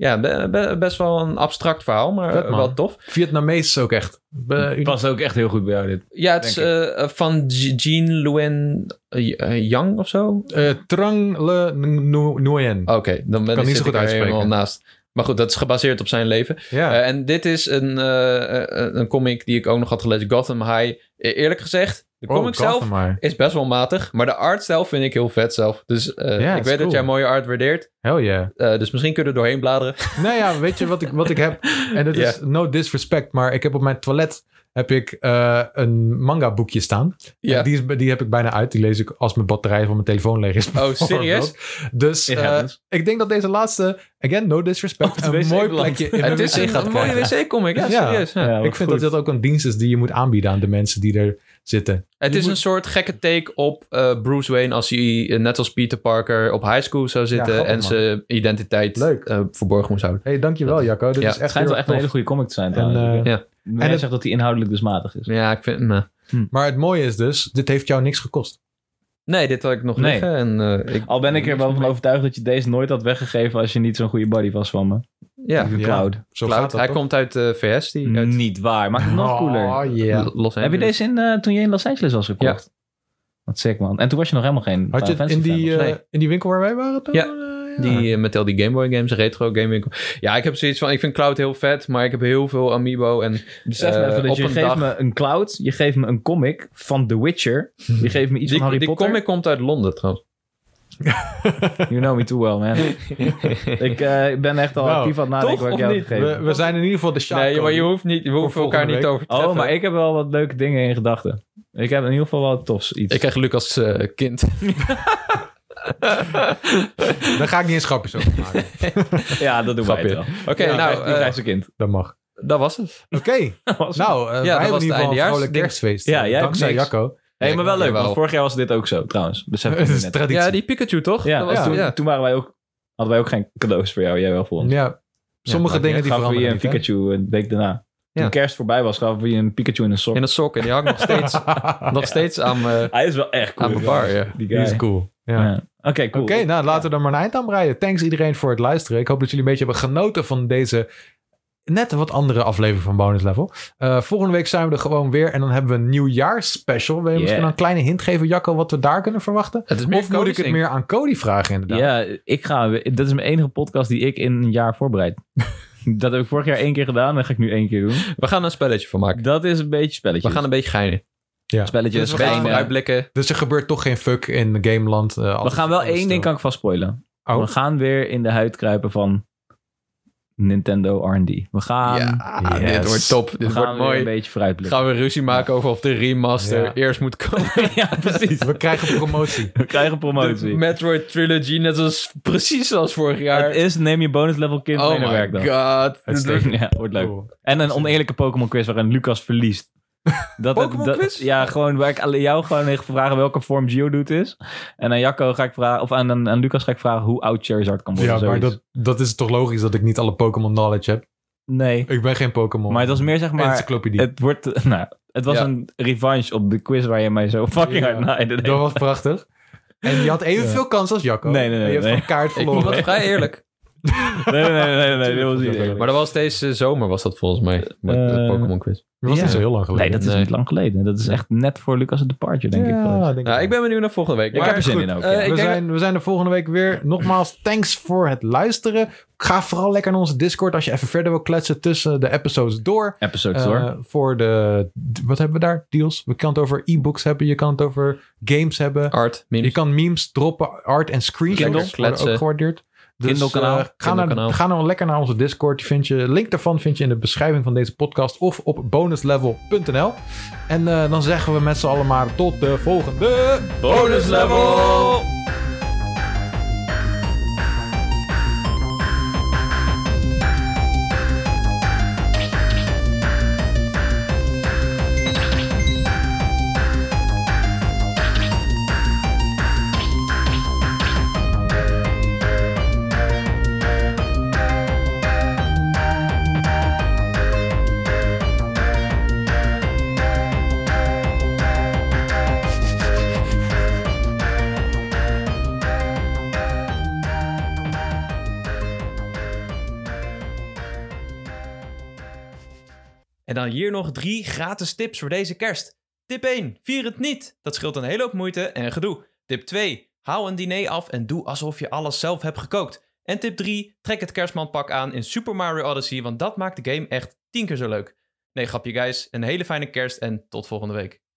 ja, be- be- best wel een abstract verhaal, maar
Vet,
eh,
man.
wel tof.
Vietnamees is ook echt. Be-
Past ook echt heel goed bij jou dit.
Ja, het is
Denk
eh, eh, van G- Jean Luen eh, eh, Yang of zo.
eh, Trang Le Nu- Nguyen.
Oké, dan ben
Kan
ik
niet zo
zit
goed
ik er
uitspreken.
helemaal naast. Maar goed, dat is gebaseerd op zijn leven.
Ja.
Eh, en dit is een, eh, eh, een comic die ik ook nog had gelezen, Gotham High. E- Eerlijk gezegd, de
Oh,
comic
Gotham
zelf
maar.
is best wel matig, maar de art zelf vind ik heel vet zelf. Dus eh,
Ja,
ik
is
weet
cool.
dat jij mooie art waardeert,
Hell yeah.
eh, dus misschien kunnen we er doorheen bladeren.
Nou ja, weet je wat ik, wat ik heb? En dat is no disrespect, maar ik heb op mijn toilet heb ik, eh, een manga boekje staan.
ja.
En Die, is, die heb ik bijna uit. Die lees ik als mijn batterij van mijn telefoon leeg is.
Oh, serieus?
Dus
It
eh,
happens.
ik denk dat deze laatste, again, no
Oh,
disrespect,
de
een
wc
mooi
belandt.
plekje in mijn
Het is
wc
een,
gaat
een mooie
krijgen.
wc-comic, ja,
Ja.
serieus. ja.
Ik vind dat dat ook een dienst is die je moet aanbieden aan de mensen die er zitten.
Het is een soort gekke take op eh, Bruce Wayne als hij eh, net als Peter Parker op high school zou zitten
grappig,
en
man.
zijn identiteit
Leuk.
eh, verborgen moest houden.
Hé, hey, dankjewel Jacco. Dit
Ja,
is
Het
echt
schijnt
heel
wel
erg
echt een hele
tof.
goede comic te zijn.
En,
trouwens.
eh,
Maar
en
jij
het-
zegt dat hij inhoudelijk dus matig is.
Ja, ik vind. nou. me.
maar het mooie is dus, dit heeft jou niks gekost.
Nee, dit had ik nog
Nee.
liggen. En, eh, ik,
Al ben ik er wel van overtuigd dat je deze nooit had weggegeven als je niet zo'n goede buddy was van me.
ja,
De
Ja,
cloud.
Zo
Cloud,
gaat dat
hij
toch?
komt uit de VS. Die uit
Niet waar. Maakt het nog cooler.
Oh, yeah.
Los Angeles.
Mm. Heb je deze in, eh, toen je in Los Angeles was gekocht? Wat sick man. En toen was je nog helemaal geen
Had je
Final
het in
Fantasy
die,
fan, of-
eh,
Nee.
in die winkel waar wij waren toen?
Ja,
Eh, ja.
Die, eh, met al die Game Boy games, retro game winkel. Ja, ik heb zoiets van, ik vind Cloud heel vet, maar ik heb heel veel Amiibo. En
Besef me
eh,
even dat
op
je
een
geeft
dag-
me een cloud, je geeft me een comic van The Witcher, je geeft me iets
die,
van Harry
die
Potter.
comic komt uit Londen trouwens.
You know me too well man. ik eh, ben echt al
Nou,
actief aan het nadenken
toch
wat ik
of
jou heb
niet?
gegeven.
we, we zijn in ieder geval de Sjaak.
Nee, maar je hoeft, niet, je hoeft
Voor
elkaar
volgende
niet
week.
over te
Oh, maar ik heb wel wat leuke dingen in gedachten. Ik heb in ieder geval wel tofs iets.
Ik krijg Lucas eh, kind.
Daar ga ik niet eens grapjes over maken.
Ja, dat doen wij
Grapje.
wel. Die
Oké,
Ja,
nou,
krijgt- die
eh,
krijgt zijn kind.
Dat mag.
dat was het.
Oké,
Dat was-
nou, eh, wij
dat
hebben
was
in ieder
het
geval een vrolijk
eindejaarsding.
kerstfeest. eh,
Ja, jij hebt
Dankzij
niks.
Jacco.
hey, maar wel leuk,
Jawel.
want vorig jaar was dit ook zo trouwens. Besef ik
Het is
net.
traditie.
Ja, die Pikachu toch?
Ja,
Dat was
ja.
toen-
Toen,
ja.
toen waren wij ook, hadden wij ook geen cadeaus voor jou. Jij wel voor ons.
Ja, sommige
nou,
maakt
dingen
niet
die
gaven we je
veranderen
een
niet, hè?
Pikachu een week daarna. Toen
Ja.
kerst voorbij was, gaven we je een Pikachu in een sok.
In een sok. En die hangt nog steeds, nog steeds aan mijn
Hij is wel echt cool.
aan mijn bar.
jongens.
Ja.
Die
Die
guy.
is cool. Ja.
Ja. Oké, cool.
Oké, nou laten we er maar een eind aan breien. Thanks iedereen voor het luisteren. Ik hoop dat jullie een beetje hebben genoten van deze net wat andere aflevering van Bonus Level. Eh, volgende week zijn we er gewoon weer en dan hebben we een nieuwjaarsspecial. Wil je
Yeah.
misschien een kleine hint geven, Jacco, wat we daar kunnen verwachten?
Het is meer
Of moet ik het
koningsding.
meer aan Cody vragen inderdaad?
Ja, ik ga. Dat is mijn enige podcast die ik in een jaar voorbereid. dat heb ik vorig jaar één keer gedaan. Dat ga ik nu één keer doen.
We gaan er een spelletje van maken.
Dat is een beetje spelletje.
We gaan een beetje geinen.
spelletjes.
Dus
Dus
we
we
gaan
geen, eh,
uitblikken.
Dus er gebeurt toch geen fuck in Gameland. eh,
we
alles-
gaan wel
alles
één
stil.
ding kan ik vast spoilen.
Oh.
We gaan weer in de huid kruipen van Nintendo R&D. We gaan.
ja,
Ah,
yes.
dit wordt top.
We
Dit
gaan
wordt
weer een
mooi.
beetje vooruit blikken.
Gaan we ruzie maken over of de remaster
Ja.
eerst moet komen.
ja, precies.
We krijgen promotie.
We krijgen
De
promotie.
Metroid Trilogy, net als precies als vorig jaar.
Het is neem je bonus level kind mee
oh
naar werk
my
dan.
god.
Het
Dit-
steekt.
Ja, wordt leuk.
Cool.
En een oneerlijke Pokémon quiz waarin Lucas verliest. Dat,
Pokémon
dat-
quiz?
Ja, gewoon waar ik alleen jou gewoon even vragen welke vorm Geodude is. En aan Jacco ga ik vragen, of aan, aan, aan Lucas ga ik vragen hoe oud Charizard kan worden.
Ja, maar
zoiets.
dat, dat is toch logisch dat ik niet alle Pokémon knowledge heb.
Nee,
Ik ben geen Pokémon.
maar het was meer zeg maar...
encyclopedie.
Het, wordt, nou, het was
Ja.
een revanche op de quiz waar je mij zo fucking
Ja.
hard naaide.
Dat was prachtig. En je had evenveel kans als Jacco.
Nee, nee,
En
nee,
Je hebt
nee.
een kaart
Ik vond
verloren.
dat vrij eerlijk.
Nee, nee, nee, nee, nee, dat was niet.
Tuurlijk.
Maar dat was deze zomer, was dat volgens mij. Met de
Eh,
Pokémon quiz.
Dat was
Ja.
niet zo heel lang
Nee,
geleden.
dat is
Nee.
niet lang geleden. Dat is echt net voor Lucas' departure, denk ik. geweest.
denk
Nou,
wel.
ik ben benieuwd naar volgende week.
Ik heb er zin in ook.
eh,
ja.
ik
we,
denk-
zijn, we zijn er volgende week weer. Nogmaals, thanks voor het luisteren. Ga vooral lekker naar onze Discord als je even verder wil kletsen tussen de episodes door.
Episode
Eh,
hoor.
voor de, d- wat hebben we daar? Deals. We kan het over e-books hebben. Je kan het over games hebben.
Art,
Je
memes.
kan memes droppen, art en
Kindle.
screenshots. Worden ook
Kletsen.
gewaardeerd. Dus,
Kindle-kanaal.
eh, ga, naar,
Kindle-kanaal.
ga nou lekker naar onze Discord. Die Vind je, link daarvan vind je in de beschrijving van deze podcast of op bonuslevel.nl. En eh, dan zeggen we met z'n allen maar tot de volgende.
Bonus level!
En dan hier nog drie gratis tips voor deze kerst. Tip 1. Vier het niet. Dat scheelt een hele hoop moeite en gedoe. Tip 2. Haal een diner af en doe alsof je alles zelf hebt gekookt. En tip 3. Trek het kerstmanpak aan in Super Mario Odyssey, want dat maakt de game echt 10 keer zo leuk. Nee, grapje guys. Een hele fijne kerst en tot volgende week.